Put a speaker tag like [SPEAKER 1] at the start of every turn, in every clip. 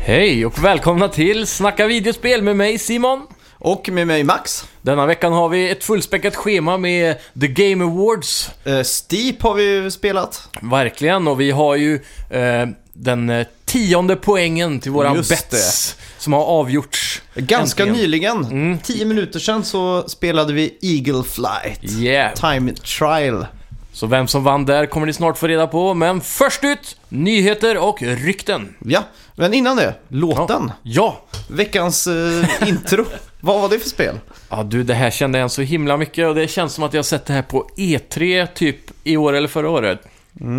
[SPEAKER 1] Hej och välkomna till Snacka videospel med mig Simon.
[SPEAKER 2] Och med mig Max.
[SPEAKER 1] Denna veckan har vi ett fullspäckat schema med The Game Awards.
[SPEAKER 2] Eh, Steep har vi ju spelat.
[SPEAKER 1] Verkligen, och vi har ju eh, den eh, tionde poängen till våra
[SPEAKER 2] Just
[SPEAKER 1] bets som har avgjorts.
[SPEAKER 2] Ganska
[SPEAKER 1] Äntligen. Mm.
[SPEAKER 2] nyligen, tio minuter sedan, så spelade vi Eagle Flight.
[SPEAKER 1] Yeah.
[SPEAKER 2] Time Trial.
[SPEAKER 1] Så vem som vann där kommer ni snart få reda på, men först ut, nyheter och rykten.
[SPEAKER 2] Ja, men innan det, låten.
[SPEAKER 1] Ja,
[SPEAKER 2] Veckans eh, intro. Vad var det för spel?
[SPEAKER 1] Ja du, det här kände jag igen så himla mycket och det känns som att jag har sett det här på E3 typ i år eller förra året. Eh,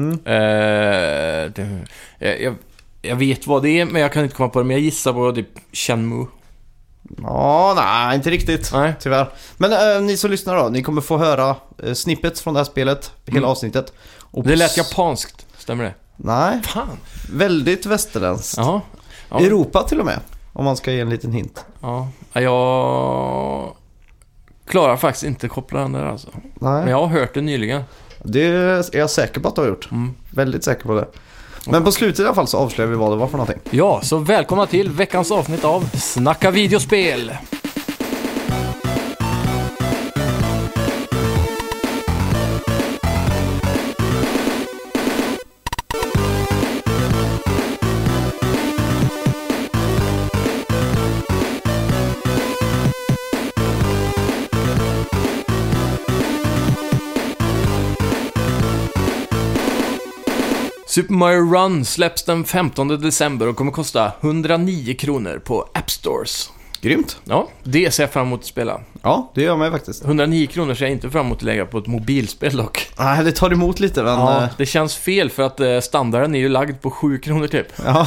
[SPEAKER 1] det, jag, jag- jag vet vad det är men jag kan inte komma på det, men jag gissar på typ Shenmue.
[SPEAKER 2] Ja, nej, inte riktigt.
[SPEAKER 1] Nej.
[SPEAKER 2] Tyvärr. Men eh, ni som lyssnar då, ni kommer få höra eh, snippets från det här spelet, hela avsnittet. Och
[SPEAKER 1] Mm. Det
[SPEAKER 2] på
[SPEAKER 1] lät
[SPEAKER 2] s-
[SPEAKER 1] japanskt, stämmer det?
[SPEAKER 2] Nej,
[SPEAKER 1] Fan!
[SPEAKER 2] väldigt västerländskt.
[SPEAKER 1] Jaha. Ja.
[SPEAKER 2] Europa till och med, om man ska ge en liten hint.
[SPEAKER 1] Ja, jag klarar faktiskt inte koppla den där alltså.
[SPEAKER 2] Nej.
[SPEAKER 1] Men jag har hört det nyligen.
[SPEAKER 2] Det är jag säker på att du har gjort.
[SPEAKER 1] Mm.
[SPEAKER 2] Väldigt säker på det. Men på slutet i alla fall så avslöjar vi vad det var för någonting.
[SPEAKER 1] Ja, så välkomna till veckans avsnitt av Snacka videospel! Super Mario Run släpps den 15 december och kommer kosta 109 kronor på App Stores.
[SPEAKER 2] Grymt.
[SPEAKER 1] Ja, det ser jag fram emot att spela.
[SPEAKER 2] Ja, det gör man ju faktiskt.
[SPEAKER 1] 109 kronor ser jag inte fram emot att lägga på ett mobilspel dock.
[SPEAKER 2] Nej, det tar emot lite men... eh,
[SPEAKER 1] Ja,
[SPEAKER 2] Ja.
[SPEAKER 1] det känns fel för att eh, standarden är ju lagd på 7 kronor typ.
[SPEAKER 2] Ja,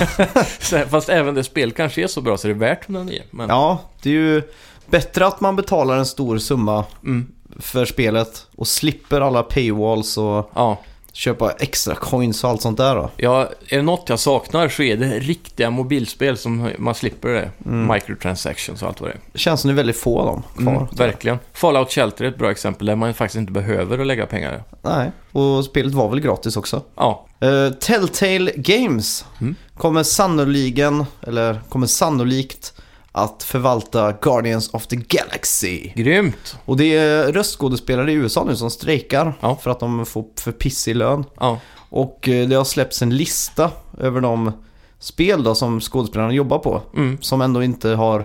[SPEAKER 1] Så här, Fast även det spel kanske är så bra så det är värt 109. Men
[SPEAKER 2] ja, det är ju bättre att man betalar en stor summa
[SPEAKER 1] Mm.
[SPEAKER 2] för spelet och slipper alla paywalls och
[SPEAKER 1] ja.
[SPEAKER 2] köpa extra coins och allt sånt där då.
[SPEAKER 1] Ja, är det något jag saknar så är det riktiga mobilspel som man slipper det. Microtransactions och allt vad det är.
[SPEAKER 2] Känns som det är väldigt få av dem kvar.
[SPEAKER 1] Mm, verkligen. Fallout Shelter är ett bra exempel där man faktiskt inte behöver att lägga pengar.
[SPEAKER 2] Nej, och spelet var väl gratis också.
[SPEAKER 1] Ja,
[SPEAKER 2] Eh, Telltale Games
[SPEAKER 1] Mm.
[SPEAKER 2] kommer sannoliken, eller kommer sannolikt att förvalta Guardians of the Galaxy.
[SPEAKER 1] grymt.
[SPEAKER 2] Och det är röstskådespelare i USA nu som strejkar
[SPEAKER 1] Ja.
[SPEAKER 2] för att de får för pissig lön.
[SPEAKER 1] Ja.
[SPEAKER 2] Och eh, det har släppts en lista över de spel då som skådespelarna jobbar på.
[SPEAKER 1] Mm.
[SPEAKER 2] Som ändå inte har,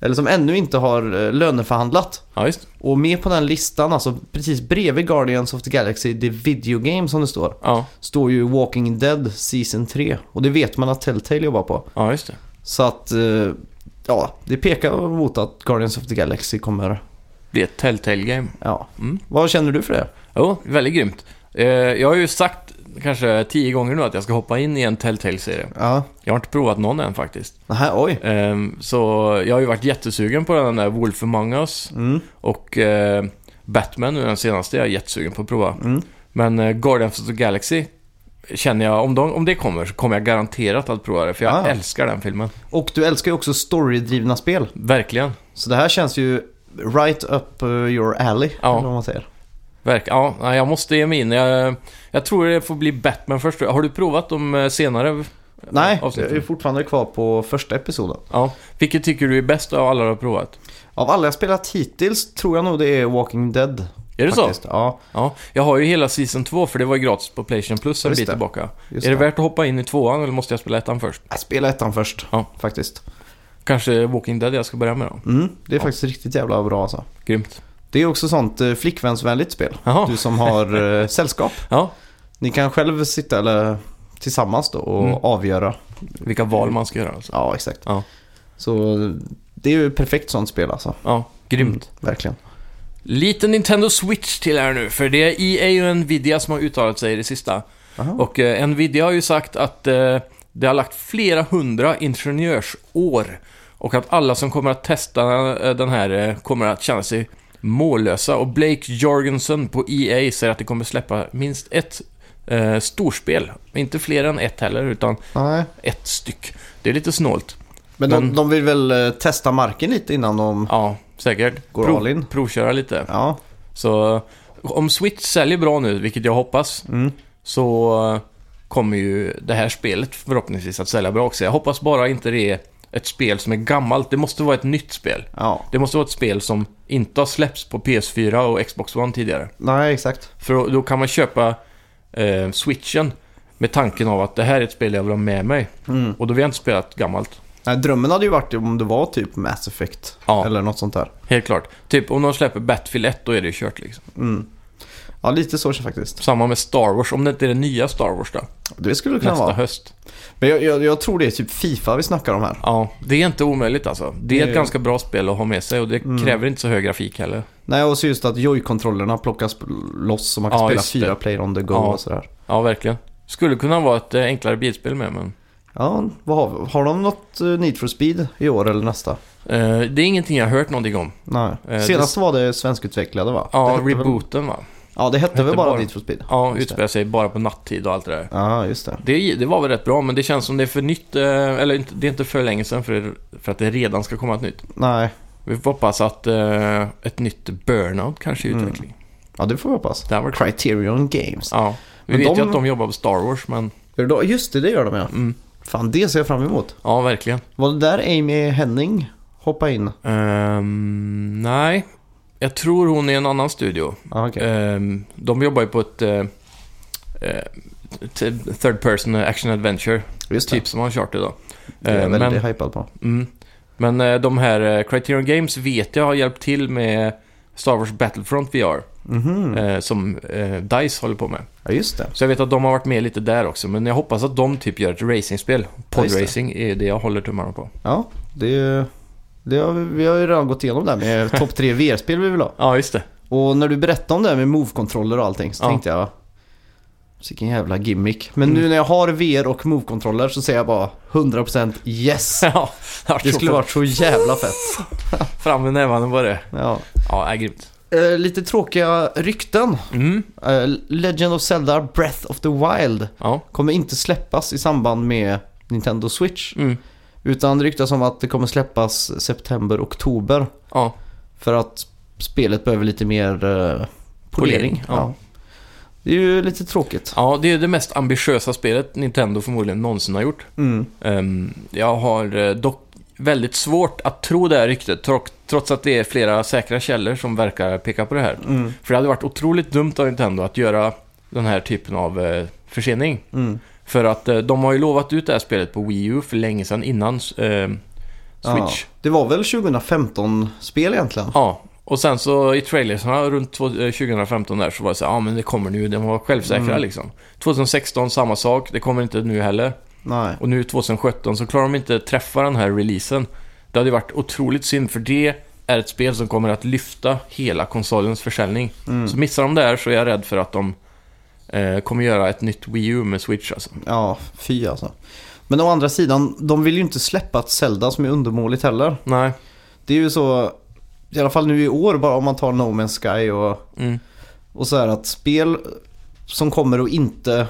[SPEAKER 2] eller som ännu inte har eh, löneförhandlat.
[SPEAKER 1] Ja, just.
[SPEAKER 2] Och med på den listan, alltså precis bredvid Guardians of the Galaxy, det är video game som det står
[SPEAKER 1] Ja,
[SPEAKER 2] står ju Walking Dead Season 3 och det vet man att Telltale jobbar på.
[SPEAKER 1] ja just det.
[SPEAKER 2] Så att, eh, ja, det pekar mot att Guardians of the Galaxy kommer,
[SPEAKER 1] Det är ett Telltale Game.
[SPEAKER 2] ja.
[SPEAKER 1] Mm.
[SPEAKER 2] Vad känner du för det?
[SPEAKER 1] Jo, väldigt grymt. Eh, jag har ju sagt kanske tio gånger nu att jag ska hoppa in i en Telltale-serie.
[SPEAKER 2] Ja.
[SPEAKER 1] Jag har inte provat någon än faktiskt.
[SPEAKER 2] Nähä, oj.
[SPEAKER 1] Eh, så jag har ju varit jättesugen på den där Wolf Among Us
[SPEAKER 2] Mm.
[SPEAKER 1] och eh, Batman nu den senaste jag är jättesugen på att prova.
[SPEAKER 2] Mm.
[SPEAKER 1] Men eh, Guardians of the Galaxy känner jag, om, de, om det kommer så kommer jag garanterat att prova det för jag
[SPEAKER 2] Ah.
[SPEAKER 1] älskar den filmen.
[SPEAKER 2] Och du älskar ju också storydrivna spel.
[SPEAKER 1] Verkligen.
[SPEAKER 2] Så det här känns ju right up eh, your alley,
[SPEAKER 1] Ja.
[SPEAKER 2] eller vad man säger.
[SPEAKER 1] Verk ja, nej, jag måste ge mig in. Jag, jag tror det får bli Batman först. Har du provat de eh, senare?
[SPEAKER 2] Nej, jag är
[SPEAKER 1] avsnittet?
[SPEAKER 2] fortfarande kvar på första episoden.
[SPEAKER 1] Ja. Vilket tycker du är bäst av alla du har provat?
[SPEAKER 2] Av alla jag spelat hittills tror jag nog det är Walking Dead.
[SPEAKER 1] Är det
[SPEAKER 2] faktiskt.
[SPEAKER 1] så?
[SPEAKER 2] Ja,
[SPEAKER 1] Ja. Jag har ju hela Season 2 för det var ju gratis på Playstation Plus en
[SPEAKER 2] Just
[SPEAKER 1] bit
[SPEAKER 2] det.
[SPEAKER 1] tillbaka.
[SPEAKER 2] just
[SPEAKER 1] är det
[SPEAKER 2] det.
[SPEAKER 1] värt att hoppa in i tvåan eller måste jag spela ettan först?
[SPEAKER 2] Jag spelar ettan först,
[SPEAKER 1] Ja.
[SPEAKER 2] faktiskt.
[SPEAKER 1] Kanske Walking Dead jag ska börja med då.
[SPEAKER 2] Mm, det är
[SPEAKER 1] Ja.
[SPEAKER 2] faktiskt riktigt jävla bra alltså.
[SPEAKER 1] Grymt.
[SPEAKER 2] Det är också sånt eh, flickvänsvänligt spel.
[SPEAKER 1] Jaha.
[SPEAKER 2] Du som har eh, sällskap.
[SPEAKER 1] Ja.
[SPEAKER 2] Ni kan själv sitta eller tillsammans då och
[SPEAKER 1] Mm.
[SPEAKER 2] avgöra.
[SPEAKER 1] Vilka val man ska göra alltså.
[SPEAKER 2] Ja, exakt.
[SPEAKER 1] Ja.
[SPEAKER 2] Så det är ju perfekt sånt spel alltså. Mm,
[SPEAKER 1] Ja, grymt.
[SPEAKER 2] Verkligen.
[SPEAKER 1] Lite Nintendo Switch till här nu, för det E är EA och Nvidia som har uttalat sig i det sista.
[SPEAKER 2] Aha.
[SPEAKER 1] Och eh, Nvidia har ju sagt att eh, det har lagt flera hundra ingenjörsår och att alla som kommer att testa eh, den här eh, kommer att känna sig mållösa. Och Blake Jorgensen på EA säger att det kommer släppa minst ett eh, storspel. Inte fler än ett heller, utan
[SPEAKER 2] Nej.
[SPEAKER 1] ett styck. Det är lite snålt.
[SPEAKER 2] Men de,
[SPEAKER 1] Men-
[SPEAKER 2] de vill väl eh, testa marken lite innan de...
[SPEAKER 1] Ja, säkert.
[SPEAKER 2] Går all in.
[SPEAKER 1] provköra lite.
[SPEAKER 2] Ja.
[SPEAKER 1] Så om Switch säljer bra nu, vilket jag hoppas,
[SPEAKER 2] Mm.
[SPEAKER 1] så kommer ju det här spelet förhoppningsvis att sälja bra också. Jag hoppas bara inte det är ett spel som är gammalt. Det måste vara ett nytt spel.
[SPEAKER 2] Ja.
[SPEAKER 1] Det måste vara ett spel som inte har släppts på PS4 och Xbox One tidigare.
[SPEAKER 2] Nej, exakt.
[SPEAKER 1] För då- då kan man köpa eh, switchen med tanken av att det här är ett spel jag vill ha med mig.
[SPEAKER 2] Mm.
[SPEAKER 1] Och då vill jag inte spela ett gammalt.
[SPEAKER 2] Nej, drömmen hade ju varit om det var typ Mass Effect.
[SPEAKER 1] Ja.
[SPEAKER 2] Eller något sånt där.
[SPEAKER 1] Helt klart. Typ om de släpper Battlefield 1 då är det ju kört liksom.
[SPEAKER 2] Mm. Ja, lite så faktiskt.
[SPEAKER 1] Samma med Star Wars, om det inte är det nya Star Wars då.
[SPEAKER 2] Det skulle det kunna
[SPEAKER 1] Nästa
[SPEAKER 2] vara.
[SPEAKER 1] höst.
[SPEAKER 2] Men jag, jag, jag tror det är typ Fifa vi snackar om här.
[SPEAKER 1] Ja, det är inte omöjligt alltså. Det är
[SPEAKER 2] Det- Mm.
[SPEAKER 1] ett ganska bra spel att ha med sig och det kräver inte så hög grafik heller.
[SPEAKER 2] Nej, och så just att joy-kontrollerna plockas loss så man kan
[SPEAKER 1] Ja,
[SPEAKER 2] spela
[SPEAKER 1] just det.
[SPEAKER 2] fyra player on the go
[SPEAKER 1] Ja.
[SPEAKER 2] och sådär.
[SPEAKER 1] Ja, verkligen. Skulle kunna vara ett eh, enklare bilspel med, men...
[SPEAKER 2] Ja, vad har, vi? har de något eh, Need for Speed i år eller nästa?
[SPEAKER 1] eh, det är ingenting jag har hört någonting om.
[SPEAKER 2] Nej.
[SPEAKER 1] Eh,
[SPEAKER 2] Senast var det svenskutvecklade va? Det
[SPEAKER 1] Ja,
[SPEAKER 2] hette väl-
[SPEAKER 1] rebooten va?
[SPEAKER 2] Ja, det hette, väl
[SPEAKER 1] Hette
[SPEAKER 2] bara
[SPEAKER 1] bara-
[SPEAKER 2] Need for Speed?
[SPEAKER 1] Ja,
[SPEAKER 2] Just det.
[SPEAKER 1] utspelar sig bara på natttid och allt det där.
[SPEAKER 2] Ja, just det.
[SPEAKER 1] Det, det var väl rätt bra, men det känns som det är för nytt, eh, eller inte- det är inte för länge sedan för, för att det redan ska komma ett nytt.
[SPEAKER 2] Nej,
[SPEAKER 1] Vi får hoppas att eh, ett nytt burnout kanske är i
[SPEAKER 2] Mm.
[SPEAKER 1] utveckling.
[SPEAKER 2] ja det får vi hoppas.
[SPEAKER 1] Det här var
[SPEAKER 2] Criterion Games.
[SPEAKER 1] Ja, vi
[SPEAKER 2] Men
[SPEAKER 1] vet
[SPEAKER 2] de-
[SPEAKER 1] ju att de jobbar på Star Wars, men
[SPEAKER 2] Gör det då? Just det, det gör de ja.
[SPEAKER 1] mm,
[SPEAKER 2] Fan, det ser jag fram emot.
[SPEAKER 1] ja, verkligen.
[SPEAKER 2] Var det där Amy Henning hoppade in?
[SPEAKER 1] Ehm, nej, jag tror hon är i en annan studio.
[SPEAKER 2] Ah, okej.
[SPEAKER 1] Ehm, de jobbar ju på ett eh, eh, t- third person action adventure,
[SPEAKER 2] Just det.
[SPEAKER 1] typ som han kört idag.
[SPEAKER 2] det är jag
[SPEAKER 1] Eh,
[SPEAKER 2] väldigt
[SPEAKER 1] men-
[SPEAKER 2] hypad på.
[SPEAKER 1] Mm. Men eh, de här eh, Criterion Games vet jag har hjälpt till med Star Wars Battlefront VR,
[SPEAKER 2] Mhm.
[SPEAKER 1] eh, som eh, DICE håller på med.
[SPEAKER 2] Ja, just det.
[SPEAKER 1] Så jag vet att de har varit med lite där också, men jag hoppas att de typ gör ett racingspel. Podracing är det jag håller tummarna på.
[SPEAKER 2] Ja, det, det har vi, vi har ju redan gått igenom det här med topp tre VR-spel vi vill ha.
[SPEAKER 1] Ja, just det.
[SPEAKER 2] Och när du berättade om det här med move-kontroller och allting så
[SPEAKER 1] Ja.
[SPEAKER 2] tänkte jag Vilken jävla gimmick. Men nu när jag har VR och move-kontroller så säger jag bara 100% yes.
[SPEAKER 1] ja,
[SPEAKER 2] Det skulle varit så jävla fett.
[SPEAKER 1] Fram med nävarna var det.
[SPEAKER 2] Ja.
[SPEAKER 1] Ja, är grymt.
[SPEAKER 2] Eh, lite tråkiga rykten.
[SPEAKER 1] Mm.
[SPEAKER 2] Eh, Legend of Zelda Breath of the Wild
[SPEAKER 1] Ja.
[SPEAKER 2] kommer inte släppas i samband med Nintendo Switch.
[SPEAKER 1] Mm.
[SPEAKER 2] Utan det ryktas om att det kommer släppas september-oktober.
[SPEAKER 1] Ja.
[SPEAKER 2] För att spelet behöver lite mer eh, polering.
[SPEAKER 1] Polering,
[SPEAKER 2] ja.
[SPEAKER 1] ja.
[SPEAKER 2] Det är ju lite tråkigt.
[SPEAKER 1] ja, det är det mest ambitiösa spelet Nintendo förmodligen någonsin har gjort.
[SPEAKER 2] Mm.
[SPEAKER 1] Ehm, jag har eh, dock väldigt svårt att tro det här ryktet, tro- trots att det är flera säkra källor som verkar peka på det här.
[SPEAKER 2] Mm.
[SPEAKER 1] För det hade varit otroligt dumt av Nintendo att göra den här typen av eh, försening.
[SPEAKER 2] Mm.
[SPEAKER 1] För att eh, de har ju lovat ut det här spelet på Wii U för länge sedan innan eh, Switch.
[SPEAKER 2] Ja. Det var väl 2015-spel egentligen?
[SPEAKER 1] Ja, och sen så i trailersarna runt två- eh, 2015 där så var det så här, ja ah, men det kommer nu, de var självsäkra
[SPEAKER 2] Mm.
[SPEAKER 1] liksom. 2016 samma sak, det kommer inte nu heller.
[SPEAKER 2] Nej.
[SPEAKER 1] Och nu 2017 så klarar de inte träffa den här releasen. Det hade ju varit otroligt synd för det är ett spel som kommer att lyfta hela konsolens försäljning.
[SPEAKER 2] Mm.
[SPEAKER 1] Så missar de det här så är jag rädd för att de eh, kommer göra ett nytt Wii U med Switch alltså.
[SPEAKER 2] Ja, fy alltså. Men å andra sidan, de vill ju inte släppa ett Zelda som är undermåligt heller.
[SPEAKER 1] Nej.
[SPEAKER 2] Det är ju så, i alla fall nu i år bara om man tar No Man's Sky och,
[SPEAKER 1] Mm.
[SPEAKER 2] och så här att spel som kommer och inte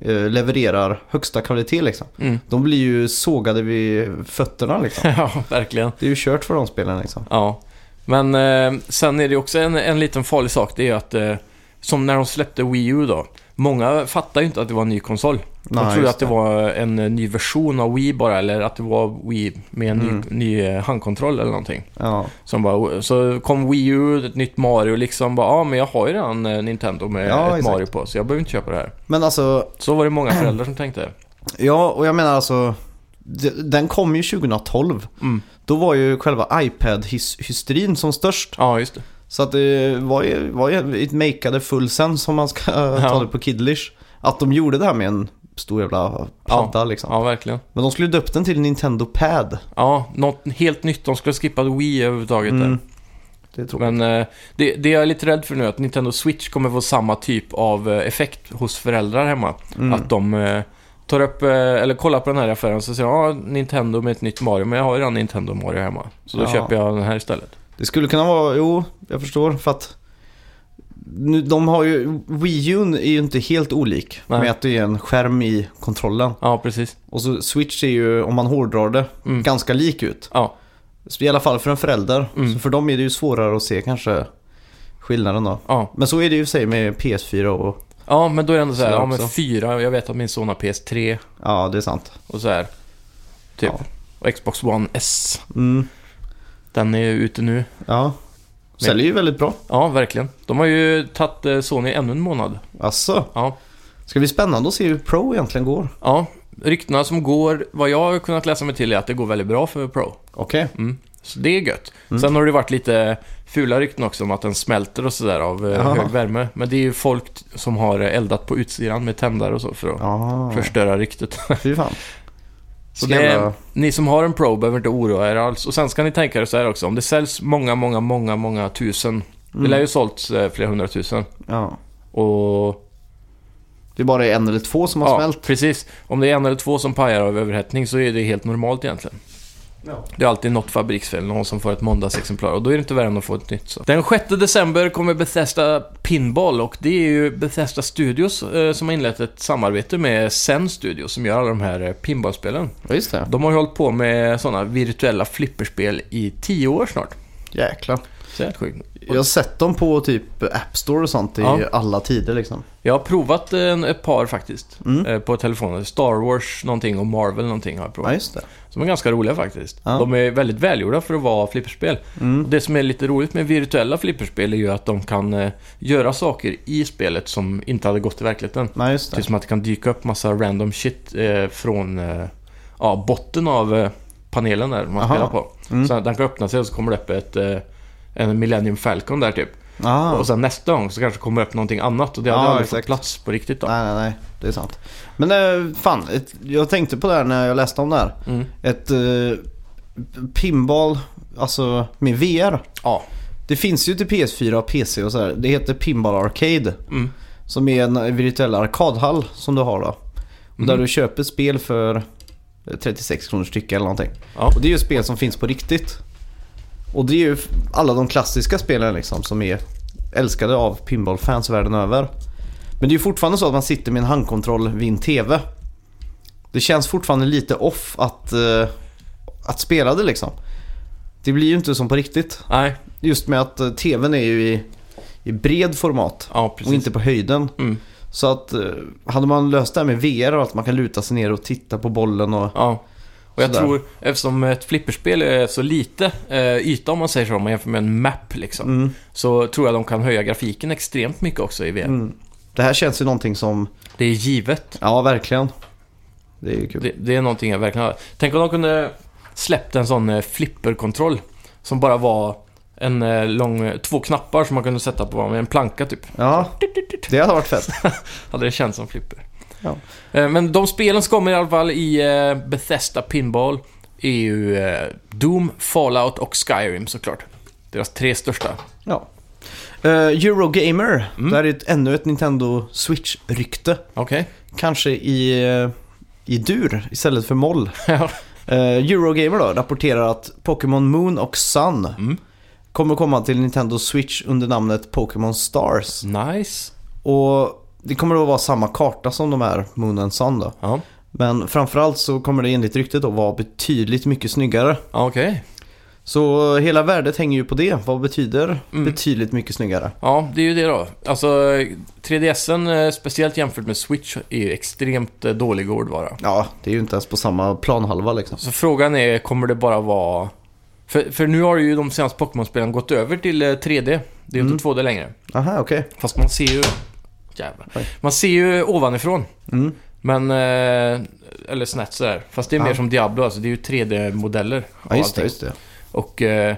[SPEAKER 2] eh, levererar högsta kvalitet liksom.
[SPEAKER 1] Mm.
[SPEAKER 2] De blir ju sågade vid fötterna liksom.
[SPEAKER 1] ja, verkligen.
[SPEAKER 2] Det är ju kört för de spelen liksom.
[SPEAKER 1] Ja. Men eh, sen är det också en, en liten farlig sak. Det är ju att eh, som när de släppte Wii U då. Många fattade ju inte att det var en ny konsol. De
[SPEAKER 2] Nej,
[SPEAKER 1] trodde
[SPEAKER 2] just
[SPEAKER 1] att det var en eh, ny version av Wii bara, eller att det var Wii med en
[SPEAKER 2] Mm.
[SPEAKER 1] ny, ny eh, handkontroll eller någonting.
[SPEAKER 2] Ja,
[SPEAKER 1] Som bara, så kom Wii U, ett nytt Mario liksom. Bara, ja, men jag har ju redan eh, Nintendo med
[SPEAKER 2] Ja,
[SPEAKER 1] ett
[SPEAKER 2] exakt.
[SPEAKER 1] Mario på, så jag behöver inte köpa det här.
[SPEAKER 2] men alltså,
[SPEAKER 1] Så var det många föräldrar som tänkte.
[SPEAKER 2] ja och jag menar alltså, d- den kom ju 2012.
[SPEAKER 1] Mm.
[SPEAKER 2] Då var ju själva iPad-hysterin som störst.
[SPEAKER 1] Ja, just det.
[SPEAKER 2] Så att det var ju, var ju it makeade full sense om man ska
[SPEAKER 1] Ja.
[SPEAKER 2] ta det på Kidlish. Att de gjorde det här med en stor jävla padda liksom.
[SPEAKER 1] Ja, verkligen.
[SPEAKER 2] Men de skulle döpt den till Nintendo Pad.
[SPEAKER 1] Ja, något helt nytt. De skulle ha skippat Wii överhuvudtaget där.
[SPEAKER 2] Mm. Det är tråkigt.
[SPEAKER 1] Men eh, det, det jag är lite rädd för nu är att Nintendo Switch kommer få samma typ av eh, effekt hos föräldrar hemma.
[SPEAKER 2] Mm.
[SPEAKER 1] Att de eh, tar upp, eh, eller kollar på den här affären och så säger ja, Nintendo med ett nytt Mario, men jag har ju redan Nintendo Mario hemma. Så då
[SPEAKER 2] Ja.
[SPEAKER 1] köper jag den här istället.
[SPEAKER 2] Det skulle kunna vara, jo, jag förstår. För att nu, de har ju, Wii U är ju inte helt olik
[SPEAKER 1] Nej.
[SPEAKER 2] med att det är en skärm i kontrollen.
[SPEAKER 1] Ja, precis.
[SPEAKER 2] Och så Switch är ju, om man hårdrar det,
[SPEAKER 1] Mm.
[SPEAKER 2] ganska lik ut.
[SPEAKER 1] Ja.
[SPEAKER 2] Så I alla fall för en förälder.
[SPEAKER 1] Mm.
[SPEAKER 2] Så för dem är det ju svårare att se kanske skillnaden då.
[SPEAKER 1] Ja,
[SPEAKER 2] Men så är det ju i och för sig med PS4 och
[SPEAKER 1] Ja, men då är det ändå så här,
[SPEAKER 2] Så jag
[SPEAKER 1] ja men
[SPEAKER 2] också.
[SPEAKER 1] fyra, jag vet att min son har PS3
[SPEAKER 2] Ja, det är sant.
[SPEAKER 1] och så här. Typ.
[SPEAKER 2] Ja.
[SPEAKER 1] Och Xbox One S.
[SPEAKER 2] Mm.
[SPEAKER 1] Den är ju ute nu.
[SPEAKER 2] Ja. Säljer ju väldigt bra.
[SPEAKER 1] Ja, verkligen. De har ju tagit eh, Sony ännu en månad.
[SPEAKER 2] Alltså.
[SPEAKER 1] Ja.
[SPEAKER 2] Ska bli spännande att se hur Pro egentligen går.
[SPEAKER 1] Ja, ryktena som går, vad jag har kunnat läsa mig till är att det går väldigt bra för Pro.
[SPEAKER 2] Okej.
[SPEAKER 1] Mm. Så det är gött.
[SPEAKER 2] Mm.
[SPEAKER 1] Sen har det varit lite fula rykten också om att den smälter och sådär av eh,
[SPEAKER 2] Jaha.
[SPEAKER 1] hög värme. Men det är ju folk t- som har eh, eldat på utsidan med tändare och så för att
[SPEAKER 2] Ja,
[SPEAKER 1] förstöra ryktet.
[SPEAKER 2] fy fan.
[SPEAKER 1] Så
[SPEAKER 2] Ska
[SPEAKER 1] det,
[SPEAKER 2] jävla-
[SPEAKER 1] ni som har en Pro behöver inte oroa er alls. Och sen ska ni tänka er så här också, om det säljs många, många, många, många tusen.
[SPEAKER 2] Mm.
[SPEAKER 1] Det lär ju sålts eh, flera hundratusen.
[SPEAKER 2] Ja.
[SPEAKER 1] Och
[SPEAKER 2] Det är bara en eller två som har
[SPEAKER 1] Ja,
[SPEAKER 2] smält.
[SPEAKER 1] precis. Om det är en eller två som pajar av överhettning så är det helt normalt egentligen.
[SPEAKER 2] Ja.
[SPEAKER 1] Det är alltid något fabriksfel, någon som får ett måndagsexemplar och då är det inte värre än att få ett nytt. Så. Den 6 december kommer Bethesda Pinball och det är ju Bethesda Studios eh, som har inlett ett samarbete med Zen Studios som gör alla de här eh, pinballspelen.
[SPEAKER 2] Ja, just det.
[SPEAKER 1] De har ju hållit på med sådana virtuella flipperspel i tio år snart.
[SPEAKER 2] Jäklar.
[SPEAKER 1] Så det är helt sjukt.
[SPEAKER 2] Jag har sett dem på typ App Store och sånt i
[SPEAKER 1] Ja.
[SPEAKER 2] alla tider liksom.
[SPEAKER 1] Jag har provat eh, en, ett par faktiskt
[SPEAKER 2] Mm.
[SPEAKER 1] eh, på telefonen. Star Wars någonting och Marvel någonting har jag provat.
[SPEAKER 2] Ja, just det.
[SPEAKER 1] Som är ganska roliga faktiskt.
[SPEAKER 2] Ja. Mm.
[SPEAKER 1] De är väldigt välgjorda för att vara flipperspel. Och det som är lite roligt med virtuella flipperspel är ju att de kan eh, göra saker i spelet som inte hade gått i verkligheten.
[SPEAKER 2] Nej, just
[SPEAKER 1] Typ
[SPEAKER 2] det.
[SPEAKER 1] som att det kan dyka upp massa random shit eh, från eh, ja, botten av eh, panelen där man
[SPEAKER 2] Aha.
[SPEAKER 1] spelar på.
[SPEAKER 2] Mm.
[SPEAKER 1] Så att den kan öppna sig och så kommer det upp ett, eh, en Millennium Falcon där typ.
[SPEAKER 2] Ah.
[SPEAKER 1] Och sen nästa gång så kanske kommer det upp någonting annat och det hade
[SPEAKER 2] Ja,
[SPEAKER 1] aldrig fått
[SPEAKER 2] exakt.
[SPEAKER 1] plats på riktigt då.
[SPEAKER 2] Nej, nej, nej. Det är sant. Men eh, fan, ett, jag tänkte på det här när jag läste om det här.
[SPEAKER 1] Mm.
[SPEAKER 2] Ett eh, pinball, alltså med VR.
[SPEAKER 1] Ja.
[SPEAKER 2] Det finns ju till PS4 och PC och sådär. Det heter Pinball Arcade.
[SPEAKER 1] Mm.
[SPEAKER 2] Som är en virtuell arkadhall som du har då. Och Där
[SPEAKER 1] Mhm.
[SPEAKER 2] du köper spel för 36 kronor styck eller någonting.
[SPEAKER 1] Ja.
[SPEAKER 2] Och det är ju spel som finns på riktigt. Och det är ju alla de klassiska spelen liksom som är älskade av pinballfans världen över. Men det är ju fortfarande så att man sitter med en handkontroll vid en TV. Det känns fortfarande lite off att, eh, att spela det liksom. Det blir ju inte som på riktigt.
[SPEAKER 1] Nej,
[SPEAKER 2] Just med att eh, TVn är ju i, i bred format
[SPEAKER 1] ja precis.
[SPEAKER 2] och inte på höjden.
[SPEAKER 1] Mm.
[SPEAKER 2] Så att eh, hade man löst det här med VR och att man kan luta sig ner och titta på bollen och...
[SPEAKER 1] Ja. Och jag
[SPEAKER 2] Sådär.
[SPEAKER 1] tror, eftersom ett flipperspel är så lite eh, yta om man säger så, om man jämför med en map liksom.
[SPEAKER 2] Mm.
[SPEAKER 1] Så tror jag de kan höja grafiken extremt mycket också i VR.
[SPEAKER 2] Mm. Det här känns ju någonting som...
[SPEAKER 1] Det är givet.
[SPEAKER 2] Ja, verkligen. Det är ju kul.
[SPEAKER 1] Det, det är någonting jag verkligen har. Tänk om de kunde släppt en sån eh, flipperkontroll. Som bara var en eh, lång, två knappar som man kunde sätta på varandra, en planka typ.
[SPEAKER 2] Ja, det hade varit fett.
[SPEAKER 1] Hade det känts som flipper.
[SPEAKER 2] Ja.
[SPEAKER 1] Eh, men de spelen som kommer i alla fall i eh, Bethesda Pinball är ju eh, Doom, Fallout och Skyrim såklart. Deras tre största
[SPEAKER 2] Ja. Eh, Eurogamer.
[SPEAKER 1] Mm.
[SPEAKER 2] Där är ett, ännu ett Nintendo Switch-rykte.
[SPEAKER 1] Okej.
[SPEAKER 2] Kanske i, eh, i dur istället för moll.
[SPEAKER 1] Ja.
[SPEAKER 2] Eh, Eurogamer då rapporterar att Pokémon Moon och Sun
[SPEAKER 1] Mm.
[SPEAKER 2] kommer komma till Nintendo Switch under namnet Pokémon Stars.
[SPEAKER 1] Nice.
[SPEAKER 2] Och det kommer då vara samma karta som de här Moon and Sun då.
[SPEAKER 1] Ja,
[SPEAKER 2] Men framförallt så kommer det enligt ryktet då vara betydligt mycket snyggare.
[SPEAKER 1] ja okej.
[SPEAKER 2] Så hela värdet hänger ju på det. Vad betyder
[SPEAKER 1] Mm.
[SPEAKER 2] betydligt mycket snyggare?
[SPEAKER 1] Ja, det är ju det då. Alltså, 3DSen, eh, speciellt jämfört med Switch, är ju extremt eh, dålig hårdvara.
[SPEAKER 2] Ja, det är ju inte ens på samma planhalva liksom.
[SPEAKER 1] Så frågan är, kommer det bara vara... För, för nu har ju de senaste Pokémon-spelen gått över till eh, 3D. Det är ju
[SPEAKER 2] Mm.
[SPEAKER 1] inte 2D längre.
[SPEAKER 2] Aha, okej.
[SPEAKER 1] Fast man ser ju... Jävlar.
[SPEAKER 2] Oj.
[SPEAKER 1] Man ser ju ovanifrån.
[SPEAKER 2] Mm.
[SPEAKER 1] Men... Eh, eller snett sådär. Fast det är
[SPEAKER 2] Ja.
[SPEAKER 1] mer som Diablo, alltså. Det är ju 3D-modeller. och
[SPEAKER 2] Ja, just
[SPEAKER 1] allting.
[SPEAKER 2] det, just det.
[SPEAKER 1] Och eh,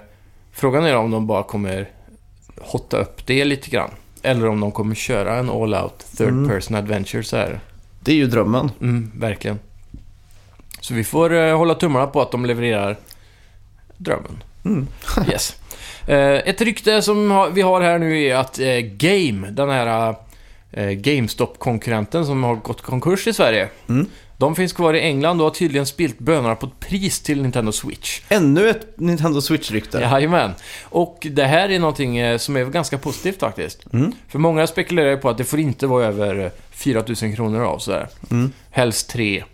[SPEAKER 1] frågan är om de bara kommer hotta upp det lite grann. Eller om de kommer köra en all-out third
[SPEAKER 2] Mm.
[SPEAKER 1] person adventure så här.
[SPEAKER 2] Det är ju drömmen.
[SPEAKER 1] Mm, verkligen. Så vi får eh, hålla tummarna på att de levererar drömmen.
[SPEAKER 2] Mm.
[SPEAKER 1] Yes. Eh, ett rykte som ha, vi har här nu är att eh, Game, den här eh, GameStop-konkurrenten som har gått konkurs i Sverige.
[SPEAKER 2] Mm.
[SPEAKER 1] De finns kvar i England och har tydligen spilt bönorna på ett pris till Nintendo Switch.
[SPEAKER 2] Ännu ett Nintendo Switch-rykte.
[SPEAKER 1] Jajamän. Och det här är någonting eh, som är ganska positivt faktiskt.
[SPEAKER 2] Mm.
[SPEAKER 1] För många spekulerar ju på att det får inte vara över eh, 4 000 kronor av sådär.
[SPEAKER 2] Mm.
[SPEAKER 1] Helst tre.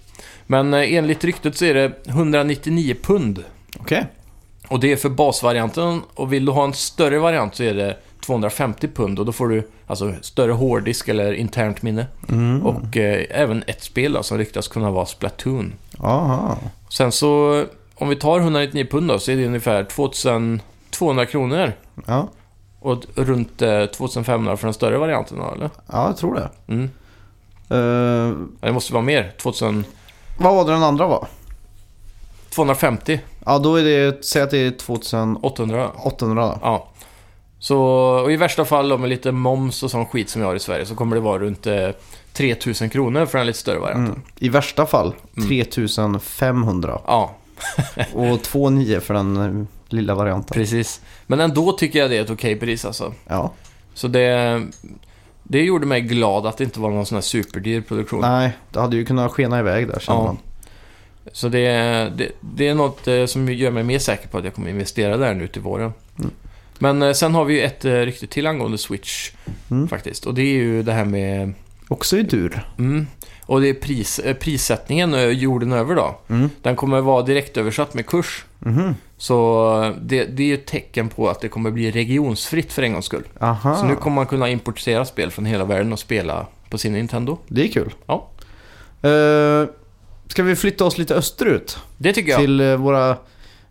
[SPEAKER 1] Men eh, enligt ryktet så är det 199 pund.
[SPEAKER 2] Okej.
[SPEAKER 1] Och det är för basvarianten. Och vill du ha en större variant så är det 250 pund och då får du alltså större hårddisk eller internt minne.
[SPEAKER 2] Mm.
[SPEAKER 1] Och eh, även ett spel då, som ryktas kunna vara Splatoon.
[SPEAKER 2] Aha.
[SPEAKER 1] Sen så, om vi tar 199 pund då, så är det ungefär 2200 kronor.
[SPEAKER 2] Ja.
[SPEAKER 1] Och runt eh, 2500 för den större varianten då, eller?
[SPEAKER 2] ja, jag tror det.
[SPEAKER 1] Mm.
[SPEAKER 2] Eh,
[SPEAKER 1] Ja, Det måste vara mer. 2000,
[SPEAKER 2] vad var det den andra var?
[SPEAKER 1] 250,
[SPEAKER 2] Ja, då är det, säg att det är 2800
[SPEAKER 1] 800.
[SPEAKER 2] då.
[SPEAKER 1] Ja. Så och i värsta fall då med lite moms och sån skit som vi har i Sverige så kommer det vara runt eh, 3000 kronor för den lite större varianten.
[SPEAKER 2] Mm. I värsta fall
[SPEAKER 1] Mm.
[SPEAKER 2] 3500
[SPEAKER 1] Ja,
[SPEAKER 2] och 29 för den eh, lilla varianten.
[SPEAKER 1] precis. Men ändå tycker jag det är ett okej pris alltså.
[SPEAKER 2] Ja,
[SPEAKER 1] Så det, det gjorde mig glad att det inte var någon sån här superdyr produktion.
[SPEAKER 2] nej, det hade ju kunnat skena iväg där känner
[SPEAKER 1] Ja.
[SPEAKER 2] man.
[SPEAKER 1] Så det, det, det är något eh, som gör mig mer säker på att jag kommer investera där nu till våren.
[SPEAKER 2] Mm.
[SPEAKER 1] Men eh, sen har vi ju ett eh, rykte till angående Switch
[SPEAKER 2] Mm.
[SPEAKER 1] faktiskt. Och det är ju det här med...
[SPEAKER 2] Också i dur.
[SPEAKER 1] Mm, och det är pris, eh, prissättningen eh, jorden över då.
[SPEAKER 2] Mm.
[SPEAKER 1] Den kommer vara direktöversatt med kurs.
[SPEAKER 2] Mhm.
[SPEAKER 1] Så eh, det, det är ju ett tecken på att det kommer bli regionsfritt för en gångs skull.
[SPEAKER 2] Aha,
[SPEAKER 1] Så nu kommer man kunna importera spel från hela världen och spela på sin Nintendo.
[SPEAKER 2] det är kul.
[SPEAKER 1] Ja.
[SPEAKER 2] Eh, ska vi flytta oss lite österut?
[SPEAKER 1] Det tycker jag.
[SPEAKER 2] Till eh, våra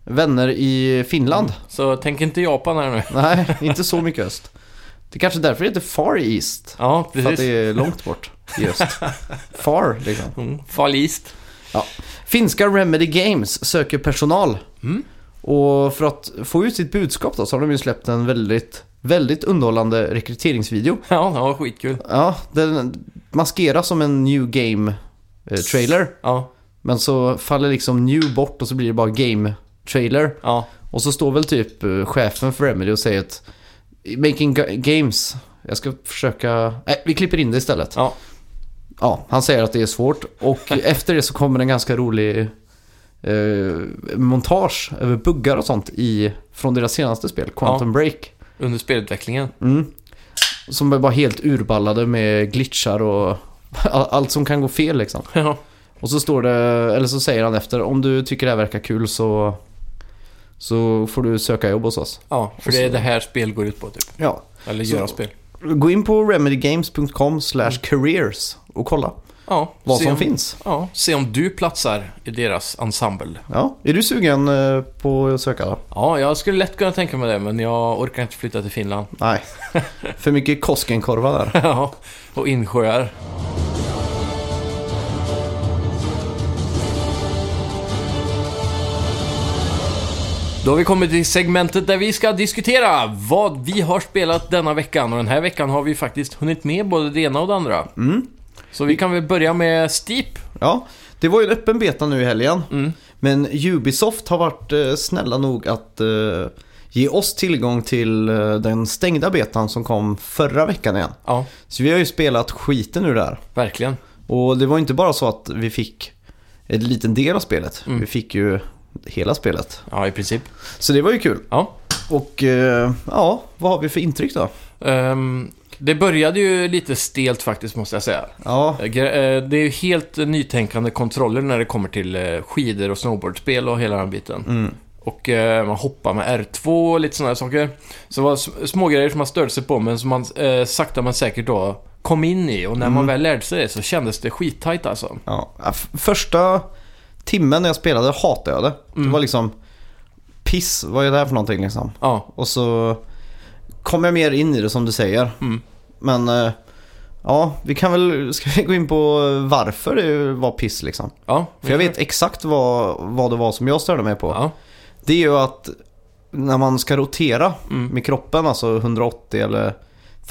[SPEAKER 2] vänner i Finland?
[SPEAKER 1] Så tänk inte Japan här nu.
[SPEAKER 2] Nej, inte så mycket öst. Det är kanske därför det heter Far East.
[SPEAKER 1] Ja,
[SPEAKER 2] För att
[SPEAKER 1] precis.
[SPEAKER 2] det är långt bort i öst. Far, liksom.
[SPEAKER 1] Mm, Fall East.
[SPEAKER 2] Finska Remedy Games söker personal.
[SPEAKER 1] Mm.
[SPEAKER 2] Och för att få ut sitt budskap då så har de ju släppt en väldigt, väldigt underhållande rekryteringsvideo.
[SPEAKER 1] Ja, det var skitkul.
[SPEAKER 2] Ja, den maskeras som en New Game-trailer.
[SPEAKER 1] Ja,
[SPEAKER 2] Men så faller liksom New bort och så blir det bara Game-trailer.
[SPEAKER 1] ja,
[SPEAKER 2] Och så står väl typ eh, chefen för Remedy och säger att Making ga- Games, jag ska försöka... Nej, vi klipper in det istället.
[SPEAKER 1] ja.
[SPEAKER 2] Ja, han säger att det är svårt och efter det så kommer en ganska rolig eh, montage över buggar och sånt i, från deras senaste spel, Quantum Break.
[SPEAKER 1] Under spelutvecklingen.
[SPEAKER 2] Mm. Som är bara helt urballade med glitchar och all- allt som kan gå fel liksom.
[SPEAKER 1] Ja,
[SPEAKER 2] Och så står det, eller så säger han efter, om du tycker det här verkar kul så, så får du söka jobb hos oss.
[SPEAKER 1] ja för det är det här spel går ut på typ.
[SPEAKER 2] Ja.
[SPEAKER 1] Eller
[SPEAKER 2] Så-
[SPEAKER 1] göra spel.
[SPEAKER 2] Gå in på remedygames.com slash careers och kolla
[SPEAKER 1] Ja,
[SPEAKER 2] vad
[SPEAKER 1] Mm. se
[SPEAKER 2] som
[SPEAKER 1] om,
[SPEAKER 2] finns.
[SPEAKER 1] Ja, se om du platsar i deras ensemble.
[SPEAKER 2] Ja, är du sugen eh, på att söka då?
[SPEAKER 1] Ja, jag skulle lätt kunna tänka mig det, men jag orkar inte flytta till Finland.
[SPEAKER 2] Nej, för mycket Koskenkorva där.
[SPEAKER 1] Ja, och insjöar. Då har vi kommit till segmentet där vi ska diskutera vad vi har spelat denna veckan. Och den här veckan har vi faktiskt hunnit med både det ena och det andra. Så vi kan väl börja med Steep.
[SPEAKER 2] Ja, det var ju en öppen beta nu i helgen.
[SPEAKER 1] Mm.
[SPEAKER 2] Men Ubisoft har varit eh, snälla nog att eh, ge oss tillgång till eh, den stängda betan som kom förra veckan igen.
[SPEAKER 1] Ja,
[SPEAKER 2] Så vi har ju spelat skiten ur det här.
[SPEAKER 1] verkligen.
[SPEAKER 2] Och det var inte bara så att vi fick en liten del av spelet.
[SPEAKER 1] Mm.
[SPEAKER 2] Vi fick ju hela spelet.
[SPEAKER 1] Ja, i princip.
[SPEAKER 2] Så det var ju kul.
[SPEAKER 1] Ja.
[SPEAKER 2] Och eh, ja, vad har vi för intryck då?
[SPEAKER 1] Ehm, det började ju lite stelt faktiskt, måste jag säga.
[SPEAKER 2] Ja,
[SPEAKER 1] Eh, gre- eh, Det är ju helt eh, nytänkande kontroller när det kommer till eh, skidor och snowboardspel och hela den biten.
[SPEAKER 2] Mm.
[SPEAKER 1] Och eh, man hoppar med R2 och lite sådana här saker. Så det var sm- små grejer som man störde sig på men som man eh, sakta men säkert då kom in i. Och när
[SPEAKER 2] Mm.
[SPEAKER 1] man väl lärde sig det så kändes det skittajt alltså.
[SPEAKER 2] Ja, f- första timmen när jag spelade hatade jag det. Det var liksom piss, vad är det här för någonting liksom?
[SPEAKER 1] Ja,
[SPEAKER 2] Och så kom jag mer in i det som du säger. Men eh, ja, vi kan väl ska vi gå in på varför det var piss liksom.
[SPEAKER 1] ja.
[SPEAKER 2] För jag vet exakt vad, vad det var som jag störde mig på.
[SPEAKER 1] Ja,
[SPEAKER 2] Det är ju att när man ska rotera
[SPEAKER 1] Mm.
[SPEAKER 2] med kroppen, alltså 180 eller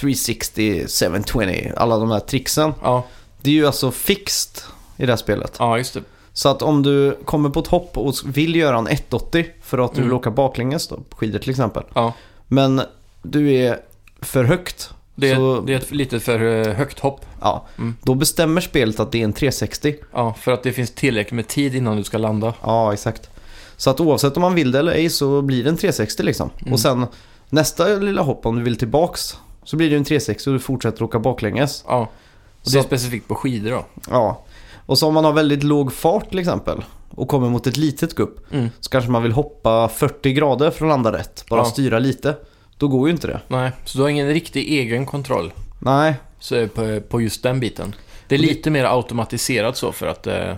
[SPEAKER 2] 360, 720, alla de här tricksen.
[SPEAKER 1] ja,
[SPEAKER 2] Det är ju alltså fixt i det här spelet.
[SPEAKER 1] ja, just det.
[SPEAKER 2] Så att om du kommer på ett hopp och vill göra en 180 för att du
[SPEAKER 1] Mm.
[SPEAKER 2] vill åka baklänges då, på skidor till exempel.
[SPEAKER 1] Ja.
[SPEAKER 2] Men du är för högt.
[SPEAKER 1] Det är,
[SPEAKER 2] så,
[SPEAKER 1] det är ett lite för eh, högt hopp.
[SPEAKER 2] Ja,
[SPEAKER 1] Mm.
[SPEAKER 2] Då bestämmer spelet att det är en 360.
[SPEAKER 1] Ja, för att det finns tillräckligt med tid innan du ska landa.
[SPEAKER 2] Ja, exakt. Så att oavsett om man vill det eller ej så blir det en 360 liksom.
[SPEAKER 1] Mm.
[SPEAKER 2] Och sen nästa lilla hopp om du vill tillbaks så blir det en 360 och du fortsätter åka baklänges.
[SPEAKER 1] Ja. Och det
[SPEAKER 2] Så-
[SPEAKER 1] är specifikt på skidor då.
[SPEAKER 2] Ja. Och så om man har väldigt låg fart till exempel och kommer mot ett litet gupp
[SPEAKER 1] Mm.
[SPEAKER 2] så kanske man vill hoppa 40 grader för att landa rätt. Bara
[SPEAKER 1] Ja.
[SPEAKER 2] styra lite. Då går ju inte det.
[SPEAKER 1] Nej, så du har ingen riktig egen kontroll
[SPEAKER 2] Nej,
[SPEAKER 1] så, på, på just den biten. Det är
[SPEAKER 2] Och det-
[SPEAKER 1] lite mer automatiserat så för att, eh,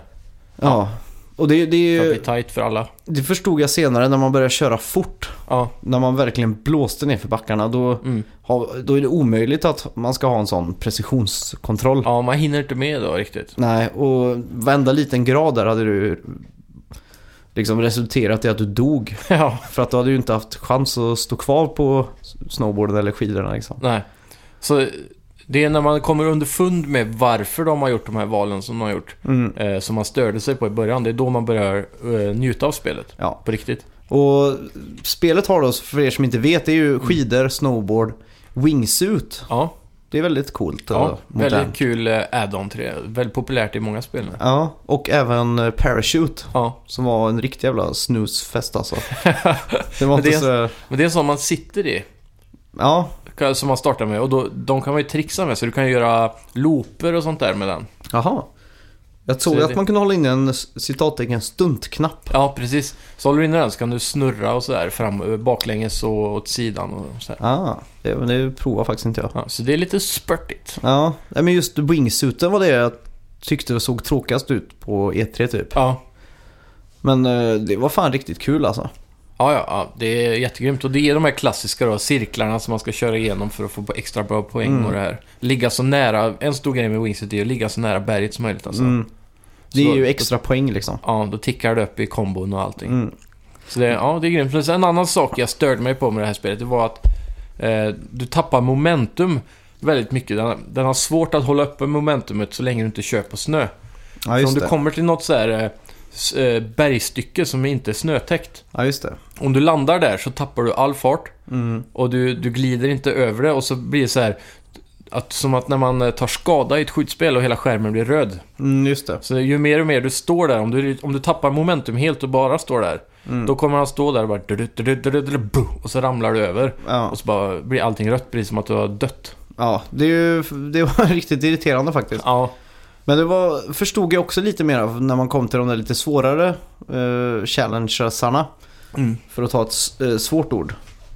[SPEAKER 2] ja. Och det, det,
[SPEAKER 1] för
[SPEAKER 2] är
[SPEAKER 1] att
[SPEAKER 2] ju,
[SPEAKER 1] bli tight för alla.
[SPEAKER 2] det förstod jag senare när man började köra fort.
[SPEAKER 1] Ja,
[SPEAKER 2] När man verkligen blåste ner för backarna. Då,
[SPEAKER 1] mm.
[SPEAKER 2] har- då är det omöjligt att man ska ha en sån precisionskontroll.
[SPEAKER 1] ja, man hinner inte med då riktigt.
[SPEAKER 2] Nej, och varenda liten grad där hade du liksom resulterat i att du dog.
[SPEAKER 1] ja,
[SPEAKER 2] För att du hade ju inte haft chans att stå kvar på snowboarden eller skidorna liksom.
[SPEAKER 1] nej. Så det är när man kommer underfund med varför de har gjort de här valen som de har gjort.
[SPEAKER 2] Mm.
[SPEAKER 1] Eh, som man störde sig på i början. Det är då man börjar eh, njuta av spelet.
[SPEAKER 2] Ja.
[SPEAKER 1] På riktigt.
[SPEAKER 2] Och spelet har då, för er som inte vet, det är
[SPEAKER 1] Mm.
[SPEAKER 2] ju skidor, snowboard, wingsuit.
[SPEAKER 1] Ja,
[SPEAKER 2] Det är väldigt coolt. och
[SPEAKER 1] ja
[SPEAKER 2] modernt.
[SPEAKER 1] väldigt kul eh, add-on till det. Väldigt populärt i många spel nu.
[SPEAKER 2] Ja, och även eh, parachute.
[SPEAKER 1] Ja,
[SPEAKER 2] Som var en riktig jävla snusfest alltså. Det var inte
[SPEAKER 1] det-
[SPEAKER 2] så...
[SPEAKER 1] men det är sånt man sitter i.
[SPEAKER 2] Ja,
[SPEAKER 1] Som man startar med och då, de kan man ju trixa med så du kan ju göra looper och sånt där med den.
[SPEAKER 2] jaha. Jag såg
[SPEAKER 1] Så det-
[SPEAKER 2] att man kunde hålla in en s- citattecken stuntknapp.
[SPEAKER 1] Ja, precis. Så håller du in den så kan du snurra och sådär fram, eh, baklänges och åt sidan och sådär.
[SPEAKER 2] Ah, det, men det provar faktiskt inte jag.
[SPEAKER 1] Ja, så det är lite spurtigt.
[SPEAKER 2] Ja, nej, men just wingsuiten var det jag tyckte såg tråkigast ut på E3 typ.
[SPEAKER 1] Ja.
[SPEAKER 2] Men eh, det var fan riktigt kul alltså.
[SPEAKER 1] Ja, ja, ja, det är jättegrymt. Och det är de här klassiska då, cirklarna som man ska köra igenom för att få extra bra poäng
[SPEAKER 2] Mm.
[SPEAKER 1] och det här. Ligga så nära, en stor grej med Wingsuit är att ligga så nära berget som möjligt alltså.
[SPEAKER 2] Mm. Det är
[SPEAKER 1] Så-
[SPEAKER 2] ju extra poäng liksom.
[SPEAKER 1] Ja, då tickar det upp i kombon och allting.
[SPEAKER 2] Mm.
[SPEAKER 1] Så det, ja, det är grymt. Men sen en annan sak jag störde mig på med det här spelet, det var att eh, du tappar momentum väldigt mycket. Den, den har svårt att hålla uppe momentumet så länge du inte kör på snö.
[SPEAKER 2] Ja,
[SPEAKER 1] För om
[SPEAKER 2] just
[SPEAKER 1] du
[SPEAKER 2] det.
[SPEAKER 1] kommer till något så här eh, s- eh, bergstycke som inte är snötäckt.
[SPEAKER 2] Ja, just det.
[SPEAKER 1] Om du landar där så tappar du all fart
[SPEAKER 2] Mm.
[SPEAKER 1] och du, du glider inte över det och så blir det så här att, som att när man eh, tar skada i ett skjutspel och hela skärmen blir röd.
[SPEAKER 2] Mm, just det.
[SPEAKER 1] Så ju mer och mer du står där, om du, om du tappar momentum helt och bara står där,
[SPEAKER 2] Mm.
[SPEAKER 1] då kommer han stå där och bara... du- du- du- du- du- du- du- bu- Och så ramlar du över.
[SPEAKER 2] Ja,
[SPEAKER 1] Och så bara blir allting rött, precis som att du har dött.
[SPEAKER 2] ja det, är ju, det var riktigt irriterande faktiskt.
[SPEAKER 1] Ja,
[SPEAKER 2] Men det var, förstod jag också lite mer av när man kom till de där lite svårare uh, challengersarna.
[SPEAKER 1] Mm.
[SPEAKER 2] För att ta ett s- eh, svårt ord.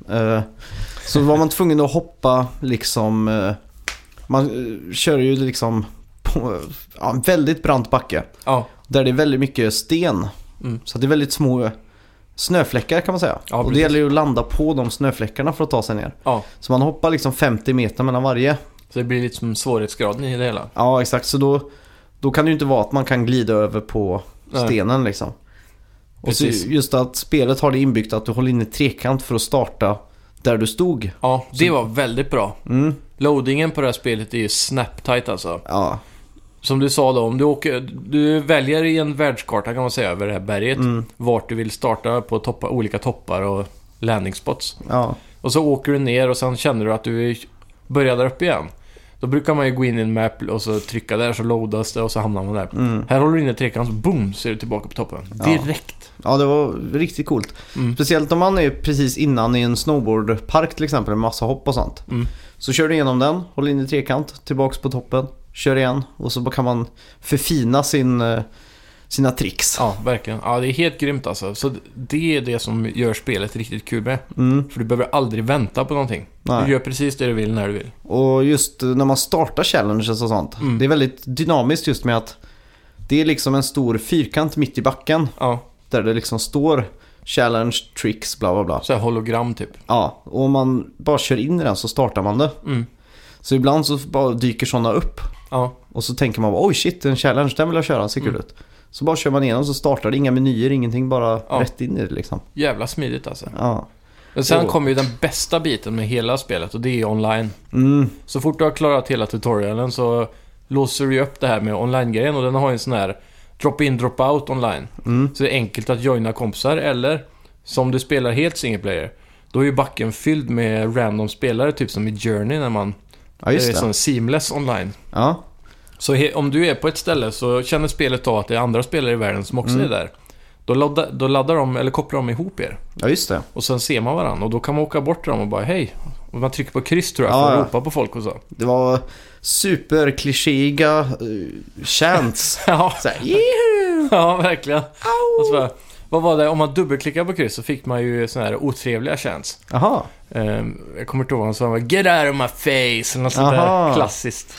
[SPEAKER 2] Eh, så var man tvungen att hoppa liksom... eh, man eh, kör ju liksom på ja, en väldigt brant backe.
[SPEAKER 1] ja,
[SPEAKER 2] Där det är väldigt mycket sten.
[SPEAKER 1] Mm.
[SPEAKER 2] Så att det är väldigt små snöfläckar kan man säga.
[SPEAKER 1] Ja,
[SPEAKER 2] och det
[SPEAKER 1] precis.
[SPEAKER 2] gäller ju att landa på de snöfläckarna för att ta sig ner.
[SPEAKER 1] ja.
[SPEAKER 2] Så man hoppar liksom 50 meter mellan varje.
[SPEAKER 1] Så det blir lite som svårighetsgraden i det hela.
[SPEAKER 2] Ja, exakt. Så då, då kan det ju inte vara att man kan glida över på
[SPEAKER 1] Nej.
[SPEAKER 2] stenen liksom. Och så
[SPEAKER 1] Precis.
[SPEAKER 2] just att spelet har det inbyggt att du håller in i trekant för att starta där du stod.
[SPEAKER 1] Ja, det var väldigt bra.
[SPEAKER 2] Mm.
[SPEAKER 1] Loadingen på det här spelet är ju snap-tight alltså.
[SPEAKER 2] Ja,
[SPEAKER 1] Som du sa då, om du, åker, du väljer i en världskarta kan man säga över det här berget
[SPEAKER 2] Mm.
[SPEAKER 1] vart du vill starta på toppa, olika toppar och landingsspots.
[SPEAKER 2] ja,
[SPEAKER 1] Och så åker du ner och sen känner du att du börjar där uppe igen. Då brukar man ju gå in i en map och så trycka där så loadas det och så hamnar man där.
[SPEAKER 2] Mm.
[SPEAKER 1] Här håller du in i trekant så boom så är du tillbaka på toppen.
[SPEAKER 2] Ja.
[SPEAKER 1] Direkt.
[SPEAKER 2] ja, det var riktigt coolt.
[SPEAKER 1] Mm.
[SPEAKER 2] Speciellt om man är precis innan i en snowboardpark till exempel med massa hopp och sånt.
[SPEAKER 1] Mm.
[SPEAKER 2] Så kör du igenom den, håller in i trekant, tillbaks på toppen, kör igen och så kan man förfina sin, eh, sina tricks.
[SPEAKER 1] Ja, verkligen. Ja, det är helt grymt alltså. Så det är det som gör spelet riktigt kul med.
[SPEAKER 2] Mm.
[SPEAKER 1] För du behöver aldrig vänta på någonting.
[SPEAKER 2] Nej.
[SPEAKER 1] Du gör precis det du vill när du vill.
[SPEAKER 2] Och just när man startar challenges och sånt.
[SPEAKER 1] Mm.
[SPEAKER 2] Det är väldigt dynamiskt just med att det är liksom en stor fyrkant mitt i backen.
[SPEAKER 1] Ja,
[SPEAKER 2] Där det liksom står challenge, tricks, bla bla bla.
[SPEAKER 1] så här hologram typ.
[SPEAKER 2] Ja, och om man bara kör in i den så startar man det.
[SPEAKER 1] Mm.
[SPEAKER 2] Så ibland så bara dyker sådana upp.
[SPEAKER 1] Ja,
[SPEAKER 2] Och så tänker man bara, oj shit, en challenge, den vill jag köra, ser kul
[SPEAKER 1] Mm.
[SPEAKER 2] ut. Så bara kör man igenom så startar det, inga menyer, ingenting, bara
[SPEAKER 1] Ja.
[SPEAKER 2] rätt in i det liksom.
[SPEAKER 1] jävla smidigt alltså.
[SPEAKER 2] Ja.
[SPEAKER 1] Men sen
[SPEAKER 2] Jo.
[SPEAKER 1] kommer ju den bästa biten med hela spelet och det är online.
[SPEAKER 2] Mm.
[SPEAKER 1] Så fort du har klarat hela tutorialen så låser du ju upp det här med online-grejen och den har ju en sån här drop-in, drop-out online.
[SPEAKER 2] Mm.
[SPEAKER 1] Så det är enkelt att joina kompisar eller som du spelar helt single player. Då är ju backen fylld med random spelare, typ som i Journey när man...
[SPEAKER 2] Ja, just
[SPEAKER 1] det är
[SPEAKER 2] det.
[SPEAKER 1] sån seamless online.
[SPEAKER 2] Ja.
[SPEAKER 1] Så he- om du är på ett ställe så känner spelet av att det är andra spelare i världen som
[SPEAKER 2] Mm.
[SPEAKER 1] också är där. Då, ladda, då laddar de, eller kopplar de ihop er.
[SPEAKER 2] ja, just det.
[SPEAKER 1] Och sen ser man varandra och då kan man åka bort till dem och bara hej. Och man trycker på kryss tror jag för
[SPEAKER 2] Ja, ja.
[SPEAKER 1] att ropa på folk och så.
[SPEAKER 2] Det var superklichéiga uh, chants.
[SPEAKER 1] Ja,
[SPEAKER 2] Såhär, yeah!
[SPEAKER 1] Ja, verkligen. Och så bara, Vad var det? Om man dubbelklickade på kryss så fick man ju såna här otrevliga känns.
[SPEAKER 2] Jaha.
[SPEAKER 1] Ehm, jag kommer inte ihåg vad han sa. Get out of my face! Eller något sånt där
[SPEAKER 2] Aha.
[SPEAKER 1] klassiskt.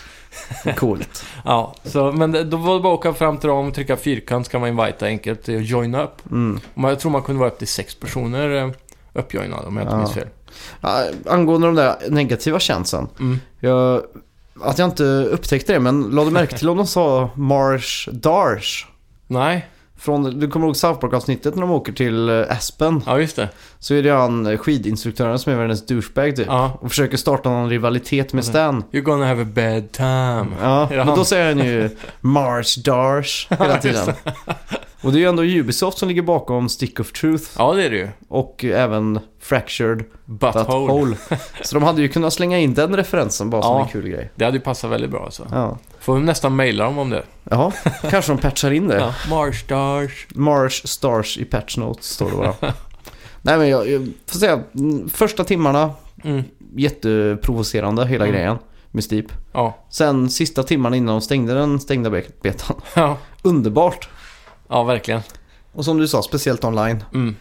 [SPEAKER 2] Coolt.
[SPEAKER 1] Ja, så, men det- då var det bara att åka fram till dem, trycka fyrkant så kan man invita enkelt och joina upp.
[SPEAKER 2] Mm.
[SPEAKER 1] Och man- Jag tror man kunde vara upp till sex personer eh, uppjoinade om jag inte
[SPEAKER 2] Ja.
[SPEAKER 1] minns fel.
[SPEAKER 2] Ja, Angående de där negativa chansen.
[SPEAKER 1] Mm.
[SPEAKER 2] Jag, att jag inte upptäckte det, men lade du märke till om de sa Marsh Darsh?
[SPEAKER 1] Nej,
[SPEAKER 2] Från, du kommer ihåg South Park-avsnittet när de åker till eh, Aspen?
[SPEAKER 1] ja just det.
[SPEAKER 2] Så är det han eh, skidinstruktören som är världens douchebag typ.
[SPEAKER 1] Ja. Mm.
[SPEAKER 2] Och försöker starta någon rivalitet med Stan.
[SPEAKER 1] You're gonna have a bad time.
[SPEAKER 2] Ja,
[SPEAKER 1] Är det
[SPEAKER 2] men
[SPEAKER 1] han?
[SPEAKER 2] då säger han ju Mars Darsh hela tiden. Och det är ju ändå Ubisoft som ligger bakom Stick of Truth
[SPEAKER 1] Ja, det är det ju.
[SPEAKER 2] och även Fractured That
[SPEAKER 1] Butthole.
[SPEAKER 2] Hole. Så de hade ju kunnat slänga in den referensen bara som
[SPEAKER 1] Ja.
[SPEAKER 2] en kul grej.
[SPEAKER 1] Det hade ju passat väldigt bra alltså.
[SPEAKER 2] Ja,
[SPEAKER 1] Får vi nästan mejla dem om det.
[SPEAKER 2] Jaha, kanske de patchar in det.
[SPEAKER 1] Ja. Marsh Darsh.
[SPEAKER 2] Marsh Stars i Patch Notes står det bara. Nej men jag, jag får säga, mm, första timmarna
[SPEAKER 1] Mm.
[SPEAKER 2] jätteprovocerande hela
[SPEAKER 1] Mm.
[SPEAKER 2] grejen med Steep.
[SPEAKER 1] Ja.
[SPEAKER 2] Sen sista timmarna innan de stängde den stängda be- betan.
[SPEAKER 1] ja.
[SPEAKER 2] Underbart!
[SPEAKER 1] Ja, verkligen.
[SPEAKER 2] Och som du sa, speciellt online.
[SPEAKER 1] Mm.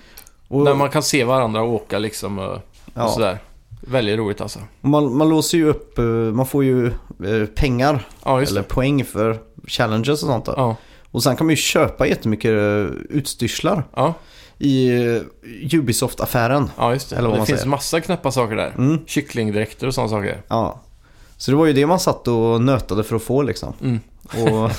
[SPEAKER 2] Och,
[SPEAKER 1] Där man kan se varandra och åka liksom och, och
[SPEAKER 2] ja,
[SPEAKER 1] sådär. Väldigt roligt alltså.
[SPEAKER 2] man, man låser ju upp, eh, man får ju eh, pengar
[SPEAKER 1] Ja, just
[SPEAKER 2] eller
[SPEAKER 1] det.
[SPEAKER 2] poäng för challenges och sånt där.
[SPEAKER 1] Ja.
[SPEAKER 2] Och sen kan man ju köpa jättemycket eh, utstyrslar
[SPEAKER 1] Ja.
[SPEAKER 2] i eh, Ubisoft-affären.
[SPEAKER 1] ja, just det.
[SPEAKER 2] Eller vad
[SPEAKER 1] det
[SPEAKER 2] man
[SPEAKER 1] finns
[SPEAKER 2] säger.
[SPEAKER 1] massa knäppa saker där.
[SPEAKER 2] Mm.
[SPEAKER 1] Kycklingdräkter och sådana saker.
[SPEAKER 2] Ja. Så det var ju det man satt och nötade för att få liksom.
[SPEAKER 1] Mm.
[SPEAKER 2] Och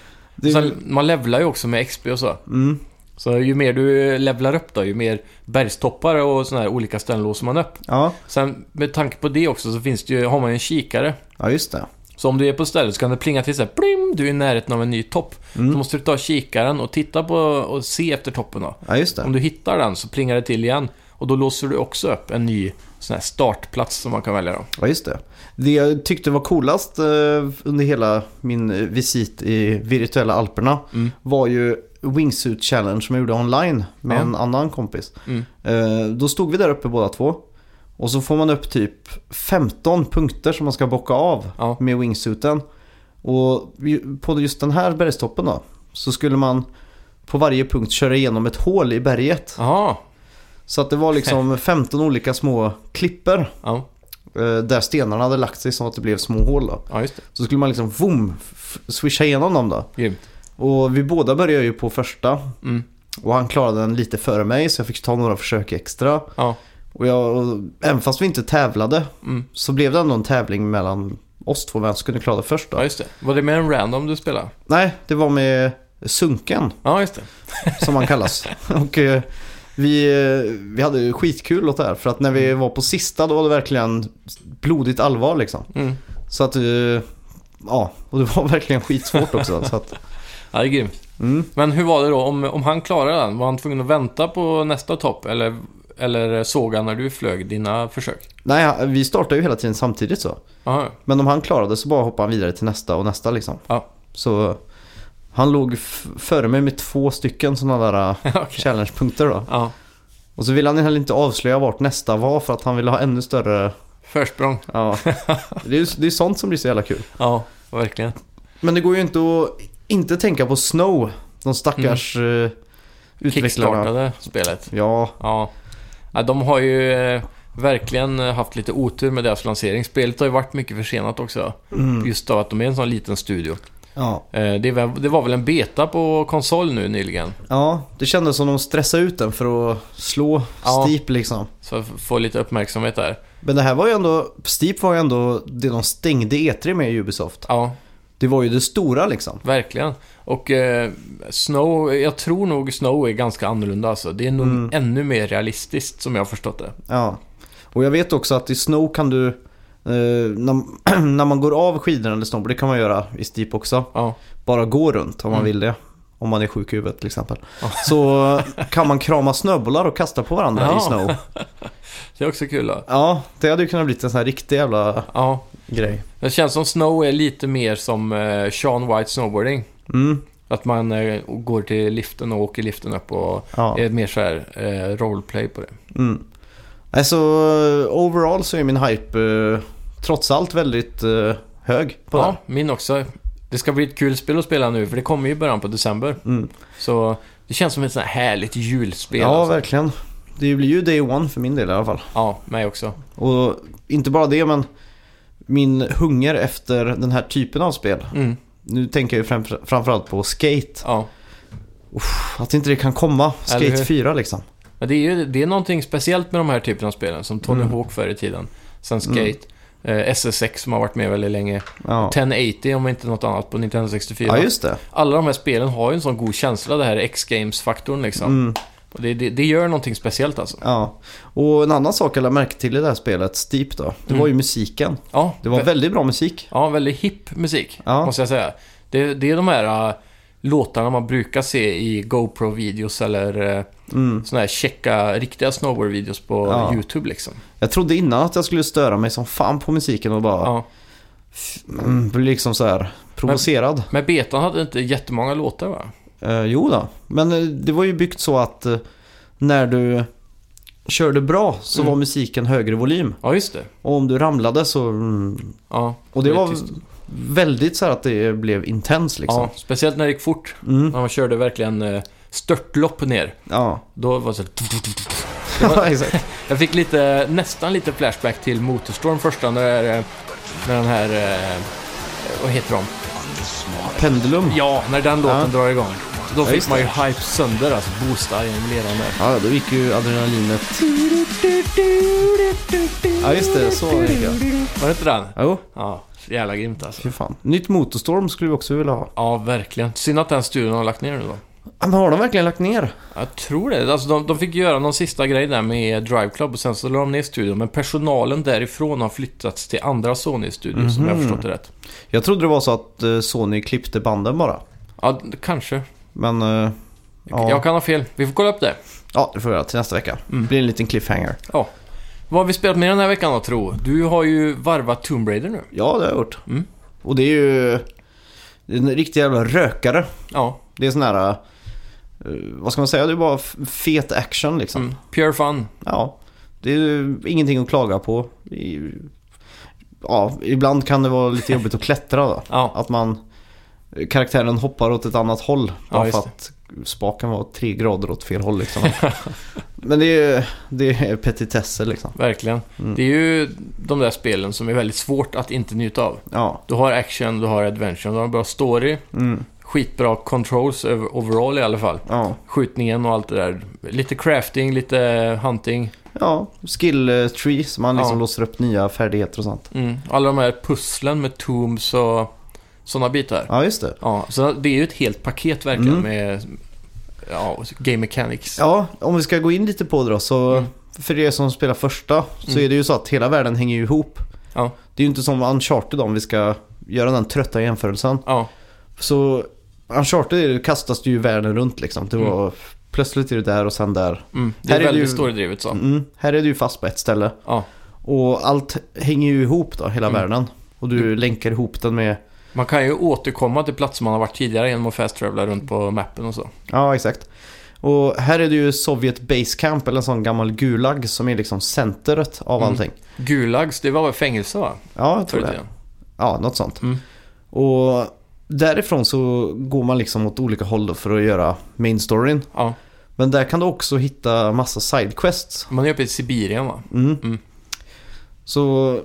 [SPEAKER 2] det, är ju-
[SPEAKER 1] Sen, man levlar ju också med XP och så.
[SPEAKER 2] mm,
[SPEAKER 1] Så ju mer du levlar upp då, ju mer bergstoppar och sådana här olika ställen låser man upp.
[SPEAKER 2] ja.
[SPEAKER 1] Sen med tanke på det också så finns det ju, har man ju en kikare.
[SPEAKER 2] ja, just det.
[SPEAKER 1] Så om du är på stället så kan det plinga till så här, plim, du är i närheten av en ny topp.
[SPEAKER 2] Mm.
[SPEAKER 1] Så måste du ta kikaren och titta på och se efter toppen då.
[SPEAKER 2] Ja, just
[SPEAKER 1] Om
[SPEAKER 2] det.
[SPEAKER 1] du hittar den så plingar det till igen. Och då låser du också upp en ny sån här startplats som man kan välja då.
[SPEAKER 2] Ja, just det. Det jag tyckte var coolast eh, under hela min eh, visit i virtuella Alperna
[SPEAKER 1] Mm.
[SPEAKER 2] var ju Wingsuit Challenge som jag gjorde online med
[SPEAKER 1] Ja.
[SPEAKER 2] en annan kompis.
[SPEAKER 1] Mm.
[SPEAKER 2] Eh, Då stod vi där uppe båda två. Och så får man upp typ 15 punkter som man ska bocka av
[SPEAKER 1] Ja.
[SPEAKER 2] med wingsuiten. Och ju- på just den här bergstoppen då så skulle man på varje punkt köra igenom ett hål i berget.
[SPEAKER 1] Jaha.
[SPEAKER 2] Så att det var liksom 15 olika små klipper
[SPEAKER 1] Ja.
[SPEAKER 2] eh, där stenarna hade lagt sig så att det blev små hål då.
[SPEAKER 1] ja, just det.
[SPEAKER 2] Så skulle man liksom vroom, f- swisha igenom dem då.
[SPEAKER 1] Grymt.
[SPEAKER 2] Och vi båda började ju på första
[SPEAKER 1] Mm.
[SPEAKER 2] och han klarade den lite före mig så jag fick ta några försök extra.
[SPEAKER 1] Ja.
[SPEAKER 2] Och jag, och även fast vi inte tävlade
[SPEAKER 1] Mm.
[SPEAKER 2] så blev det ändå en tävling mellan oss två vem som kunde klara det först då.
[SPEAKER 1] ja, just det. Var det med en random du spelade?
[SPEAKER 2] Nej, det var med Sunken
[SPEAKER 1] Ja, just det.
[SPEAKER 2] som han kallas. och eh, vi, eh, vi hade ju skitkul åt det här för att när
[SPEAKER 1] Mm.
[SPEAKER 2] vi var på sista då var det verkligen blodigt allvar liksom.
[SPEAKER 1] Mm.
[SPEAKER 2] Så att, eh, ja, och det var verkligen skitsvårt också. så att,
[SPEAKER 1] Ja, det är grymt.
[SPEAKER 2] mm.
[SPEAKER 1] Men hur var det då? Om, om han klarade den, var han tvungen att vänta på nästa topp? Eller, eller såg han när du flög dina försök?
[SPEAKER 2] Nej, vi startade ju hela tiden samtidigt så.
[SPEAKER 1] Aha.
[SPEAKER 2] Men om han klarade så bara hoppade han vidare till nästa och nästa liksom.
[SPEAKER 1] Ja.
[SPEAKER 2] Så han låg f- före mig med två stycken sådana där eh,
[SPEAKER 1] Okej.
[SPEAKER 2] challengepunkter då.
[SPEAKER 1] Ja.
[SPEAKER 2] Och så ville han heller inte avslöja vart nästa var för att han ville ha ännu större...
[SPEAKER 1] Försprång.
[SPEAKER 2] Ja. Det är ju det är sånt som blir så jävla kul.
[SPEAKER 1] Ja, verkligen.
[SPEAKER 2] Men det går ju inte att inte tänka på Snow, de stackars
[SPEAKER 1] Mm.
[SPEAKER 2] eh, utvecklarna.
[SPEAKER 1] Kickstartade spelet.
[SPEAKER 2] Ja,
[SPEAKER 1] Ja. ja. De har ju eh, verkligen eh, haft lite otur med deras lansering. Spelet har ju varit mycket försenat också. Just av att de är en sån liten studio.
[SPEAKER 2] ja.
[SPEAKER 1] Eh, Det var, det var väl en beta på konsol nu nyligen.
[SPEAKER 2] ja, det kändes som de stressade ut den för att slå
[SPEAKER 1] Ja.
[SPEAKER 2] Steep liksom.
[SPEAKER 1] Så jag får lite uppmärksamhet där.
[SPEAKER 2] Men det här var ju ändå, Steep var ju ändå det de stängde E3 med i Ubisoft.
[SPEAKER 1] Ja,
[SPEAKER 2] Det var ju det stora liksom.
[SPEAKER 1] Verkligen. Och eh, Snow, jag tror nog Snow är ganska annorlunda alltså. Det är nog
[SPEAKER 2] Mm.
[SPEAKER 1] ännu mer realistiskt som jag har förstått det.
[SPEAKER 2] Ja. Och jag vet också att i Snow kan du, eh, när, när man går av skidorna eller snowboard, det kan man göra i Steep också,
[SPEAKER 1] Ja,
[SPEAKER 2] bara gå runt om man
[SPEAKER 1] Mm.
[SPEAKER 2] vill det. Om man är sjuk i huvudet till exempel.
[SPEAKER 1] Ja.
[SPEAKER 2] Så eh, kan man krama snöbollar och kasta på varandra
[SPEAKER 1] Ja.
[SPEAKER 2] i Snow.
[SPEAKER 1] det är också kul då.
[SPEAKER 2] Ja, det hade ju kunnat bli en sån här riktig jävla
[SPEAKER 1] Ja,
[SPEAKER 2] grej.
[SPEAKER 1] det känns som Snow är lite mer som eh, Sean White Snowboarding.
[SPEAKER 2] Mm,
[SPEAKER 1] Att man eh, går till liften och åker liften upp och
[SPEAKER 2] ja.
[SPEAKER 1] är mer så här eh, roleplay på det.
[SPEAKER 2] Mm. Alltså overall så är min hype eh, trots allt väldigt eh, hög på
[SPEAKER 1] Ja,
[SPEAKER 2] det.
[SPEAKER 1] min också. Det ska bli ett kul spel att spela nu för det kommer ju i början på december.
[SPEAKER 2] Mm.
[SPEAKER 1] Så Det känns som ett sånt här härligt julspel.
[SPEAKER 2] Ja,
[SPEAKER 1] alltså.
[SPEAKER 2] verkligen. Det blir ju Day One för min del i alla fall.
[SPEAKER 1] ja mig också.
[SPEAKER 2] Och inte bara det, men min hunger efter den här typen av spel.
[SPEAKER 1] Mm,
[SPEAKER 2] Nu tänker jag ju framför, framförallt på Skate.
[SPEAKER 1] ja.
[SPEAKER 2] Att inte det kan komma.
[SPEAKER 1] Eller hur?
[SPEAKER 2] Skate 4 liksom.
[SPEAKER 1] Men det är ju det är någonting speciellt med de här typerna av spelen, som Tony
[SPEAKER 2] Mm.
[SPEAKER 1] Hawk förr i tiden. Sen Skate,
[SPEAKER 2] Mm.
[SPEAKER 1] eh, SS6 som har varit med väldigt länge,
[SPEAKER 2] Ja,
[SPEAKER 1] 1080 om inte något annat på Nintendo 64.
[SPEAKER 2] ja just det.
[SPEAKER 1] Alla de här spelen har ju en sån god känsla, det här X-Games-faktorn liksom.
[SPEAKER 2] Mm,
[SPEAKER 1] Och det, det, det gör någonting speciellt alltså.
[SPEAKER 2] ja. Och en annan sak jag lade märke till i det här spelet, Steep då. Det
[SPEAKER 1] Mm.
[SPEAKER 2] var ju musiken.
[SPEAKER 1] Ja,
[SPEAKER 2] Det var
[SPEAKER 1] vä-
[SPEAKER 2] väldigt bra musik.
[SPEAKER 1] ja väldigt hipp musik,
[SPEAKER 2] Ja.
[SPEAKER 1] måste jag säga. Det, det är de här äh, låtarna man brukar se i GoPro-videos eller äh,
[SPEAKER 2] Mm.
[SPEAKER 1] såna här checka riktiga snowboard-videos på
[SPEAKER 2] Ja.
[SPEAKER 1] YouTube liksom.
[SPEAKER 2] Jag trodde innan att jag skulle störa mig som fan på musiken och bara
[SPEAKER 1] Ja.
[SPEAKER 2] mm, bli liksom så här provocerad.
[SPEAKER 1] Men betan hade inte jättemånga låtar va?
[SPEAKER 2] Eh, jo då. men eh, det var ju byggt så att eh, när du körde bra så
[SPEAKER 1] Mm.
[SPEAKER 2] var musiken högre volym.
[SPEAKER 1] Ja, just det.
[SPEAKER 2] Och om du ramlade så... Mm,
[SPEAKER 1] Ja,
[SPEAKER 2] och det
[SPEAKER 1] blev
[SPEAKER 2] var
[SPEAKER 1] tyst.
[SPEAKER 2] väldigt så här att det blev intens liksom.
[SPEAKER 1] ja, speciellt när det gick fort.
[SPEAKER 2] Ja. Mm,
[SPEAKER 1] När man körde verkligen eh, störtlopp ner.
[SPEAKER 2] ja.
[SPEAKER 1] Då var det så här...
[SPEAKER 2] ja exakt.
[SPEAKER 1] Jag fick lite, nästan lite flashback till Motorstorm första när, eh, när den här... eh, Vad heter de?
[SPEAKER 2] Pendulum.
[SPEAKER 1] Ja, när den låten
[SPEAKER 2] Ja.
[SPEAKER 1] drar igång. Då
[SPEAKER 2] Ja,
[SPEAKER 1] fick
[SPEAKER 2] just
[SPEAKER 1] man ju hype sönder, alltså boosta genom leran där.
[SPEAKER 2] Ja, då gick ju adrenalinet. Ja, just det. Så gick jag.
[SPEAKER 1] Var det inte den?
[SPEAKER 2] Jo,
[SPEAKER 1] Ja, jävla grymt alltså.
[SPEAKER 2] fy fan. Nytt motorstorm skulle vi också vilja ha.
[SPEAKER 1] Ja, verkligen. Synd att den studion har lagt ner nu då.
[SPEAKER 2] Ja, Men har de verkligen lagt ner?
[SPEAKER 1] Jag tror det. Alltså, de, de fick göra någon sista grej där med Drive Club och sen så la de ner studion. Men personalen därifrån har flyttats till andra Sony-studior, som jag har
[SPEAKER 2] Mhm.
[SPEAKER 1] förstått det rätt.
[SPEAKER 2] Jag trodde det var så att eh, Sony klippte banden bara.
[SPEAKER 1] Ja, d- kanske.
[SPEAKER 2] Men eh, Ja.
[SPEAKER 1] Jag kan ha fel. Vi får kolla upp det.
[SPEAKER 2] ja, det får vi göra till nästa vecka.
[SPEAKER 1] Mm.
[SPEAKER 2] blir en liten cliffhanger.
[SPEAKER 1] Ja. Vad har vi spelat med den här veckan då, tro? Du har ju varvat Tomb Raider nu.
[SPEAKER 2] Ja, det har jag gjort.
[SPEAKER 1] Mm.
[SPEAKER 2] Och det är ju det är en riktig jävla rökare.
[SPEAKER 1] Ja.
[SPEAKER 2] Det är sån här, eh, vad ska man säga, det är bara f- fet action liksom.
[SPEAKER 1] Mm. Pure fun.
[SPEAKER 2] Ja, det är ju ingenting att klaga på. I- Ja, ibland kan det vara lite jobbigt att klättra då.
[SPEAKER 1] Ja.
[SPEAKER 2] Att man, karaktären hoppar åt ett annat håll. Bara
[SPEAKER 1] just
[SPEAKER 2] för att spaken var tre grader åt fel håll liksom. Men det är, ju- det är petitesser liksom.
[SPEAKER 1] Verkligen.
[SPEAKER 2] Mm.
[SPEAKER 1] Det är ju de där spelen som är väldigt svårt att inte njuta av.
[SPEAKER 2] Ja,
[SPEAKER 1] Du har action, du har adventure, du har en bra story,
[SPEAKER 2] mm,
[SPEAKER 1] skitbra controls över- overall i alla fall.
[SPEAKER 2] ja.
[SPEAKER 1] skjutningen och allt det där. Lite crafting, lite hunting.
[SPEAKER 2] ja skill eh, tree så man liksom
[SPEAKER 1] Ja.
[SPEAKER 2] låser upp nya färdigheter och sånt.
[SPEAKER 1] Mm. Alla de här pusslen med tombs och sådana bitar. Ja.
[SPEAKER 2] Ja, just det.
[SPEAKER 1] så det är ju ett helt paket verkligen
[SPEAKER 2] Mm.
[SPEAKER 1] med ja, och game mechanics.
[SPEAKER 2] Ja, om vi ska gå in lite på det då så
[SPEAKER 1] Mm.
[SPEAKER 2] för er som spelar första så
[SPEAKER 1] Mm.
[SPEAKER 2] är det ju så att hela världen hänger ju ihop.
[SPEAKER 1] Ja.
[SPEAKER 2] Det är ju inte som Uncharted om vi ska göra den trötta jämförelsen.
[SPEAKER 1] Ja,
[SPEAKER 2] Så Uncharted är det- kastas ju världen runt liksom. Det var, Plötsligt är du där och sen där.
[SPEAKER 1] mm. det är
[SPEAKER 2] Här är det
[SPEAKER 1] väldigt
[SPEAKER 2] ju-
[SPEAKER 1] storydrivet så.
[SPEAKER 2] Mm. Här är du ju fast på ett ställe.
[SPEAKER 1] Ja.
[SPEAKER 2] Och allt hänger ju ihop då, hela
[SPEAKER 1] Mm.
[SPEAKER 2] världen. Och du länkar ihop den med...
[SPEAKER 1] Man kan ju återkomma till platser man har varit tidigare genom att fast travela runt på mappen och så.
[SPEAKER 2] Ja, exakt. Och här är det ju Sovjet Base Camp, eller en sån gammal Gulag som är liksom centret av
[SPEAKER 1] Mm.
[SPEAKER 2] allting.
[SPEAKER 1] Gulags, det var väl fängelse va?
[SPEAKER 2] Ja, jag
[SPEAKER 1] Förr
[SPEAKER 2] tror
[SPEAKER 1] i
[SPEAKER 2] det.
[SPEAKER 1] tiden.
[SPEAKER 2] Ja, något sånt.
[SPEAKER 1] Mm.
[SPEAKER 2] Och därifrån så går man liksom åt olika håll då för att göra main storyn.
[SPEAKER 1] Ja,
[SPEAKER 2] Men där kan du också hitta massa sidequests.
[SPEAKER 1] man är uppe i Sibirien va?
[SPEAKER 2] Mm.
[SPEAKER 1] Mm.
[SPEAKER 2] Så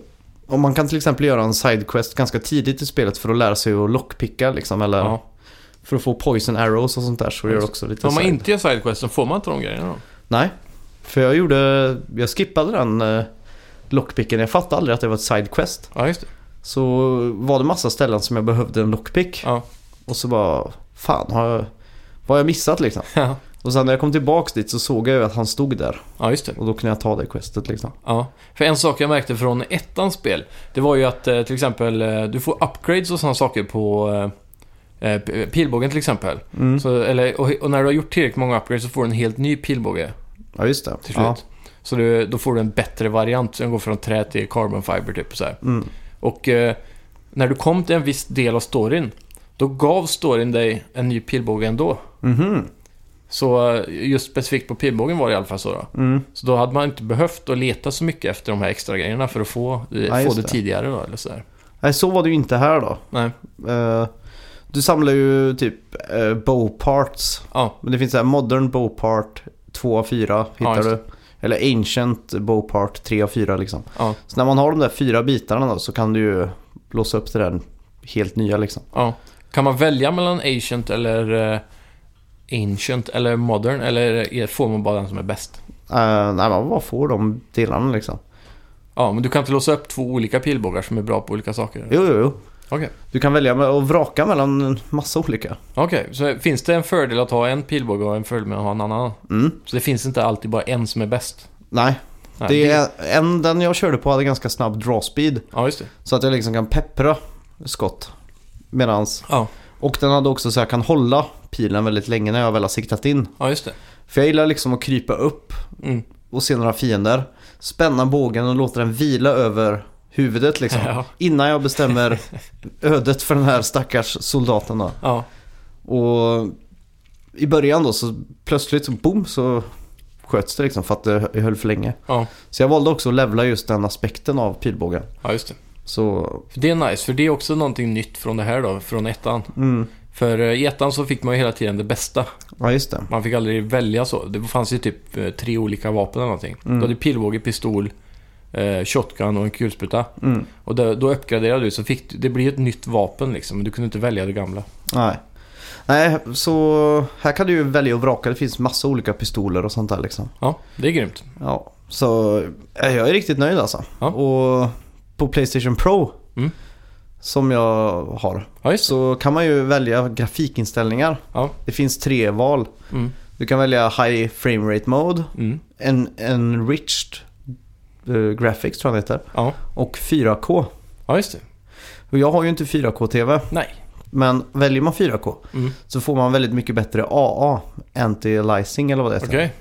[SPEAKER 2] om man kan till exempel göra en sidequest ganska tidigt i spelet för att lära sig att lockpicka liksom, eller
[SPEAKER 1] Ja.
[SPEAKER 2] för att få poison arrows och sånt där så gör det också lite
[SPEAKER 1] Om man
[SPEAKER 2] side-
[SPEAKER 1] inte gör sidequesten, får man inte de grejerna då?
[SPEAKER 2] Nej, för jag gjorde, jag skippade den eh, lockpicken. Jag fattade aldrig att det var ett sidequest.
[SPEAKER 1] Ja, just det.
[SPEAKER 2] Så var det massa ställen som jag behövde en lockpick.
[SPEAKER 1] Ja.
[SPEAKER 2] Och så bara, fan har jag, vad har jag missat liksom?
[SPEAKER 1] Ja,
[SPEAKER 2] Och sen när jag kom tillbaks dit så såg jag ju att han stod där.
[SPEAKER 1] ja just det.
[SPEAKER 2] Och då kunde jag ta det questet liksom.
[SPEAKER 1] Ja, för en sak jag märkte från ettans spel, det var ju att eh, till exempel eh, du får upgrades och sådana saker på eh, eh, p- pilbågen till exempel.
[SPEAKER 2] Mm.
[SPEAKER 1] Så, eller, och, och när du har gjort tillräckligt många upgrades så får du en helt ny pilbåge
[SPEAKER 2] Ja just det.
[SPEAKER 1] till
[SPEAKER 2] Ja.
[SPEAKER 1] slut. Så du, då får du en bättre variant som går från trä till carbon fiber typ så här.
[SPEAKER 2] Mm.
[SPEAKER 1] Och eh, när du kom till en viss del av storyn, då gav storyn dig en ny pilbåge ändå.
[SPEAKER 2] Mhm.
[SPEAKER 1] Så eh, just specifikt på pilbågen var det i alla fall så då.
[SPEAKER 2] Mm.
[SPEAKER 1] Så då hade man inte behövt att leta så mycket efter de här extra grejerna för att få, eh,
[SPEAKER 2] Nej,
[SPEAKER 1] få
[SPEAKER 2] just
[SPEAKER 1] det,
[SPEAKER 2] det.
[SPEAKER 1] tidigare då, eller sådär.
[SPEAKER 2] Nej så var det ju inte här då.
[SPEAKER 1] Nej.
[SPEAKER 2] Eh, Du samlar ju typ eh, bow parts.
[SPEAKER 1] Ja,
[SPEAKER 2] Men det finns så här modern bow part 2 av 4
[SPEAKER 1] Ja,
[SPEAKER 2] hittar
[SPEAKER 1] just
[SPEAKER 2] du. Eller ancient bow part 3 av 4 liksom.
[SPEAKER 1] ja,
[SPEAKER 2] Så när man har de där fyra bitarna då så kan du ju låsa upp det där helt nya liksom.
[SPEAKER 1] ja. Kan man välja mellan Ancient eller eh, Ancient eller Modern eller är- får man bara den som är bäst?
[SPEAKER 2] Eh, nej men vad får de delarna liksom?
[SPEAKER 1] Ja, men du kan inte låsa upp två olika pilbågar som är bra på olika saker?
[SPEAKER 2] Jo, jo, jo.
[SPEAKER 1] Okej,
[SPEAKER 2] Du kan välja med- och vraka mellan en massa olika.
[SPEAKER 1] Okej, så finns det en fördel att ha en pilbåge och en fördel med att ha en annan?
[SPEAKER 2] Mm.
[SPEAKER 1] Så det finns inte alltid bara en som är bäst?
[SPEAKER 2] Nej,
[SPEAKER 1] Nej,
[SPEAKER 2] det är en, den jag körde på hade ganska snabb draw speed.
[SPEAKER 1] Ja, just det.
[SPEAKER 2] Så att jag liksom kan peppra skott. Medans.
[SPEAKER 1] Ja,
[SPEAKER 2] Och den hade också så jag kan hålla pilen väldigt länge när jag väl har siktat in.
[SPEAKER 1] ja just det.
[SPEAKER 2] För jag gillar liksom att krypa upp
[SPEAKER 1] Mm.
[SPEAKER 2] och se några fiender. Spänna bågen och låta den vila över huvudet liksom.
[SPEAKER 1] Ja.
[SPEAKER 2] Innan jag bestämmer ödet för den här stackars soldaten då.
[SPEAKER 1] Ja,
[SPEAKER 2] Och i början då så plötsligt så boom så sköts det liksom för att det höll för länge.
[SPEAKER 1] ja,
[SPEAKER 2] Så jag valde också att levla just den aspekten av pilbågen.
[SPEAKER 1] ja just det.
[SPEAKER 2] Så,
[SPEAKER 1] För Det är nice, för det är också någonting nytt från det här då, från ettan.
[SPEAKER 2] mm.
[SPEAKER 1] För eh, i ettan så fick man ju hela tiden det bästa.
[SPEAKER 2] Ja just det.
[SPEAKER 1] Man fick aldrig välja så. Det fanns ju typ eh, tre olika vapen eller någonting.
[SPEAKER 2] Mm.
[SPEAKER 1] Du hade pilbåge, pistol, eh, shotgun och en kulspruta.
[SPEAKER 2] Mm.
[SPEAKER 1] Och då, då uppgraderade du så fick du, det blir ett nytt vapen liksom. Men du kunde inte välja det gamla.
[SPEAKER 2] Nej. Nej, så här kan du ju välja och vraka. Det finns massa olika pistoler och sånt där liksom.
[SPEAKER 1] Ja, det är grymt.
[SPEAKER 2] Ja, så eh, jag är riktigt nöjd alltså.
[SPEAKER 1] Ja.
[SPEAKER 2] Och på Playstation Pro
[SPEAKER 1] Mm.
[SPEAKER 2] som jag har
[SPEAKER 1] Ja, just det.
[SPEAKER 2] så kan man ju välja grafikinställningar.
[SPEAKER 1] Ja.
[SPEAKER 2] Det finns tre val.
[SPEAKER 1] Mm.
[SPEAKER 2] Du kan välja High Frame Rate Mode,
[SPEAKER 1] Mm.
[SPEAKER 2] en, Enriched eh, Graphics tror jag det heter
[SPEAKER 1] Ja.
[SPEAKER 2] och 4K.
[SPEAKER 1] ja, just det.
[SPEAKER 2] Och jag har ju inte 4K-TV
[SPEAKER 1] Nej.
[SPEAKER 2] men väljer man 4K
[SPEAKER 1] Mm.
[SPEAKER 2] så får man väldigt mycket bättre AA, Anti-Aliasing eller vad det heter.
[SPEAKER 1] Okej.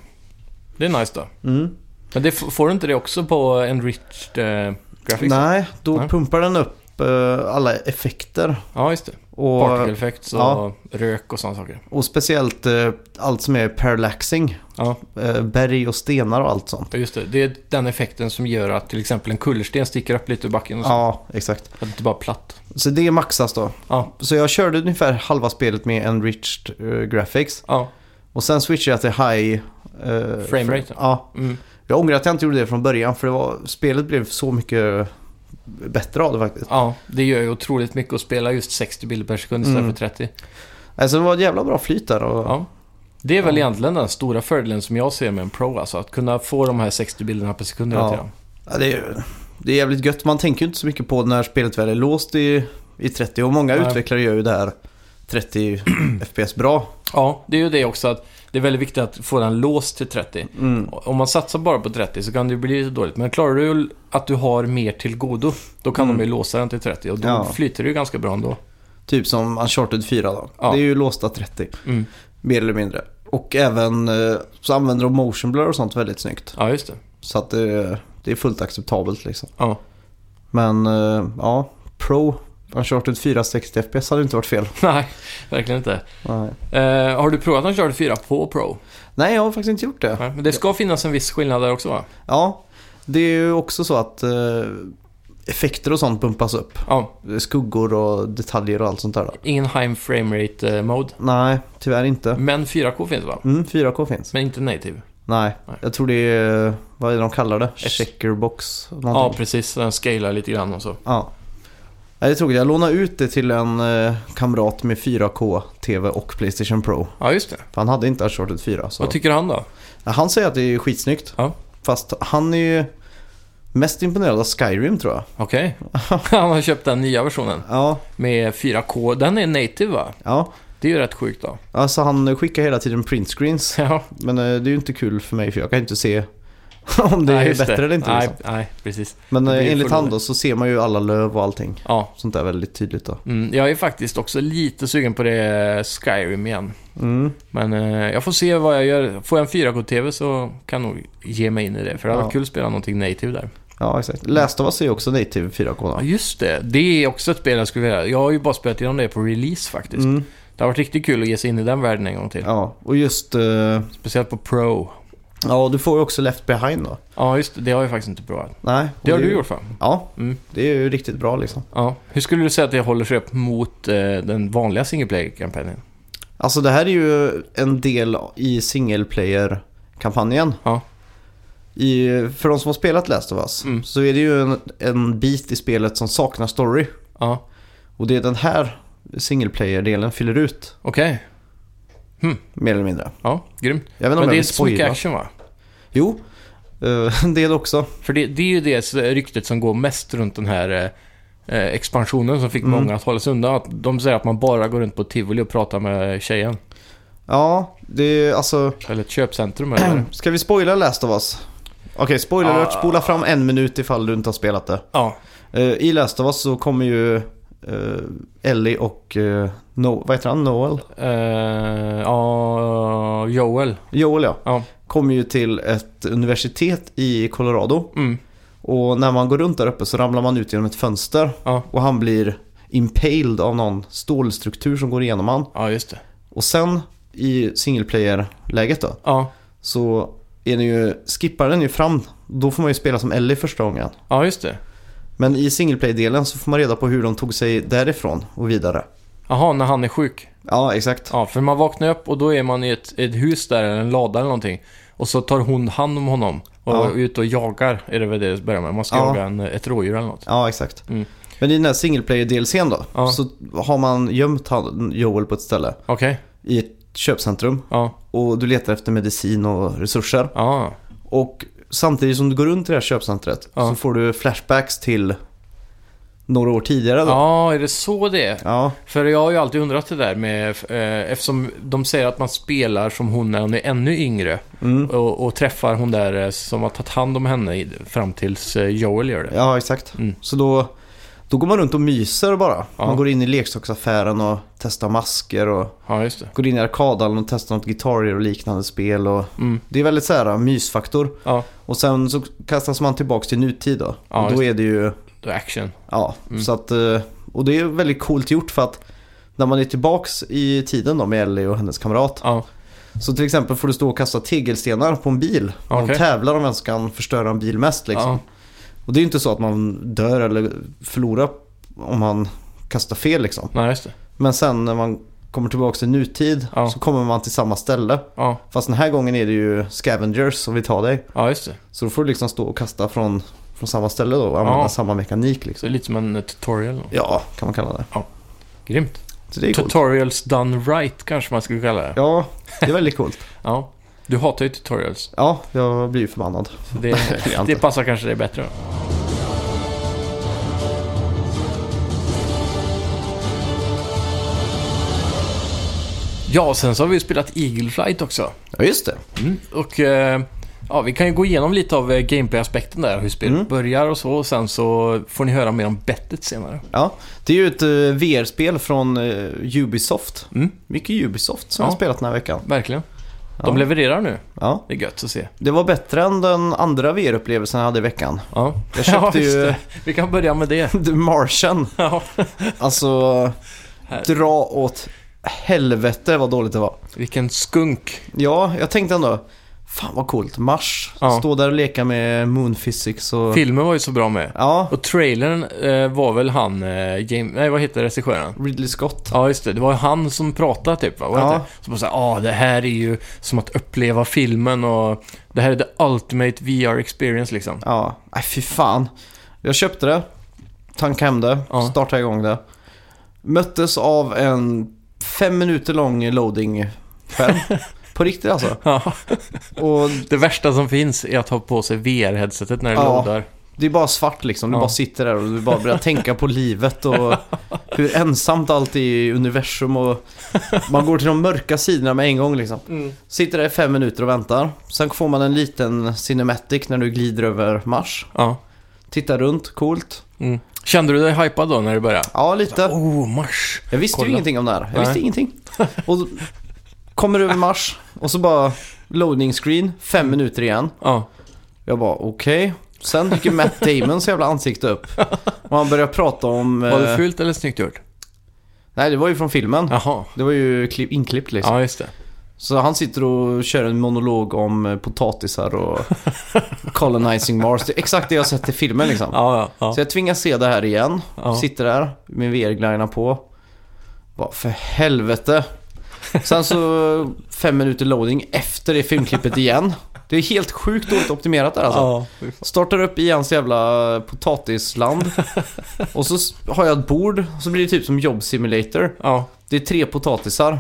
[SPEAKER 1] Det är nice då.
[SPEAKER 2] Mm.
[SPEAKER 1] Men det, f- får du inte det också på enriched eh, graphics?
[SPEAKER 2] Nej, då
[SPEAKER 1] Nej.
[SPEAKER 2] pumpar den upp eh, alla effekter
[SPEAKER 1] Ja, just det.
[SPEAKER 2] Och,
[SPEAKER 1] Particle effects och
[SPEAKER 2] ja.
[SPEAKER 1] rök och sådana saker.
[SPEAKER 2] och speciellt eh, allt som är parallaxing.
[SPEAKER 1] Ja.
[SPEAKER 2] Eh, berg och stenar och allt sånt.
[SPEAKER 1] Ja, just det. Det är den effekten som gör att till exempel en kullersten sticker upp lite ur backen och så.
[SPEAKER 2] Ja, exakt.
[SPEAKER 1] Att det inte bara är platt.
[SPEAKER 2] Så det maxas då.
[SPEAKER 1] Ja,
[SPEAKER 2] Så jag körde ungefär halva spelet med enriched eh, graphics.
[SPEAKER 1] ja,
[SPEAKER 2] Och sen switchade jag till high... eh,
[SPEAKER 1] Frame rate,
[SPEAKER 2] fr- Ja.
[SPEAKER 1] mm,
[SPEAKER 2] Jag ångrar att jag inte gjorde det från början för det var, spelet blev så mycket bättre av det faktiskt.
[SPEAKER 1] ja. Det gör ju otroligt mycket att spela just 60 bilder per sekund istället
[SPEAKER 2] Mm.
[SPEAKER 1] för 30.
[SPEAKER 2] Alltså det var ett jävla bra flyt där. Och,
[SPEAKER 1] Ja. Det är väl
[SPEAKER 2] Ja.
[SPEAKER 1] egentligen den stora fördelen som jag ser med en Pro, alltså. Att kunna få de här 60 bilderna per sekund hela
[SPEAKER 2] Ja.
[SPEAKER 1] tiden.
[SPEAKER 2] Ja, det, är, det är jävligt gött. Man tänker ju inte så mycket på när spelet väl är låst i, i 30. Och många
[SPEAKER 1] Nej.
[SPEAKER 2] utvecklare gör ju det här 30 FPS bra.
[SPEAKER 1] Ja, det är ju det också att det är väldigt viktigt att få den låst till 30.
[SPEAKER 2] Mm.
[SPEAKER 1] Om man satsar bara på 30 så kan det ju bli lite dåligt. Men klarar du att du har mer till godo, då kan
[SPEAKER 2] Mm.
[SPEAKER 1] de ju låsa den till 30 och då
[SPEAKER 2] Ja.
[SPEAKER 1] flyter det ju ganska bra ändå.
[SPEAKER 2] Typ som Uncharted 4 då.
[SPEAKER 1] Ja.
[SPEAKER 2] Det är ju låsta 30,
[SPEAKER 1] Mm.
[SPEAKER 2] mer eller mindre. Och även eh, så använder de motion blur och sånt väldigt snyggt.
[SPEAKER 1] Ja, just det.
[SPEAKER 2] Så att det, det är fullt acceptabelt liksom.
[SPEAKER 1] Ja.
[SPEAKER 2] Men eh, ja, Pro Uncharted 4 60 FPS hade inte varit fel.
[SPEAKER 1] Nej, verkligen inte.
[SPEAKER 2] Nej.
[SPEAKER 1] Eh, har du provat att köra 4 på Pro?
[SPEAKER 2] Nej, jag har faktiskt inte gjort det.
[SPEAKER 1] Nej, men det ska finnas en viss skillnad där också va?
[SPEAKER 2] Ja, det är ju också så att eh, effekter och sånt bumpas upp.
[SPEAKER 1] Ja,
[SPEAKER 2] skuggor och detaljer och allt sånt där. Då.
[SPEAKER 1] ingen high frame rate eh, mode.
[SPEAKER 2] Nej, tyvärr inte.
[SPEAKER 1] Men 4K finns va?
[SPEAKER 2] Mm, 4K finns.
[SPEAKER 1] Men inte native.
[SPEAKER 2] Nej,
[SPEAKER 1] Nej.
[SPEAKER 2] jag tror det är, vad är det de kallar det?
[SPEAKER 1] Ett-
[SPEAKER 2] Checkerbox?
[SPEAKER 1] Ja,
[SPEAKER 2] Någonting.
[SPEAKER 1] precis. Den scalar lite grann och så.
[SPEAKER 2] Ja. Nej, det är tråkigt. Jag lånade ut det till en eh, kamrat med 4K-TV och Playstation Pro.
[SPEAKER 1] Ja, just det.
[SPEAKER 2] För han hade inte Uncharted 4. Så.
[SPEAKER 1] Vad tycker han då?
[SPEAKER 2] Ja, han säger att det är skitsnyggt.
[SPEAKER 1] Ja.
[SPEAKER 2] Fast han är ju mest imponerad av Skyrim tror jag.
[SPEAKER 1] Okej. han har köpt den nya versionen
[SPEAKER 2] Ja,
[SPEAKER 1] med 4K. Den är native va?
[SPEAKER 2] ja.
[SPEAKER 1] Det är ju rätt sjukt då.
[SPEAKER 2] Alltså han skickar hela tiden printscreens.
[SPEAKER 1] Ja,
[SPEAKER 2] Men eh, det är ju inte kul för mig för jag kan ju inte se om det
[SPEAKER 1] Nej,
[SPEAKER 2] är
[SPEAKER 1] just
[SPEAKER 2] bättre eller inte.
[SPEAKER 1] Nej,
[SPEAKER 2] Liksom.
[SPEAKER 1] nej precis.
[SPEAKER 2] Men
[SPEAKER 1] Det
[SPEAKER 2] eh,
[SPEAKER 1] blir
[SPEAKER 2] enligt
[SPEAKER 1] full-
[SPEAKER 2] han då så ser man ju alla löv och allting.
[SPEAKER 1] Ja.
[SPEAKER 2] Sånt där väldigt tydligt då.
[SPEAKER 1] Mm, jag är faktiskt också lite sugen på det Skyrim igen.
[SPEAKER 2] Mm.
[SPEAKER 1] Men eh, jag får se vad jag gör. Får jag en 4K-TV så kan jag nog ge mig in i det. För det hade
[SPEAKER 2] Ja.
[SPEAKER 1] varit kul att spela någonting native där.
[SPEAKER 2] Ja, exakt. Last of Us är ju också native 4K
[SPEAKER 1] Ja,
[SPEAKER 2] då.
[SPEAKER 1] just det. Det är också ett spel jag skulle vilja Jag har ju bara spelat igenom det på release faktiskt.
[SPEAKER 2] Mm.
[SPEAKER 1] Det har varit riktigt kul att ge sig in i den världen en gång till.
[SPEAKER 2] Ja, och just... eh,
[SPEAKER 1] Speciellt på Pro.
[SPEAKER 2] Ja, och du får ju också Left Behind då.
[SPEAKER 1] Ja, just det. Det har jag faktiskt inte provat.
[SPEAKER 2] Nej. och
[SPEAKER 1] Det har
[SPEAKER 2] är
[SPEAKER 1] du
[SPEAKER 2] ju-
[SPEAKER 1] gjort va?
[SPEAKER 2] Ja,
[SPEAKER 1] Mm.
[SPEAKER 2] det är ju riktigt bra liksom.
[SPEAKER 1] Ja. Hur skulle du säga att det håller sig upp mot eh, den vanliga single player-kampanjen?
[SPEAKER 2] Alltså det här är ju en del i single player-kampanjen.
[SPEAKER 1] Ja.
[SPEAKER 2] I, för de som har spelat Last of Us
[SPEAKER 1] Mm.
[SPEAKER 2] så är det ju en, en bit i spelet som saknar story.
[SPEAKER 1] Ja,
[SPEAKER 2] Och det är den här single player-delen fyller ut,
[SPEAKER 1] okej.
[SPEAKER 2] mer eller mindre.
[SPEAKER 1] Ja, grymt.
[SPEAKER 2] Jag vet
[SPEAKER 1] Men
[SPEAKER 2] inte om
[SPEAKER 1] det är
[SPEAKER 2] jag
[SPEAKER 1] inte
[SPEAKER 2] vill
[SPEAKER 1] så mycket
[SPEAKER 2] spoila.
[SPEAKER 1] action va?
[SPEAKER 2] Jo, eh, det är det också.
[SPEAKER 1] För det, det är ju det ryktet som går mest runt den här eh, eh, expansionen som fick
[SPEAKER 2] Mm.
[SPEAKER 1] många att hålla sig undan. Att de säger att man bara går runt på tivoli och pratar med tjejen.
[SPEAKER 2] Ja, det är alltså...
[SPEAKER 1] Eller ett köpcentrum eller...
[SPEAKER 2] Ska vi spoila Last of Us? Okej, spoiler alert.
[SPEAKER 1] Ah.
[SPEAKER 2] Spola fram en minut ifall du inte har spelat det.
[SPEAKER 1] Ja,
[SPEAKER 2] Eh, I Last of Us så kommer ju eh, Ellie och... eh, no, vad heter han? Noel?
[SPEAKER 1] eh, ja eh, Joel.
[SPEAKER 2] Joel ja.
[SPEAKER 1] Ja.
[SPEAKER 2] Kommer ju till ett universitet i Colorado.
[SPEAKER 1] Mm.
[SPEAKER 2] Och när man går runt där uppe så ramlar man ut genom ett fönster.
[SPEAKER 1] Ja.
[SPEAKER 2] Och han blir impaled av någon stålstruktur som går igenom han.
[SPEAKER 1] ja, just det.
[SPEAKER 2] Och sen i single player-läget då.
[SPEAKER 1] Ja.
[SPEAKER 2] Så är den ju, skippar den ju fram. Då får man ju spela som Ellie första gången.
[SPEAKER 1] ja, just det.
[SPEAKER 2] Men i single play-delen så får man reda på hur de tog sig därifrån och vidare.
[SPEAKER 1] Jaha, när han är sjuk.
[SPEAKER 2] Ja, exakt.
[SPEAKER 1] Ja, för man vaknar upp och då är man i ett, ett hus där, eller en lada eller någonting. Och så tar hon hand om honom och
[SPEAKER 2] Ja.
[SPEAKER 1] är ute och jagar, är det väl det det börjar med. Man ska
[SPEAKER 2] Ja.
[SPEAKER 1] jaga en, ett rådjur eller något.
[SPEAKER 2] Ja, exakt.
[SPEAKER 1] Mm.
[SPEAKER 2] Men i den här single player-delen då.
[SPEAKER 1] Ja.
[SPEAKER 2] Så har man gömt han, Joel på ett ställe.
[SPEAKER 1] Okej,
[SPEAKER 2] i ett köpcentrum
[SPEAKER 1] ja.
[SPEAKER 2] och du letar efter medicin och resurser.
[SPEAKER 1] Ja,
[SPEAKER 2] Och samtidigt som du går runt i det här köpcentret
[SPEAKER 1] Ja.
[SPEAKER 2] så får du flashbacks till några år tidigare då.
[SPEAKER 1] ja är det så det är?
[SPEAKER 2] Ja,
[SPEAKER 1] För jag har ju alltid undrat det där med, eh, eftersom de säger att man spelar som hon när hon är ännu yngre.
[SPEAKER 2] mm.
[SPEAKER 1] Och, och träffar hon där eh, som har tagit hand om henne i, fram tills eh, Joel gör det.
[SPEAKER 2] ja exakt.
[SPEAKER 1] Mm.
[SPEAKER 2] Så då, då går man runt och myser bara.
[SPEAKER 1] Ja.
[SPEAKER 2] Man går in i leksaksaffären och testar masker och
[SPEAKER 1] Ja, just det.
[SPEAKER 2] går in i arkadhallen och testar något gitarrer och liknande spel. Och
[SPEAKER 1] Mm.
[SPEAKER 2] det är väldigt så här äh, mysfaktor.
[SPEAKER 1] Ja,
[SPEAKER 2] Och sen så kastas man tillbaks till nutid då.
[SPEAKER 1] Ja, Mm.
[SPEAKER 2] och då är det ju
[SPEAKER 1] då är action.
[SPEAKER 2] Ja, så att, eh, och det är väldigt coolt gjort för att när man är tillbaks i tiden då med Ellie och hennes kamrat.
[SPEAKER 1] Ja,
[SPEAKER 2] Så till exempel får du stå och kasta tegelstenar på en bil. Man
[SPEAKER 1] Okej.
[SPEAKER 2] tävlar om vem som kan förstöra en bil mest liksom.
[SPEAKER 1] ja.
[SPEAKER 2] Och det är ju inte så att man dör eller förlorar om man kastar fel liksom.
[SPEAKER 1] Nej, just det.
[SPEAKER 2] Men sen när man kommer tillbaks till nutid
[SPEAKER 1] Ja.
[SPEAKER 2] så kommer man till samma ställe.
[SPEAKER 1] Ja,
[SPEAKER 2] Fast den här gången är det ju scavengers som vill ta dig.
[SPEAKER 1] ja just det.
[SPEAKER 2] Så då får du liksom stå och kasta från, från samma ställe då och använda
[SPEAKER 1] Ja.
[SPEAKER 2] samma mekanik
[SPEAKER 1] Så
[SPEAKER 2] liksom.
[SPEAKER 1] det är lite som en eh, tutorial. då.
[SPEAKER 2] Ja, kan man kalla det.
[SPEAKER 1] Grymt.
[SPEAKER 2] Så det är coolt.
[SPEAKER 1] Tutorials done right kanske man skulle kalla det. Ja.
[SPEAKER 2] Ja, det är väldigt coolt.
[SPEAKER 1] Du hatar ju tutorials.
[SPEAKER 2] Ja, jag blir ju förbannad.
[SPEAKER 1] Så det,
[SPEAKER 2] jag inte.
[SPEAKER 1] det passar kanske dig bättre. Ja, sen så har vi ju spelat Eagle Flight också.
[SPEAKER 2] Ja, just det.
[SPEAKER 1] Och eh, ja, vi kan ju gå igenom lite av eh, gameplay-aspekten där, hur spelet
[SPEAKER 2] Mm.
[SPEAKER 1] börjar och så. Och sen så får ni höra mer om bettet senare.
[SPEAKER 2] Ja, det är ju ett eh, VR-spel från eh, Ubisoft.
[SPEAKER 1] Mm.
[SPEAKER 2] Mycket Ubisoft som
[SPEAKER 1] Ja.
[SPEAKER 2] jag har spelat den här veckan.
[SPEAKER 1] Verkligen. De
[SPEAKER 2] Ja.
[SPEAKER 1] levererar nu.
[SPEAKER 2] Ja,
[SPEAKER 1] Det är gött att se.
[SPEAKER 2] det var bättre än den andra VR-upplevelsen jag hade i veckan.
[SPEAKER 1] Ja.
[SPEAKER 2] Jag köpte
[SPEAKER 1] just
[SPEAKER 2] ju-
[SPEAKER 1] det. Vi kan börja med det.
[SPEAKER 2] The Martian.
[SPEAKER 1] Ja.
[SPEAKER 2] Alltså,
[SPEAKER 1] Här.
[SPEAKER 2] dra åt helvete vad dåligt det var.
[SPEAKER 1] Vilken skunk.
[SPEAKER 2] Ja, jag tänkte ändå, fan vad coolt. Mars,
[SPEAKER 1] Ja.
[SPEAKER 2] stå där och leka med Moon Physics och...
[SPEAKER 1] Filmen var ju så bra med.
[SPEAKER 2] ja,
[SPEAKER 1] Och trailern eh, var väl han, eh, James, nej vad heter regissören?
[SPEAKER 2] Ridley Scott.
[SPEAKER 1] Ja just det, det var ju han som pratade typ va? Var det
[SPEAKER 2] Ja.
[SPEAKER 1] inte? Som bara såhär, ah det här är ju som att uppleva filmen och det här är the ultimate VR experience liksom.
[SPEAKER 2] Ja, nej fy fan. Jag köpte det, tankade hem det,
[SPEAKER 1] Ja.
[SPEAKER 2] startade igång det. Möttes av en fem minuter lång loading-skärm. På riktigt alltså.
[SPEAKER 1] Ja.
[SPEAKER 2] Och
[SPEAKER 1] Det värsta som finns är att ha på sig VR-headsetet när det
[SPEAKER 2] Ja.
[SPEAKER 1] loadar.
[SPEAKER 2] det är bara svart liksom. Du
[SPEAKER 1] Ja.
[SPEAKER 2] bara sitter där och du bara börjar tänka på livet och hur ensamt allt är i universum. Och man går till de mörka sidorna med en gång liksom. Sitter där i fem minuter och väntar. Sen får man en liten cinematic när du glider över Mars.
[SPEAKER 1] Ja.
[SPEAKER 2] Tittar runt, coolt.
[SPEAKER 1] Mm. Kände du dig hypad då när det började?
[SPEAKER 2] Ja, lite.
[SPEAKER 1] Oh, mars!
[SPEAKER 2] Jag visste
[SPEAKER 1] Kolla.
[SPEAKER 2] ju ingenting om det här. Jag
[SPEAKER 1] Nej.
[SPEAKER 2] visste ingenting. Och så kommer över Mars och så bara loading screen, fem minuter igen.
[SPEAKER 1] Ja.
[SPEAKER 2] Jag bara okej. Sen dyker Matt Damons jävla ansikte upp. Och han börjar prata om...
[SPEAKER 1] Var det
[SPEAKER 2] eh,
[SPEAKER 1] fult eller snyggt gjort?
[SPEAKER 2] Nej, det var ju från filmen.
[SPEAKER 1] Jaha.
[SPEAKER 2] Det var ju klipp, inklippt liksom.
[SPEAKER 1] Ja, just det.
[SPEAKER 2] Så han sitter och kör en monolog om eh, potatisar och colonizing Mars. Det är exakt det jag sett i filmen liksom.
[SPEAKER 1] Ja, ja,
[SPEAKER 2] Så jag tvingas se det här igen.
[SPEAKER 1] Ja.
[SPEAKER 2] Sitter där med VR-glajjorna på. Vad för helvete. Sen så fem minuter loading efter det filmklippet igen. Det är helt sjukt dåligt optimerat där alltså.
[SPEAKER 1] ja. ja.
[SPEAKER 2] Startar upp i hans jävla potatisland. Och så s- har jag ett bord. Så blir det typ som job simulator.
[SPEAKER 1] ja.
[SPEAKER 2] Det är tre potatisar.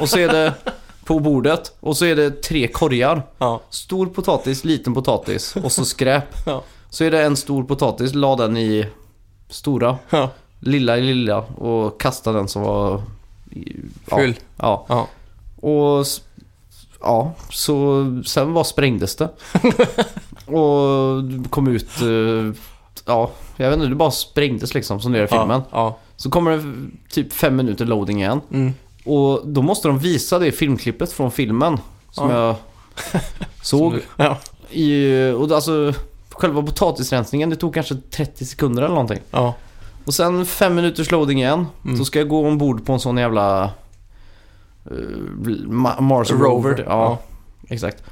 [SPEAKER 2] Och så är det på bordet. Och så är det tre korgar.
[SPEAKER 1] ja.
[SPEAKER 2] Stor potatis, liten potatis och så skräp.
[SPEAKER 1] Ja.
[SPEAKER 2] Så är det en stor potatis, la den i stora,
[SPEAKER 1] ja.
[SPEAKER 2] lilla i lilla och kasta den som var... i- Ja,
[SPEAKER 1] Full.
[SPEAKER 2] Ja.
[SPEAKER 1] Ja.
[SPEAKER 2] Och... s- Ja, så sen var sprängdes det. och kom ut... eh, Ja, jag vet inte, det bara sprängdes liksom som det gör i filmen.
[SPEAKER 1] Ja.
[SPEAKER 2] Så kommer det typ fem minuter loading igen.
[SPEAKER 1] ja. Mm.
[SPEAKER 2] Och då måste de visa det filmklippet från filmen som
[SPEAKER 1] Ja.
[SPEAKER 2] jag såg.
[SPEAKER 1] Ja.
[SPEAKER 2] I, och det- alltså, själva potatisrensningen, det tog kanske 30 sekunder eller någonting.
[SPEAKER 1] Ja.
[SPEAKER 2] Och sen fem minuters loading igen.
[SPEAKER 1] Mm.
[SPEAKER 2] Så ska jag gå ombord på en sån jävla... eh, Ma- Mars Alltså Rover. Ja,
[SPEAKER 1] Ja.
[SPEAKER 2] exakt.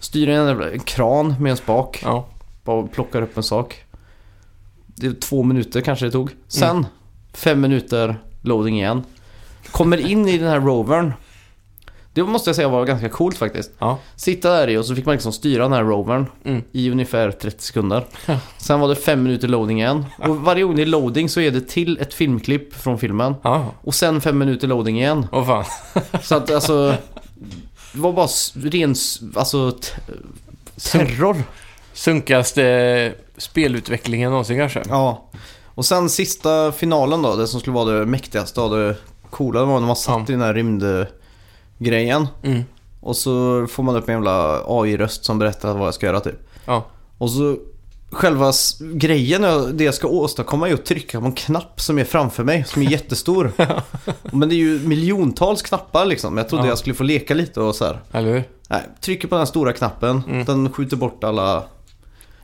[SPEAKER 2] Styr en jävla en kran med en spak.
[SPEAKER 1] Ja.
[SPEAKER 2] Bara plockar upp en sak. Det är två minuter kanske det tog. Sen
[SPEAKER 1] Mm.
[SPEAKER 2] fem minuter loading igen. Kommer in i den här rovern. Det måste jag säga var ganska coolt faktiskt.
[SPEAKER 1] Ja.
[SPEAKER 2] Sitta där i och så fick man liksom styra den här rovern
[SPEAKER 1] Mm.
[SPEAKER 2] i ungefär 30 sekunder. Sen var det fem minuter loading igen. Och varje gång det är loading så är det till ett filmklipp från filmen.
[SPEAKER 1] Ja.
[SPEAKER 2] Och sen fem minuter loading igen.
[SPEAKER 1] Åh fan.
[SPEAKER 2] Så att alltså... Det var bara s- ren... s- Alltså... T- terror.
[SPEAKER 1] Sunkaste spelutvecklingen någonsin kanske.
[SPEAKER 2] Ja. Och sen sista finalen då, det som skulle vara det mäktigaste och det coola det var när man satt
[SPEAKER 1] Ja.
[SPEAKER 2] i den här rymdgrejen.
[SPEAKER 1] Mm.
[SPEAKER 2] Och så får man upp en jävla AI-röst som berättar vad jag ska göra typ.
[SPEAKER 1] Ja.
[SPEAKER 2] Och så själva s- grejen, är- det jag ska åstadkomma är att trycka på en knapp som är framför mig, som är jättestor. Men det är ju miljontals knappar liksom. Jag trodde
[SPEAKER 1] Ja.
[SPEAKER 2] jag skulle få leka lite och så här.
[SPEAKER 1] Eller hur?
[SPEAKER 2] Nej, trycker på den här stora knappen,
[SPEAKER 1] Mm.
[SPEAKER 2] den skjuter bort alla,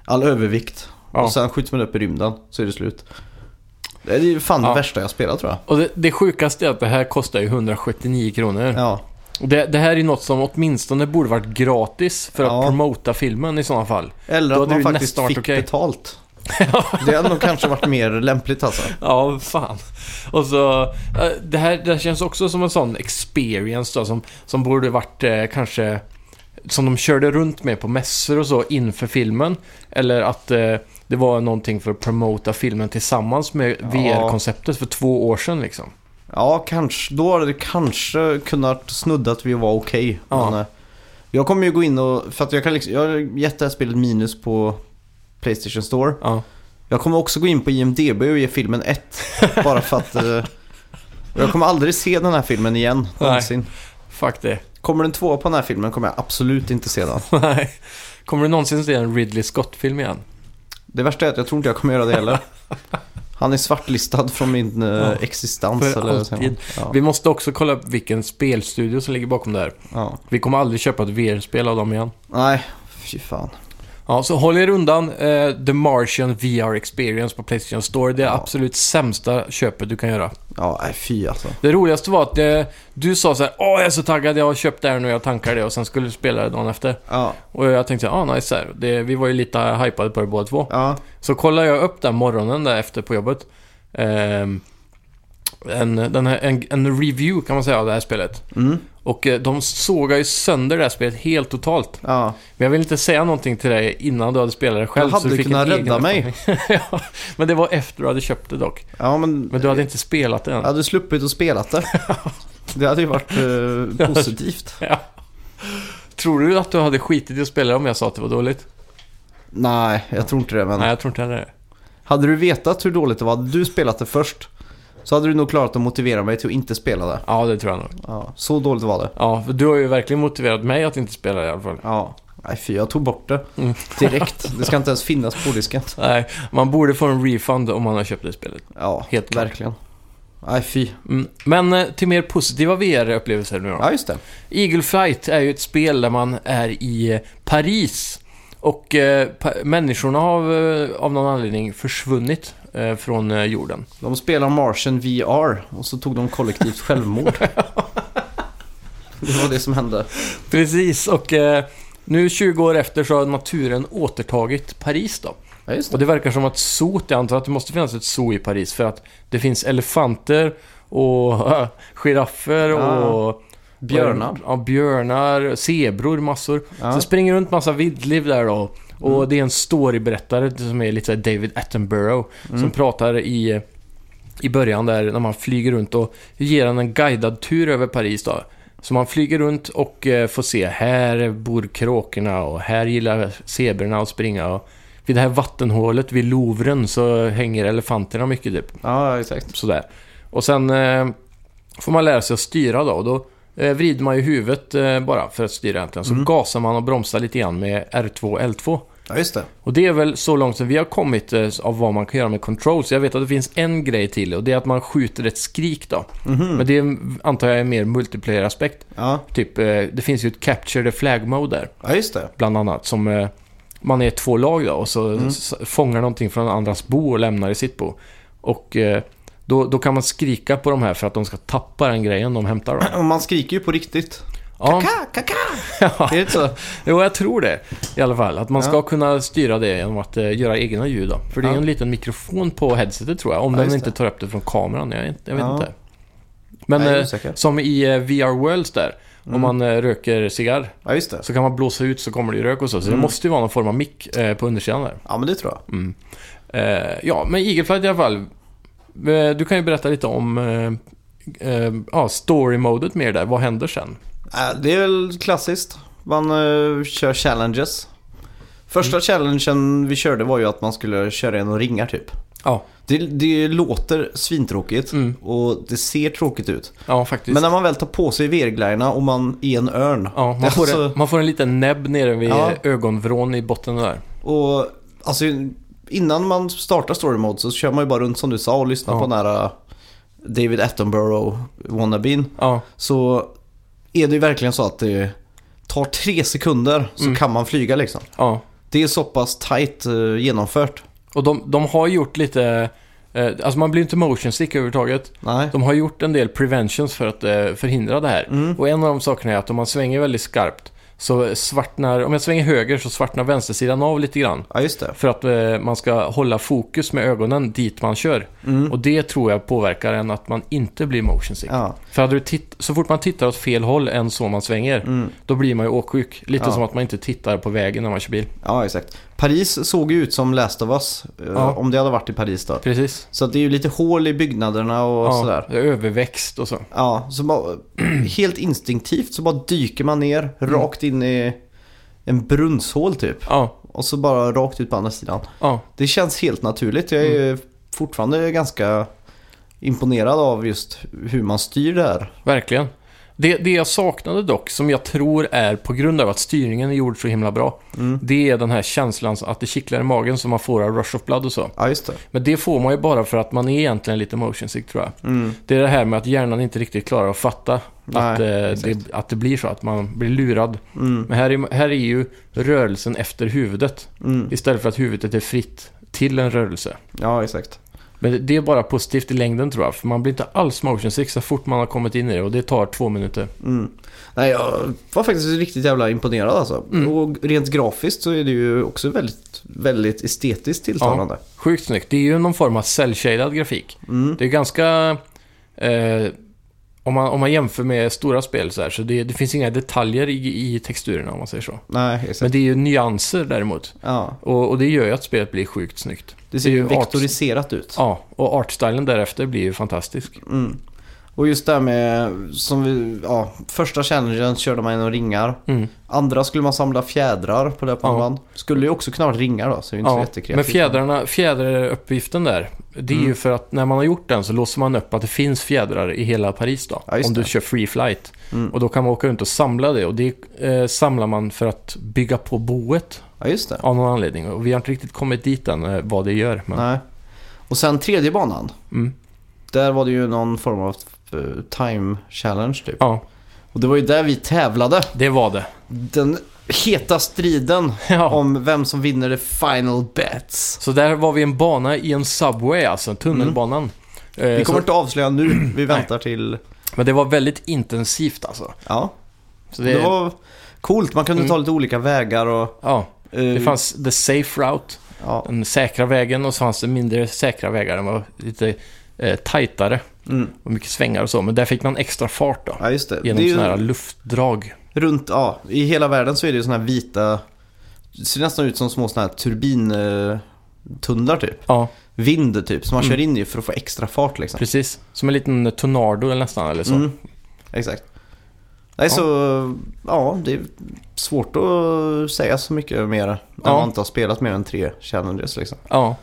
[SPEAKER 2] all övervikt.
[SPEAKER 1] Ja.
[SPEAKER 2] Och sen skjuter man upp i rymden, så är det slut. Det är ju fan
[SPEAKER 1] Ja.
[SPEAKER 2] det värsta jag spelat tror jag.
[SPEAKER 1] Och det, det sjukaste är att det här kostar ju 179 kronor.
[SPEAKER 2] Ja,
[SPEAKER 1] Och det, det här är ju något som åtminstone borde varit gratis för att
[SPEAKER 2] Ja.
[SPEAKER 1] promota filmen i sådana fall.
[SPEAKER 2] eller
[SPEAKER 1] Då
[SPEAKER 2] att
[SPEAKER 1] hade
[SPEAKER 2] man
[SPEAKER 1] det ju
[SPEAKER 2] faktiskt
[SPEAKER 1] nästan varit
[SPEAKER 2] fick
[SPEAKER 1] okej.
[SPEAKER 2] betalt. Det hade nog kanske varit mer lämpligt alltså.
[SPEAKER 1] Ja, fan. Och så, eh, det här, det här känns också som en sån experience då, som, som borde varit eh, kanske som de körde runt med på mässor och så inför filmen. Eller att eh, det var någonting för att promota filmen tillsammans med
[SPEAKER 2] Ja.
[SPEAKER 1] VR-konceptet för två år sedan liksom.
[SPEAKER 2] Ja, kanske. Då hade det kanske kunnat snuddat vid att vara okej.
[SPEAKER 1] Ja.
[SPEAKER 2] Men, eh, Jag kommer ju gå in och, för att jag kan liksom, jag har gett det här spelet minus på Playstation Store.
[SPEAKER 1] Ja,
[SPEAKER 2] Jag kommer också gå in på IMDB och ge filmen ett. bara för att... eh, jag kommer aldrig se den här filmen igen.
[SPEAKER 1] Nej.
[SPEAKER 2] Någonsin.
[SPEAKER 1] fuck det.
[SPEAKER 2] Kommer den två på den här filmen kommer jag absolut inte se den.
[SPEAKER 1] Nej. Kommer du någonsin se en Ridley Scott-film igen?
[SPEAKER 2] Det värsta är att jag tror inte jag kommer göra det heller. Han är svartlistad från min eh,
[SPEAKER 1] Ja.
[SPEAKER 2] existens.
[SPEAKER 1] För
[SPEAKER 2] eller vad säger man?
[SPEAKER 1] Vi måste också kolla upp vilken spelstudio som ligger bakom det här.
[SPEAKER 2] Ja, ja.
[SPEAKER 1] Vi kommer aldrig köpa ett VR-spel av dem igen.
[SPEAKER 2] Nej, fy fan.
[SPEAKER 1] Ja, så håll er undan eh, The Martian VR Experience på Playstation Store. Det är
[SPEAKER 2] Ja.
[SPEAKER 1] absolut sämsta köpet du kan göra.
[SPEAKER 2] Ja, nej, fy alltså.
[SPEAKER 1] Det roligaste var att eh, du sa så här, Åh, jag är så taggad, jag har köpt det här nu, jag tankar det. Och sen skulle du spela det dagen efter.
[SPEAKER 2] Ja,
[SPEAKER 1] Och jag tänkte, ah, nice. så Här. Det, vi var ju lite hypade på det båda två.
[SPEAKER 2] ja.
[SPEAKER 1] Så kollade jag upp den morgonen där efter på jobbet. Ehm, en, den här, en, en review kan man säga av det här spelet.
[SPEAKER 2] Mm.
[SPEAKER 1] Och eh, de sågar ju sönder det här spelet helt totalt.
[SPEAKER 2] Ja.
[SPEAKER 1] Men jag vill inte säga någonting till dig innan du hade spelat det själv.
[SPEAKER 2] Jag hade
[SPEAKER 1] så du fick
[SPEAKER 2] kunnat
[SPEAKER 1] en egen
[SPEAKER 2] rädda mig.
[SPEAKER 1] uppfattning. ja, men det var efter du hade köpt det dock.
[SPEAKER 2] ja, men
[SPEAKER 1] Men du hade inte spelat det än.
[SPEAKER 2] jag hade sluppit och spelat det. Det hade ju varit eh, positivt.
[SPEAKER 1] Ja. Tror du att du hade skitit i att spela det om jag sa att det var dåligt?
[SPEAKER 2] Nej, jag tror inte det. Men...
[SPEAKER 1] Nej, jag tror inte heller det.
[SPEAKER 2] Hade du vetat hur dåligt det var, hade du spelat det först, så hade du nog klarat att motivera mig till att inte spela det.
[SPEAKER 1] Ja, det tror jag nog.
[SPEAKER 2] Ja, så dåligt var det.
[SPEAKER 1] Ja, för du har ju verkligen motiverat mig att inte spela det i alla fall.
[SPEAKER 2] Ja. Nej fy, jag tog bort det
[SPEAKER 1] Mm.
[SPEAKER 2] direkt. Det ska inte ens finnas på disken.
[SPEAKER 1] Nej, man borde få en refund om man har köpt det spelet.
[SPEAKER 2] Ja,
[SPEAKER 1] Helt klart.
[SPEAKER 2] verkligen. Nej fy.
[SPEAKER 1] Mm. Men eh, till mer positiva VR-upplevelser nu då.
[SPEAKER 2] Ja, just det.
[SPEAKER 1] Eagle Flight är ju ett spel där man är i eh, Paris. Och eh, pa- människorna har eh, av någon anledning försvunnit eh, från eh, jorden.
[SPEAKER 2] De spelar Martian VR och så tog de kollektivt självmord. Det var det som hände.
[SPEAKER 1] Precis, och eh, nu 20 år efter så har naturen återtagit Paris då.
[SPEAKER 2] Ja, just
[SPEAKER 1] Och
[SPEAKER 2] det.
[SPEAKER 1] det verkar som att zoot, jag antar att det måste finnas ett zoo i Paris för att det finns elefanter och giraffer och...
[SPEAKER 2] Björnar.
[SPEAKER 1] Ja, björnar, zebror, massor.
[SPEAKER 2] Ja. Mm.
[SPEAKER 1] Så springer runt massa vildliv där då. Och det är en storyberättare som är lite så här David Attenborough.
[SPEAKER 2] Mm.
[SPEAKER 1] Som pratar i, i början där när man flyger runt och ger han en guidad tur över Paris då. Så man flyger runt och eh, får se här bor kråkorna och här gillar zebrorna att springa. Och vid det här vattenhålet vid Louvren så hänger elefanterna mycket typ.
[SPEAKER 2] Ja, exakt.
[SPEAKER 1] Sådär. Och sen eh, får man lära sig att styra då. Och då eh, vrider man ju huvudet eh, bara för att styra egentligen. Så gasar man och bromsar lite grann med R2 och L2.
[SPEAKER 2] Ja, just det.
[SPEAKER 1] Och det är väl så långt som vi har kommit eh, av vad man kan göra med controls. Jag vet att det finns en grej till och det är att man skjuter ett skrik då. Men det antar jag är mer multiplayer-aspekt.
[SPEAKER 2] Ja,
[SPEAKER 1] Typ, eh, det finns ju ett capture the flag mode där,
[SPEAKER 2] ja just det.
[SPEAKER 1] bland annat. Som eh, man är två lag då och så
[SPEAKER 2] Mm.
[SPEAKER 1] s- fångar någonting från andras bo och lämnar i sitt bo. Och eh, då, då kan man skrika på de här för att de ska tappa den grejen de hämtar då.
[SPEAKER 2] Och man skriker ju på riktigt.
[SPEAKER 1] Ja,
[SPEAKER 2] Kaka, kaka! Är det inte så?
[SPEAKER 1] jo, jag tror det i alla fall. Att man ska
[SPEAKER 2] Ja.
[SPEAKER 1] kunna styra det genom att eh, göra egna ljud då. För det är
[SPEAKER 2] Ja.
[SPEAKER 1] en liten mikrofon på headsetet tror jag. Om
[SPEAKER 2] Ja,
[SPEAKER 1] den
[SPEAKER 2] just
[SPEAKER 1] inte
[SPEAKER 2] det.
[SPEAKER 1] tar upp det från kameran. Jag, är inte- jag vet
[SPEAKER 2] Ja.
[SPEAKER 1] inte. Men
[SPEAKER 2] Nej, jag är
[SPEAKER 1] eh,
[SPEAKER 2] osäker. Mm.
[SPEAKER 1] som i eh, VR Worlds där. Om man eh, röker cigarr
[SPEAKER 2] Ja, just det.
[SPEAKER 1] så kan man blåsa ut så kommer det ju rök och så. Så
[SPEAKER 2] Mm.
[SPEAKER 1] det måste ju vara någon form av mick eh, på undersidan där.
[SPEAKER 2] Ja, men det tror jag.
[SPEAKER 1] Eh, ja, men Eagleflight i alla fall. Eh, du kan ju berätta lite om eh, eh, ja, story-modet mer där. Vad händer sen?
[SPEAKER 2] Äh, Det är väl klassiskt. Man eh, kör challenges.
[SPEAKER 1] Mm.
[SPEAKER 2] Första challengen vi körde var ju att man skulle köra genom ringar typ.
[SPEAKER 1] Ja,
[SPEAKER 2] Det, det låter svintråkigt
[SPEAKER 1] Mm.
[SPEAKER 2] och det ser tråkigt ut.
[SPEAKER 1] ja faktiskt.
[SPEAKER 2] Men när man väl tar på sig virglajjorna och man är en örn. alltså,
[SPEAKER 1] Ja, man, får en, man får en liten näbb nere vid
[SPEAKER 2] Ja.
[SPEAKER 1] ögonvrån i botten där.
[SPEAKER 2] Och alltså innan man startar story mode så kör man ju bara runt som du sa och lyssnar
[SPEAKER 1] Ja.
[SPEAKER 2] på nära David Attenborough wannabin.
[SPEAKER 1] Ja,
[SPEAKER 2] Så är det ju verkligen så att det tar tre sekunder så
[SPEAKER 1] Mm.
[SPEAKER 2] kan man flyga liksom.
[SPEAKER 1] ja.
[SPEAKER 2] Det är så pass tight eh, genomfört.
[SPEAKER 1] Och de, de har gjort lite... Eh, alltså man blir inte motion sick överhuvudtaget.
[SPEAKER 2] Nej.
[SPEAKER 1] De har gjort en del preventions för att eh, förhindra det här.
[SPEAKER 2] Mm.
[SPEAKER 1] Och en av de sakerna är att om man svänger väldigt skarpt så svartnar... Om jag svänger höger så svartnar vänstersidan av lite grann.
[SPEAKER 2] Ja just det.
[SPEAKER 1] För att eh, man ska hålla fokus med ögonen dit man kör. Och det tror jag påverkar en att man inte blir motion sick.
[SPEAKER 2] Mm. Ja.
[SPEAKER 1] För hade du titt- så fort man tittar åt fel håll än så man svänger, då blir man ju åksjuk. Lite
[SPEAKER 2] Mm. Ja.
[SPEAKER 1] som att man inte tittar på vägen när man kör bil.
[SPEAKER 2] ja exakt. Paris såg ju ut som Last of Us. eh,
[SPEAKER 1] Ja.
[SPEAKER 2] Om det hade varit i Paris då.
[SPEAKER 1] Precis.
[SPEAKER 2] Så att det är ju lite hål i byggnaderna och sådär.
[SPEAKER 1] det är överväxt och så.
[SPEAKER 2] Ja, så bara, helt instinktivt så bara dyker man ner rakt in i en brunnshål typ.
[SPEAKER 1] Ja,
[SPEAKER 2] Och så bara rakt ut på andra sidan.
[SPEAKER 1] ja.
[SPEAKER 2] Det känns helt naturligt. Jag är fortfarande ganska imponerad av just hur man styr det här.
[SPEAKER 1] Verkligen. Det, det jag saknade dock, som jag tror är på grund av att styrningen är gjord så himla bra,
[SPEAKER 2] Mm.
[SPEAKER 1] det är den här känslan att det kittlar i magen som man får av Rush of Blood och så.
[SPEAKER 2] Ja, just det.
[SPEAKER 1] Men det får man ju bara för att man är egentligen lite motion sick tror jag. Det är det här med att hjärnan inte riktigt klarar att fatta
[SPEAKER 2] Mm. Nej,
[SPEAKER 1] att, eh, det,
[SPEAKER 2] exakt. Mm.
[SPEAKER 1] att det blir så, att man blir lurad. Men här är, här är ju rörelsen efter huvudet istället för att huvudet är fritt till en rörelse.
[SPEAKER 2] mm. Ja, exakt.
[SPEAKER 1] Men det, det är bara positivt i längden tror jag, för man blir inte alls motion sick så fort man har kommit in i det och det tar två minuter.
[SPEAKER 2] Mm. Nej, jag var faktiskt riktigt jävla imponerad alltså.
[SPEAKER 1] Mm.
[SPEAKER 2] Och rent grafiskt så är det ju också väldigt, väldigt estetiskt tilltalande. Mm.
[SPEAKER 1] Sjukt snyggt. Det är ju någon form av cell-shaded grafik. Det är ganska... Eh, om, man, om man jämför med stora spel så här, så det, det finns inga detaljer i, i texturerna om man säger så.
[SPEAKER 2] Nej,
[SPEAKER 1] Men
[SPEAKER 2] exakt.
[SPEAKER 1] det är ju nyanser däremot.
[SPEAKER 2] Ja,
[SPEAKER 1] Och, och det gör ju att spelet blir sjukt snyggt.
[SPEAKER 2] det ser
[SPEAKER 1] Det är ju
[SPEAKER 2] ju
[SPEAKER 1] arts-
[SPEAKER 2] vektoriserat ut.
[SPEAKER 1] Ja, och artstylen därefter blir ju fantastisk.
[SPEAKER 2] Och just det här med, som vi, ja, första challengen körde man genom ringar.
[SPEAKER 1] Mm.
[SPEAKER 2] Andra skulle man samla fjädrar på löpbandan. Skulle ju också kunna vara ringar då, så det är inte så
[SPEAKER 1] Ja,
[SPEAKER 2] jättekreativt. Mm.
[SPEAKER 1] men fjädrarna, fjäderuppgiften där, det är ju för att när man har gjort den så låser man upp att det finns fjädrar i hela Paris då.
[SPEAKER 2] Ja, just
[SPEAKER 1] om du
[SPEAKER 2] det. Mm.
[SPEAKER 1] kör free flight. Och då kan man åka runt och samla det och det eh, samlar man för att bygga på boet
[SPEAKER 2] Ja, just det.
[SPEAKER 1] av någon anledning. Och vi har inte riktigt kommit dit än eh, vad det gör. Men...
[SPEAKER 2] Nej. Och sen tredje banan.
[SPEAKER 1] Mm.
[SPEAKER 2] Där var det ju någon form av eh, time challenge typ.
[SPEAKER 1] Ja,
[SPEAKER 2] Och det var ju där vi tävlade.
[SPEAKER 1] det var det.
[SPEAKER 2] Den heta striden
[SPEAKER 1] Ja.
[SPEAKER 2] om vem som vinner the final bets.
[SPEAKER 1] Så där var vi en bana i en subway, alltså tunnelbanan. Eh,
[SPEAKER 2] Mm. Vi kommer
[SPEAKER 1] så...
[SPEAKER 2] inte avslöja nu, vi väntar till...
[SPEAKER 1] Men det var väldigt intensivt alltså.
[SPEAKER 2] Ja,
[SPEAKER 1] Så det,
[SPEAKER 2] Det var coolt. Man kunde
[SPEAKER 1] Mm.
[SPEAKER 2] ta lite olika vägar och...
[SPEAKER 1] ja,
[SPEAKER 2] eh,
[SPEAKER 1] det fanns the safe route,
[SPEAKER 2] Ja.
[SPEAKER 1] den säkra vägen och så fanns det mindre säkra vägar. Den var lite eh, tajtare
[SPEAKER 2] Mm.
[SPEAKER 1] och mycket svängar och så. Men där fick man extra fart då.
[SPEAKER 2] ja, just det.
[SPEAKER 1] Genom
[SPEAKER 2] det är ju
[SPEAKER 1] sådana här luftdrag.
[SPEAKER 2] runt... Ja, i hela världen så är det ju såna här vita... Det ser nästan ut som små såna här turbintunnlar typ.
[SPEAKER 1] Ja,
[SPEAKER 2] Vind typ,
[SPEAKER 1] Mm.
[SPEAKER 2] som man kör in i för att få extra fart liksom.
[SPEAKER 1] precis. Som en liten tornado eller nästan eller så.
[SPEAKER 2] Mm. Exakt. Nej,
[SPEAKER 1] Ja.
[SPEAKER 2] så... Ja, det är svårt att säga så mycket mer när
[SPEAKER 1] Ja.
[SPEAKER 2] man inte har spelat mer än tre challenges liksom.
[SPEAKER 1] Ja.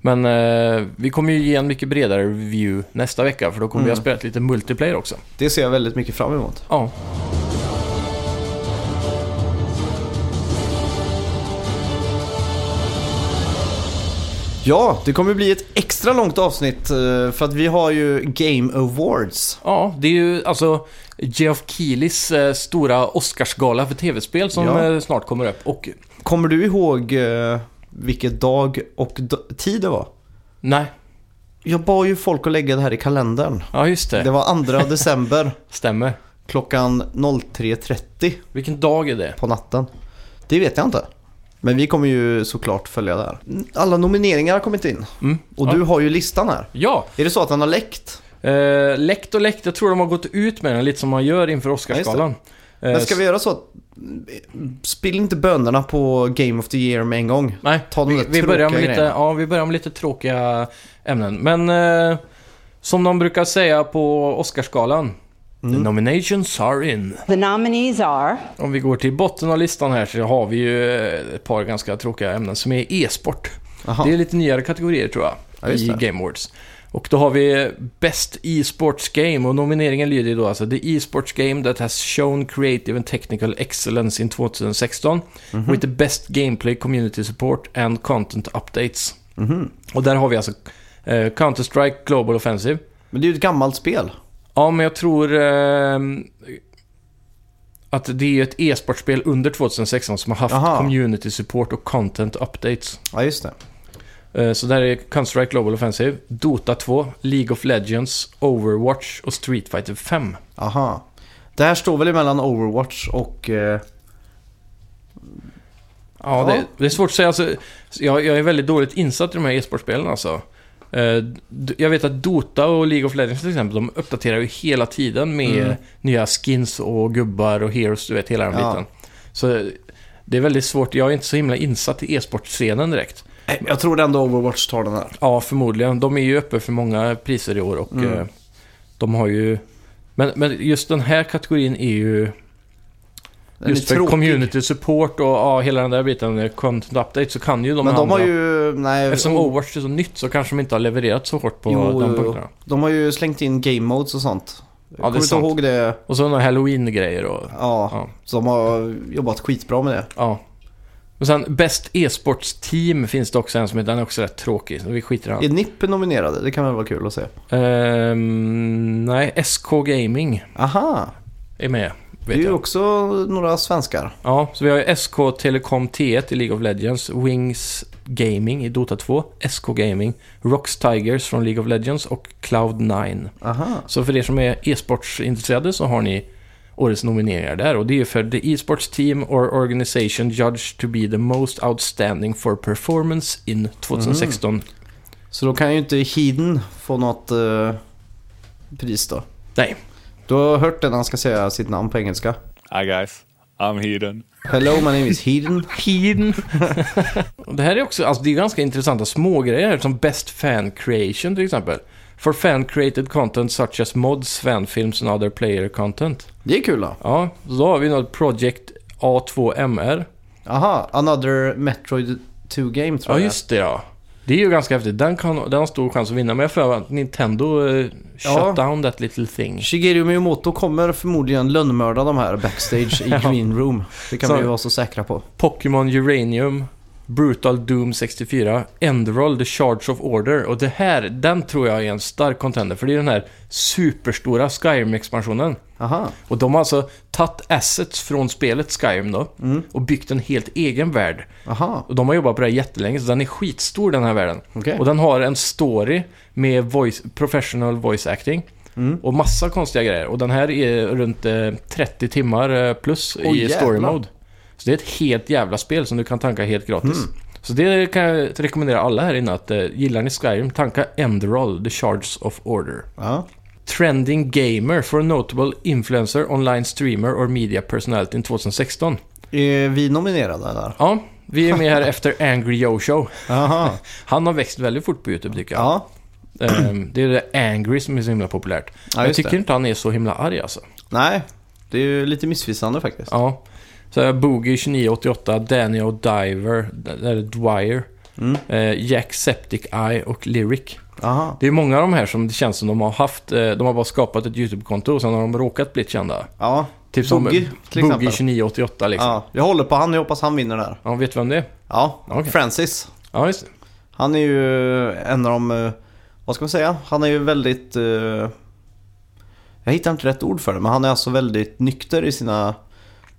[SPEAKER 1] Men eh, vi kommer ju ge en mycket bredare review nästa vecka för då kommer vi ha
[SPEAKER 2] Mm.
[SPEAKER 1] spelat lite multiplayer också.
[SPEAKER 2] Det ser jag väldigt mycket fram emot.
[SPEAKER 1] Ja.
[SPEAKER 2] Ja, det kommer bli ett extra långt avsnitt eh, för att vi har ju Game Awards.
[SPEAKER 1] Ja, det är ju alltså Geoff Keelys eh, stora Oscarsgala för tv-spel som
[SPEAKER 2] Ja.
[SPEAKER 1] eh, snart kommer upp. Och
[SPEAKER 2] Kommer du ihåg eh, vilket dag och d- tid det var?
[SPEAKER 1] nej,
[SPEAKER 2] Jag bad ju folk att lägga det här i kalendern.
[SPEAKER 1] ja just det.
[SPEAKER 2] Det var 2 december
[SPEAKER 1] Stämmer.
[SPEAKER 2] klockan 03.30
[SPEAKER 1] Vilken dag är det?
[SPEAKER 2] på natten. Det vet jag inte. Men vi kommer ju såklart följa det här. Alla nomineringar har kommit in
[SPEAKER 1] Mm.
[SPEAKER 2] och
[SPEAKER 1] ja.
[SPEAKER 2] du har ju listan här.
[SPEAKER 1] Ja,
[SPEAKER 2] Är det så att den har läckt?
[SPEAKER 1] eh, läckt och läckt. Jag tror de har gått ut med den lite som man gör inför Oscarsgalan. Eh,
[SPEAKER 2] Men ska vi göra så att... Spill inte bönorna på Game of the Year med en gång.
[SPEAKER 1] Nej,
[SPEAKER 2] Ta de
[SPEAKER 1] vi,
[SPEAKER 2] där
[SPEAKER 1] vi, börjar med
[SPEAKER 2] tråkiga
[SPEAKER 1] lite,
[SPEAKER 2] grejerna.
[SPEAKER 1] ja, vi börjar med lite tråkiga ämnen. Men eh, som de brukar säga på Oscarsgalan, the nominations are in.
[SPEAKER 3] The nominees are
[SPEAKER 1] Om vi går till botten av listan här så har vi ju eh, ett par ganska tråkiga ämnen som är e-sport.
[SPEAKER 2] Aha.
[SPEAKER 1] Det är lite nyare kategorier tror jag
[SPEAKER 2] Ja, just
[SPEAKER 1] i
[SPEAKER 2] det.
[SPEAKER 1] Game Awards. Och då har vi Best E-sports Game och nomineringen lyder ju då alltså The E-sports Game that has shown creative and technical excellence in 2016
[SPEAKER 2] Mhm.
[SPEAKER 1] with the best gameplay, community support and content updates.
[SPEAKER 2] Mhm.
[SPEAKER 1] Och där har vi alltså eh, Counter-Strike Global Offensive.
[SPEAKER 2] Men det är ju ett gammalt spel.
[SPEAKER 1] Ja, men jag tror ehm, att det är ett e-sportspel under 2016 som har haft
[SPEAKER 2] Aha.
[SPEAKER 1] community support och content updates.
[SPEAKER 2] Ja, just det.
[SPEAKER 1] Eh, Så där är Counter-Strike Global Offensive, Dota 2, League of Legends, Overwatch och Street Fighter 5.
[SPEAKER 2] Aha. Det här står väl mellan Overwatch och... Eh,
[SPEAKER 1] Ja,
[SPEAKER 2] Ja.
[SPEAKER 1] Det, det är svårt att säga. Alltså, jag, jag är väldigt dåligt insatt i de här e-sportspelen alltså. Eh, d- Jag vet att Dota och League of Legends till exempel, de uppdaterar ju hela tiden med
[SPEAKER 2] Mm.
[SPEAKER 1] nya skins och gubbar och heroes, du vet, hela den
[SPEAKER 2] Ja.
[SPEAKER 1] biten. Så det är väldigt svårt. Jag är inte så himla insatt i e-sportscenen direkt.
[SPEAKER 2] nej, jag tror ändå Overwatch tar den här.
[SPEAKER 1] Ja, förmodligen. De är ju uppe för många priser i år och
[SPEAKER 2] Mm.
[SPEAKER 1] eh, de har ju... Men, men just den här kategorin är ju...
[SPEAKER 2] Den
[SPEAKER 1] just
[SPEAKER 2] är
[SPEAKER 1] för
[SPEAKER 2] tråkig.
[SPEAKER 1] community support och ja, hela den där biten, eh, content update, så kan ju de
[SPEAKER 2] Men de
[SPEAKER 1] andra...
[SPEAKER 2] har ju... Nej,
[SPEAKER 1] Eftersom
[SPEAKER 2] o-
[SPEAKER 1] Overwatch är så nytt så kanske de inte har levererat så hårt på
[SPEAKER 2] Jo,
[SPEAKER 1] de
[SPEAKER 2] jo, jo.
[SPEAKER 1] punkterna.
[SPEAKER 2] de har ju slängt in game modes och sånt. Jag
[SPEAKER 1] det är
[SPEAKER 2] kommer inte
[SPEAKER 1] sant.
[SPEAKER 2] ihåg det.
[SPEAKER 1] Och så några halloween-grejer och...
[SPEAKER 2] Ja,
[SPEAKER 1] Ja.
[SPEAKER 2] så de har jobbat skitbra med det.
[SPEAKER 1] Ja. Och sen Best e-sportsteam finns det också en som heter, den är också rätt tråkig, så vi skiter i den.
[SPEAKER 2] Är NIP nominerade? Det kan väl vara kul att se.
[SPEAKER 1] Ehm, nej, SK Gaming
[SPEAKER 2] Aha,
[SPEAKER 1] är med.
[SPEAKER 2] det
[SPEAKER 1] Vet
[SPEAKER 2] är ju
[SPEAKER 1] jag.
[SPEAKER 2] också några svenskar.
[SPEAKER 1] Ja, så vi har ju SK Telekom T1 i League of Legends, Wings Gaming i Dota 2, SK Gaming, Rocks Tigers från League of Legends och Cloud9.
[SPEAKER 2] Aha.
[SPEAKER 1] Så för er som är e-sportsintresserade så har ni årets nomineringar där och det är för the e-sports team or organization judged to be the most outstanding for performance in 2016.
[SPEAKER 2] Så då kan ju inte Hidden få något eh, pris då.
[SPEAKER 1] Nej.
[SPEAKER 2] Du har hört det när han ska säga sitt namn på engelska.
[SPEAKER 4] Hi guys, I'm Heaton.
[SPEAKER 2] Hello, my name is Hidden.
[SPEAKER 1] Hiden. Och det här är också, alltså det är ganska intressanta smågrejer här, som Best Fan Creation till exempel. For fan created content such as mods, fanfilms and other player content.
[SPEAKER 2] Det är kul då.
[SPEAKER 1] Ja, så då har vi något Project A2MR.
[SPEAKER 2] Aha, Another Metroid 2 Game tror
[SPEAKER 1] Ja,
[SPEAKER 2] jag
[SPEAKER 1] just det ja. Det är ju ganska häftigt. Den, kan, den har stor chans att vinna, men jag får att Nintendo eh, shut
[SPEAKER 2] Ja.
[SPEAKER 1] down that little thing.
[SPEAKER 2] Shigeru Miyamoto kommer förmodligen lönnmörda de här backstage i Green Room. Det kan
[SPEAKER 1] Så-
[SPEAKER 2] vi ju vara så säkra på.
[SPEAKER 1] Pokémon Uranium, Brutal Doom 64, Enderall, The Charge of Order. Och det här, den tror jag är en stark contender, för det är den här superstora Skyrim-expansionen.
[SPEAKER 2] Aha,
[SPEAKER 1] Och de har alltså tagit assets från spelet Skyrim då,
[SPEAKER 2] Mm.
[SPEAKER 1] och byggt en helt egen värld.
[SPEAKER 2] aha,
[SPEAKER 1] Och de har jobbat på det här jättelänge, så den är skitstor den här världen.
[SPEAKER 2] okej.
[SPEAKER 1] Och den har en story med voice, professional voice acting.
[SPEAKER 2] Mm.
[SPEAKER 1] Och massa konstiga grejer. Och den här är runt eh, 30 timmar eh, plus
[SPEAKER 2] Åh,
[SPEAKER 1] i story
[SPEAKER 2] jävlar.
[SPEAKER 1] mode. Så det är ett helt jävla spel som du kan tanka helt gratis.
[SPEAKER 2] Mm.
[SPEAKER 1] Så det kan jag rekommendera alla här inne att eh, gillar ni Skyrim, tanka Enderal, The Shards of Order.
[SPEAKER 2] Ja.
[SPEAKER 1] Trending Gamer for a Notable Influencer, Online Streamer or Media Personality in 2016.
[SPEAKER 2] Är vi nominerade där?
[SPEAKER 1] Ja, vi är med här efter Angry Joe Show.
[SPEAKER 2] Jaha.
[SPEAKER 1] Han har växt väldigt fort på YouTube tycker jag.
[SPEAKER 2] Ja.
[SPEAKER 1] Ehm, Det är det där Angry som är så himla populärt.
[SPEAKER 2] Ja,
[SPEAKER 1] jag
[SPEAKER 2] just
[SPEAKER 1] tycker
[SPEAKER 2] det.
[SPEAKER 1] inte han är så himla arg alltså.
[SPEAKER 2] Nej, det är ju lite missvisande faktiskt.
[SPEAKER 1] Ja. Så här, Boogie 2988, Daniel Diver, eller Dwyer,
[SPEAKER 2] Mm.
[SPEAKER 1] eh, Jack Septic Eye och Lyric.
[SPEAKER 2] Aha.
[SPEAKER 1] Det är många av de här som det känns som de har haft, eh, de har bara skapat ett YouTube-konto och sen har de råkat bli kända.
[SPEAKER 2] Ja,
[SPEAKER 1] Typ som
[SPEAKER 2] Boogie,
[SPEAKER 1] Boogie,
[SPEAKER 2] till exempel.
[SPEAKER 1] 2988 liksom. Ja.
[SPEAKER 2] ja. Jag håller på han, jag hoppas han vinner där.
[SPEAKER 1] vet du vem det är?
[SPEAKER 2] Ja,
[SPEAKER 1] Okej.
[SPEAKER 2] Francis.
[SPEAKER 1] Ja, just det.
[SPEAKER 2] Han är ju en av de, eh, vad ska man säga, han är ju väldigt... eh, Jag hittar inte rätt ord för det, men han är alltså väldigt nykter i sina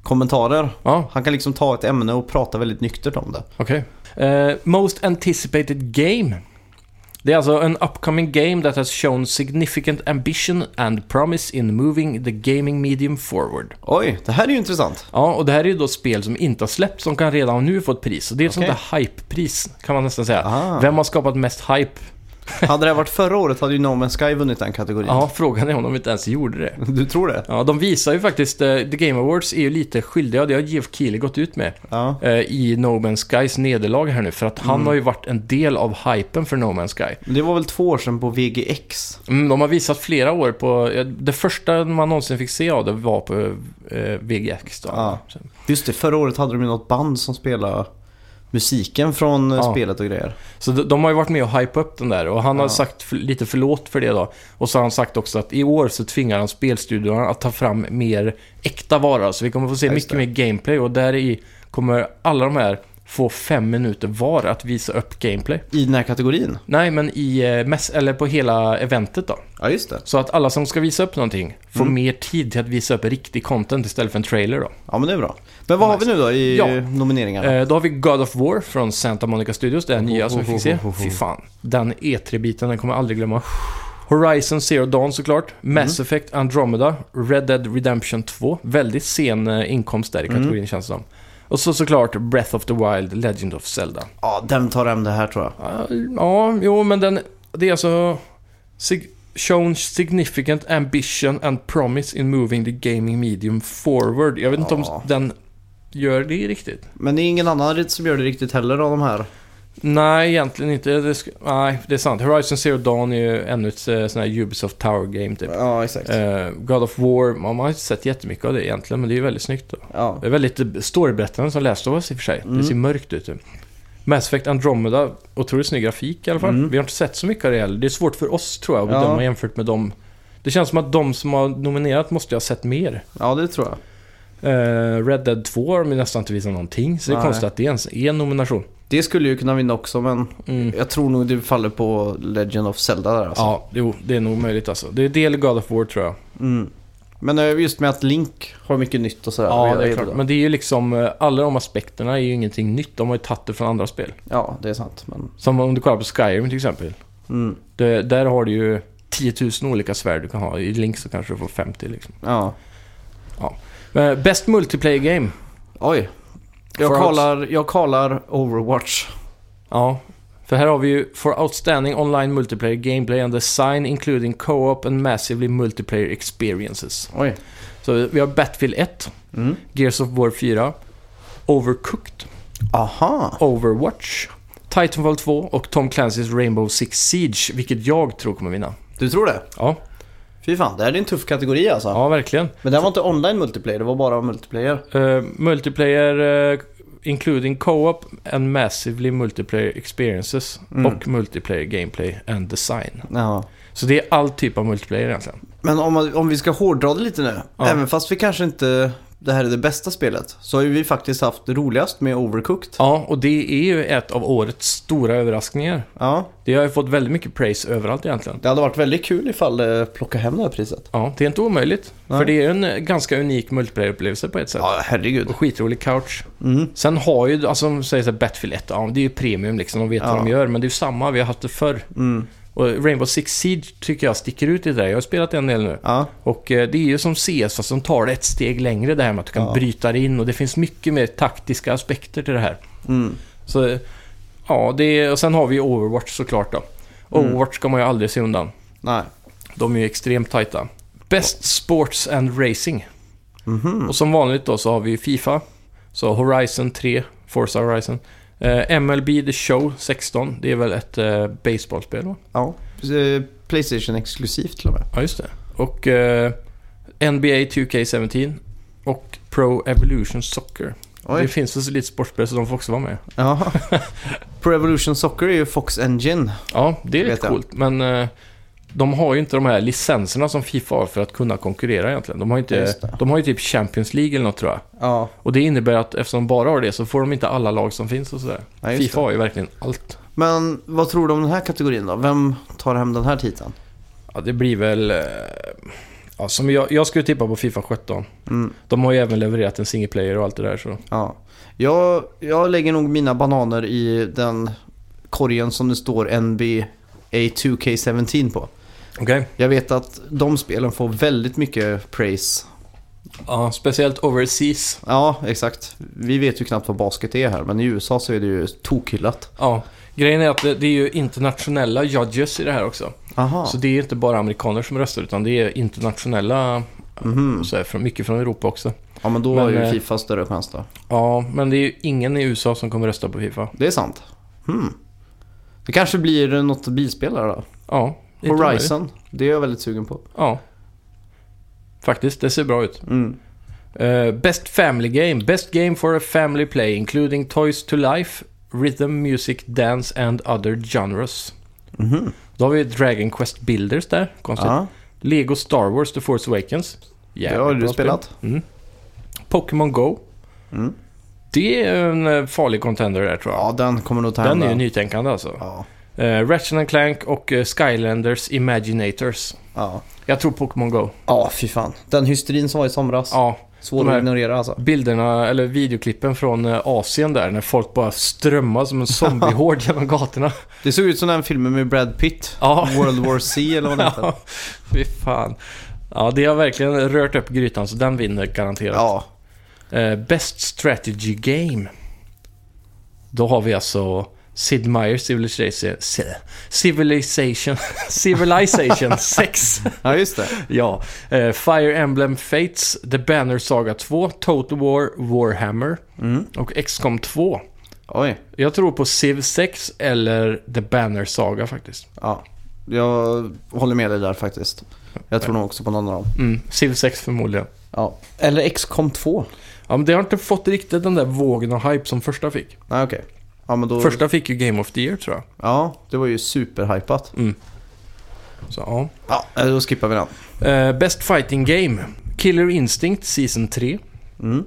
[SPEAKER 2] kommentarer.
[SPEAKER 1] Ja,
[SPEAKER 2] Han kan liksom ta ett ämne och prata väldigt nyktert om det.
[SPEAKER 1] okej. Eh, most anticipated game. Det är alltså an upcoming game that has shown significant ambition and promise in moving the gaming medium forward.
[SPEAKER 2] Oj, det här är ju intressant.
[SPEAKER 1] Ja, och det här är ju då spel som inte har släppts, som kan redan nu få ett pris. Och det är ett
[SPEAKER 2] Okej.
[SPEAKER 1] sånt där hype-pris, kan man nästan säga.
[SPEAKER 2] Ah.
[SPEAKER 1] Vem har skapat mest hype?
[SPEAKER 2] Hade det här varit förra året hade ju No Man's Sky vunnit den kategorin.
[SPEAKER 1] Ja, frågan är om de inte ens gjorde det.
[SPEAKER 2] Du tror det?
[SPEAKER 1] Ja, de visar ju faktiskt, eh, The Game Awards är ju lite skyldiga, det har Geoff Keighley gått ut med.
[SPEAKER 2] Ja. Mm.
[SPEAKER 1] eh, i No Man's Skys nederlag här nu. För att han har ju varit en del av hypen för No Man's Sky.
[SPEAKER 2] Men Det var väl två år sedan på VGX?
[SPEAKER 1] Mm, de har visat flera år på... eh, Det första man någonsin fick se av det var på eh, VGX. Då.
[SPEAKER 2] Ja. Just det, förra året hade de ju något band som spelade musiken från eh,
[SPEAKER 1] Ja.
[SPEAKER 2] spelet och grejer.
[SPEAKER 1] Så de, de har ju varit med och hype upp den där. Och han har
[SPEAKER 2] Ja.
[SPEAKER 1] sagt för, lite förlåt för det då. Och så har han sagt också att i år så tvingar han spelstudiorna att ta fram mer äkta varor. Så vi kommer få se
[SPEAKER 2] Ja, just
[SPEAKER 1] mycket mer gameplay. Och där i kommer alla de här få fem minuter var att visa upp gameplay.
[SPEAKER 2] I den här kategorin?
[SPEAKER 1] Nej, men i... eh, Mess, eller på hela eventet då.
[SPEAKER 2] Ja, just det.
[SPEAKER 1] Så att alla som ska visa upp någonting får
[SPEAKER 2] Mm.
[SPEAKER 1] mer tid till att visa upp riktig content istället för en trailer då.
[SPEAKER 2] Ja, men det är bra. Men vad har vi nu då i
[SPEAKER 1] Ja.
[SPEAKER 2] nomineringarna?
[SPEAKER 1] Eh, då har vi God of War från Santa Monica Studios, den nya som vi fick se.
[SPEAKER 2] ho, ho, ho.
[SPEAKER 1] Fy fan. Den E3-biten, den kommer jag aldrig glömma. Horizon Zero Dawn såklart.
[SPEAKER 2] Mm.
[SPEAKER 1] Mass Effect Andromeda. Red Dead Redemption 2. Väldigt sen eh, inkomst där i
[SPEAKER 2] Mm.
[SPEAKER 1] kategorin känns det som. Och så såklart Breath of the Wild, Legend of Zelda.
[SPEAKER 2] Ja, den tar hem det här tror jag.
[SPEAKER 1] Ja, Ja, jo men den... Det är alltså... Sig, shown significant ambition and promise in moving the gaming medium forward. Jag vet inte
[SPEAKER 2] Ja.
[SPEAKER 1] om den gör det riktigt.
[SPEAKER 2] Men det är ingen annan som gör det riktigt heller av de här.
[SPEAKER 1] Nej, egentligen inte. Det sk- nej, det är sant. Horizon Zero Dawn är ju ännu ett eh, sån här Ubisoft Tower Game typ.
[SPEAKER 2] Ja, exakt.
[SPEAKER 1] Eh, God of War, man man har inte sett jättemycket av det egentligen, men det är ju väldigt snyggt. Då.
[SPEAKER 2] Ja.
[SPEAKER 1] Det är väldigt eh, storyberättande som läst av oss i och för sig.
[SPEAKER 2] Mm.
[SPEAKER 1] Det ser mörkt ut. typ. Mass Effect Andromeda, otroligt snygg grafik i alla fall.
[SPEAKER 2] Mm.
[SPEAKER 1] Vi har inte sett så mycket av det heller. Det är svårt för oss tror jag att
[SPEAKER 2] Ja.
[SPEAKER 1] bedöma jämfört med dem. Det känns som att de som har nominerat måste ju ha sett mer.
[SPEAKER 2] ja, det tror jag.
[SPEAKER 1] Eh, Red Dead 2 har de ju nästan inte visat någonting, så det är
[SPEAKER 2] Nej.
[SPEAKER 1] konstigt att det ens är en nomination.
[SPEAKER 2] Det skulle ju kunna vinna också, men
[SPEAKER 1] Mm.
[SPEAKER 2] jag tror nog det faller på Legend of Zelda där alltså.
[SPEAKER 1] Ja, jo, det är nog möjligt alltså. Det är del i God of War tror jag.
[SPEAKER 2] Mm. Men eh, just med att Link har mycket nytt och sådär.
[SPEAKER 1] Ja,
[SPEAKER 2] Och
[SPEAKER 1] det är
[SPEAKER 2] jag-
[SPEAKER 1] klart. Men det är ju liksom, eh, alla de aspekterna är ju ingenting nytt. De har ju tagit det från andra spel.
[SPEAKER 2] Ja, det är sant. Men...
[SPEAKER 1] Som om du kollar på Skyrim till exempel.
[SPEAKER 2] Mm.
[SPEAKER 1] Det, där har du ju 10 000 olika svärd du kan ha. I Link så kanske du får 50 liksom.
[SPEAKER 2] Ja.
[SPEAKER 1] Eh, Best multiplayer game.
[SPEAKER 2] Oj. Jag
[SPEAKER 1] For
[SPEAKER 2] kallar, jag kallar Overwatch.
[SPEAKER 1] Ja. För här har vi ju For Outstanding Online Multiplayer Gameplay and Design Including Co-op and Massively Multiplayer Experiences.
[SPEAKER 2] Oj.
[SPEAKER 1] Så vi har Battlefield 1,
[SPEAKER 2] Mm.
[SPEAKER 1] Gears of War 4, Overcooked.
[SPEAKER 2] Aha.
[SPEAKER 1] Overwatch, Titanfall 2 och Tom Clancys Rainbow Six Siege, vilket jag tror kommer vinna.
[SPEAKER 2] Du tror det?
[SPEAKER 1] Ja,
[SPEAKER 2] Fy fan, det här är en tuff kategori alltså.
[SPEAKER 1] ja verkligen.
[SPEAKER 2] Men det här var inte online multiplayer, det var bara multiplayer.
[SPEAKER 1] Eh, multiplayer, eh, including co-op and massively multiplayer experiences
[SPEAKER 2] Mm.
[SPEAKER 1] och multiplayer gameplay and design.
[SPEAKER 2] Ja.
[SPEAKER 1] Så det är all typ av multiplayer egentligen.
[SPEAKER 2] Men om, man- om vi ska hårdra det lite nu.
[SPEAKER 1] Ja.
[SPEAKER 2] Även fast vi kanske inte det här är det bästa spelet. Så har ju vi faktiskt haft roligast med Overcooked.
[SPEAKER 1] Ja, och det är ju ett av årets stora överraskningar.
[SPEAKER 2] Ja.
[SPEAKER 1] Det har ju fått väldigt mycket praise överallt egentligen.
[SPEAKER 2] Det hade varit väldigt kul ifall det plockade hem det här priset.
[SPEAKER 1] Ja, det är inte omöjligt.
[SPEAKER 2] Nej.
[SPEAKER 1] För det är ju en eh, ganska unik multiplayer-upplevelse på ett sätt.
[SPEAKER 2] Ja, herregud.
[SPEAKER 1] Och skitrolig couch.
[SPEAKER 2] Mm.
[SPEAKER 1] Sen har ju, alltså som säger så här, Battlefield 1, ja, det är ju premium liksom, de vet
[SPEAKER 2] Ja.
[SPEAKER 1] vad de gör. Men det är ju samma, vi har haft det förr.
[SPEAKER 2] Mm.
[SPEAKER 1] Och Rainbow Six Siege tycker jag sticker ut i det där. Jag har spelat en del nu.
[SPEAKER 2] Ja.
[SPEAKER 1] Och eh, det är ju som CS fast de tar det ett steg längre det här med att du kan
[SPEAKER 2] Ja.
[SPEAKER 1] bryta dig in och det finns mycket mer taktiska aspekter till det här.
[SPEAKER 2] Mm.
[SPEAKER 1] Så eh, ja, det är, och sen har vi ju Overwatch såklart
[SPEAKER 2] Mm.
[SPEAKER 1] då. Overwatch ska man ju aldrig se undan.
[SPEAKER 2] Nej.
[SPEAKER 1] De är ju extremt tajta. Best Sports and Racing.
[SPEAKER 2] Mhm.
[SPEAKER 1] Och som vanligt då så har vi Fifa, så Horizon 3, Forza Horizon. Eh, MLB The Show 16, det är väl ett eh, baseballspel va?
[SPEAKER 2] Ja. Eh, Playstation exklusivt till och med.
[SPEAKER 1] Ja, just det. Och eh, NBA 2K17 och Pro Evolution Soccer. Det
[SPEAKER 2] Oj.
[SPEAKER 1] finns väl så lite sportspel så de får också vara med.
[SPEAKER 2] Ja. Pro Evolution Soccer är ju Fox Engine.
[SPEAKER 1] Ja, det är
[SPEAKER 2] Vet
[SPEAKER 1] lite
[SPEAKER 2] jag.
[SPEAKER 1] coolt, men eh, de har ju inte de här licenserna som Fifa har för att kunna konkurrera egentligen. De har, ju inte,
[SPEAKER 2] Ja, just det.
[SPEAKER 1] de har ju typ Champions League eller något tror jag.
[SPEAKER 2] Ja.
[SPEAKER 1] Och det innebär att eftersom de bara har det så får de inte alla lag som finns och sådär.
[SPEAKER 2] Ja, just
[SPEAKER 1] Fifa har ju verkligen allt.
[SPEAKER 2] Men vad tror du om den här kategorin då? Vem tar hem den här titeln?
[SPEAKER 1] Ja, det blir väl... eh, Ja, som jag, jag skulle tippa på Fifa 17.
[SPEAKER 2] Mm.
[SPEAKER 1] De har ju även levererat en single player och allt det där så.
[SPEAKER 2] Ja. Jag, jag lägger nog mina bananer i den korgen som det står NBA 2K17 på.
[SPEAKER 1] Okej.
[SPEAKER 2] Jag vet att de spelen får väldigt mycket praise.
[SPEAKER 1] Ja, speciellt overseas.
[SPEAKER 2] Ja, exakt. Vi vet ju knappt vad basket är här, men i USA så är det ju tokhyllat.
[SPEAKER 1] Ja, grejen är att det, det är ju internationella judges i det här också.
[SPEAKER 2] Aha.
[SPEAKER 1] Så det är inte bara amerikaner som röstar utan det är internationella,
[SPEAKER 2] Mhm.
[SPEAKER 1] så här, från, mycket från Europa också.
[SPEAKER 2] Ja, men då
[SPEAKER 1] Men,
[SPEAKER 2] har ju
[SPEAKER 1] eh,
[SPEAKER 2] Fifa större chans då.
[SPEAKER 1] Ja, men det är ju ingen i USA som kommer rösta på Fifa.
[SPEAKER 2] Det är sant. Hmm. Det kanske blir något bilspel här då.
[SPEAKER 1] Ja, det är inte omöjligt.
[SPEAKER 2] Horizon. Det är jag väldigt sugen på.
[SPEAKER 1] Ja. Faktiskt, det ser bra ut.
[SPEAKER 2] Mm.
[SPEAKER 1] Eh, best Family Game. Best Game for a Family Play, including Toys to Life, Rhythm, Music, Dance and other genres.
[SPEAKER 2] Mhm.
[SPEAKER 1] Då har vi Dragon Quest Builders där, konstigt.
[SPEAKER 2] Ja,
[SPEAKER 1] Lego Star Wars The Force Awakens.
[SPEAKER 2] det
[SPEAKER 1] Jävligt
[SPEAKER 2] har du
[SPEAKER 1] bra spel.
[SPEAKER 2] spelat.
[SPEAKER 1] Pokémon Go.
[SPEAKER 2] Mm.
[SPEAKER 1] Det är en eh, farlig contender där tror jag.
[SPEAKER 2] Ja, den kommer nog ta hem
[SPEAKER 1] Den är ju nytänkande alltså.
[SPEAKER 2] Ja.
[SPEAKER 1] Eh, Ratchet and Clank och eh, Skylanders Imaginators.
[SPEAKER 2] Ja.
[SPEAKER 1] Jag tror Pokémon Go.
[SPEAKER 2] ja, fy fan. Den hysterin som var i somras.
[SPEAKER 1] Ja,
[SPEAKER 2] Svår
[SPEAKER 1] de här-
[SPEAKER 2] att ignorera alltså.
[SPEAKER 1] bilderna eller videoklippen från eh, Asien där när folk bara strömmar som en zombiehord genom gatorna.
[SPEAKER 2] Det såg ut som den filmen med Brad Pitt.
[SPEAKER 1] Ja,
[SPEAKER 2] World War C eller vad den heter.
[SPEAKER 1] ja. fy fan. Ja, det har verkligen rört upp grytan så den vinner garanterat.
[SPEAKER 2] Ja.
[SPEAKER 1] Eh, best Strategy Game. Då har vi alltså Sid Meier's Civilization... Civilization... Civilization 6.
[SPEAKER 2] ja, just det.
[SPEAKER 1] ja. Eh, Fire Emblem Fates, The Banner Saga 2, Total War, Warhammer
[SPEAKER 2] Mm.
[SPEAKER 1] och XCOM 2.
[SPEAKER 2] Oj.
[SPEAKER 1] Jag tror på Civ 6 eller The Banner Saga faktiskt.
[SPEAKER 2] Ja. Jag håller med dig där faktiskt. Jag tror nog också på någon av dem.
[SPEAKER 1] Mm, Civ 6 förmodligen.
[SPEAKER 2] Ja. Eller XCOM 2.
[SPEAKER 1] Ja, men det har inte fått riktigt den där vågen av hype som första fick.
[SPEAKER 2] Nej, okej. Ja, men då...
[SPEAKER 1] Första fick ju Game of the Year tror jag.
[SPEAKER 2] Ja, det var ju superhypat.
[SPEAKER 1] Mm. Så, ja.
[SPEAKER 2] Ja, då skippar vi den.
[SPEAKER 1] Eh, Best Fighting Game. Killer Instinct Season 3.
[SPEAKER 2] Mm.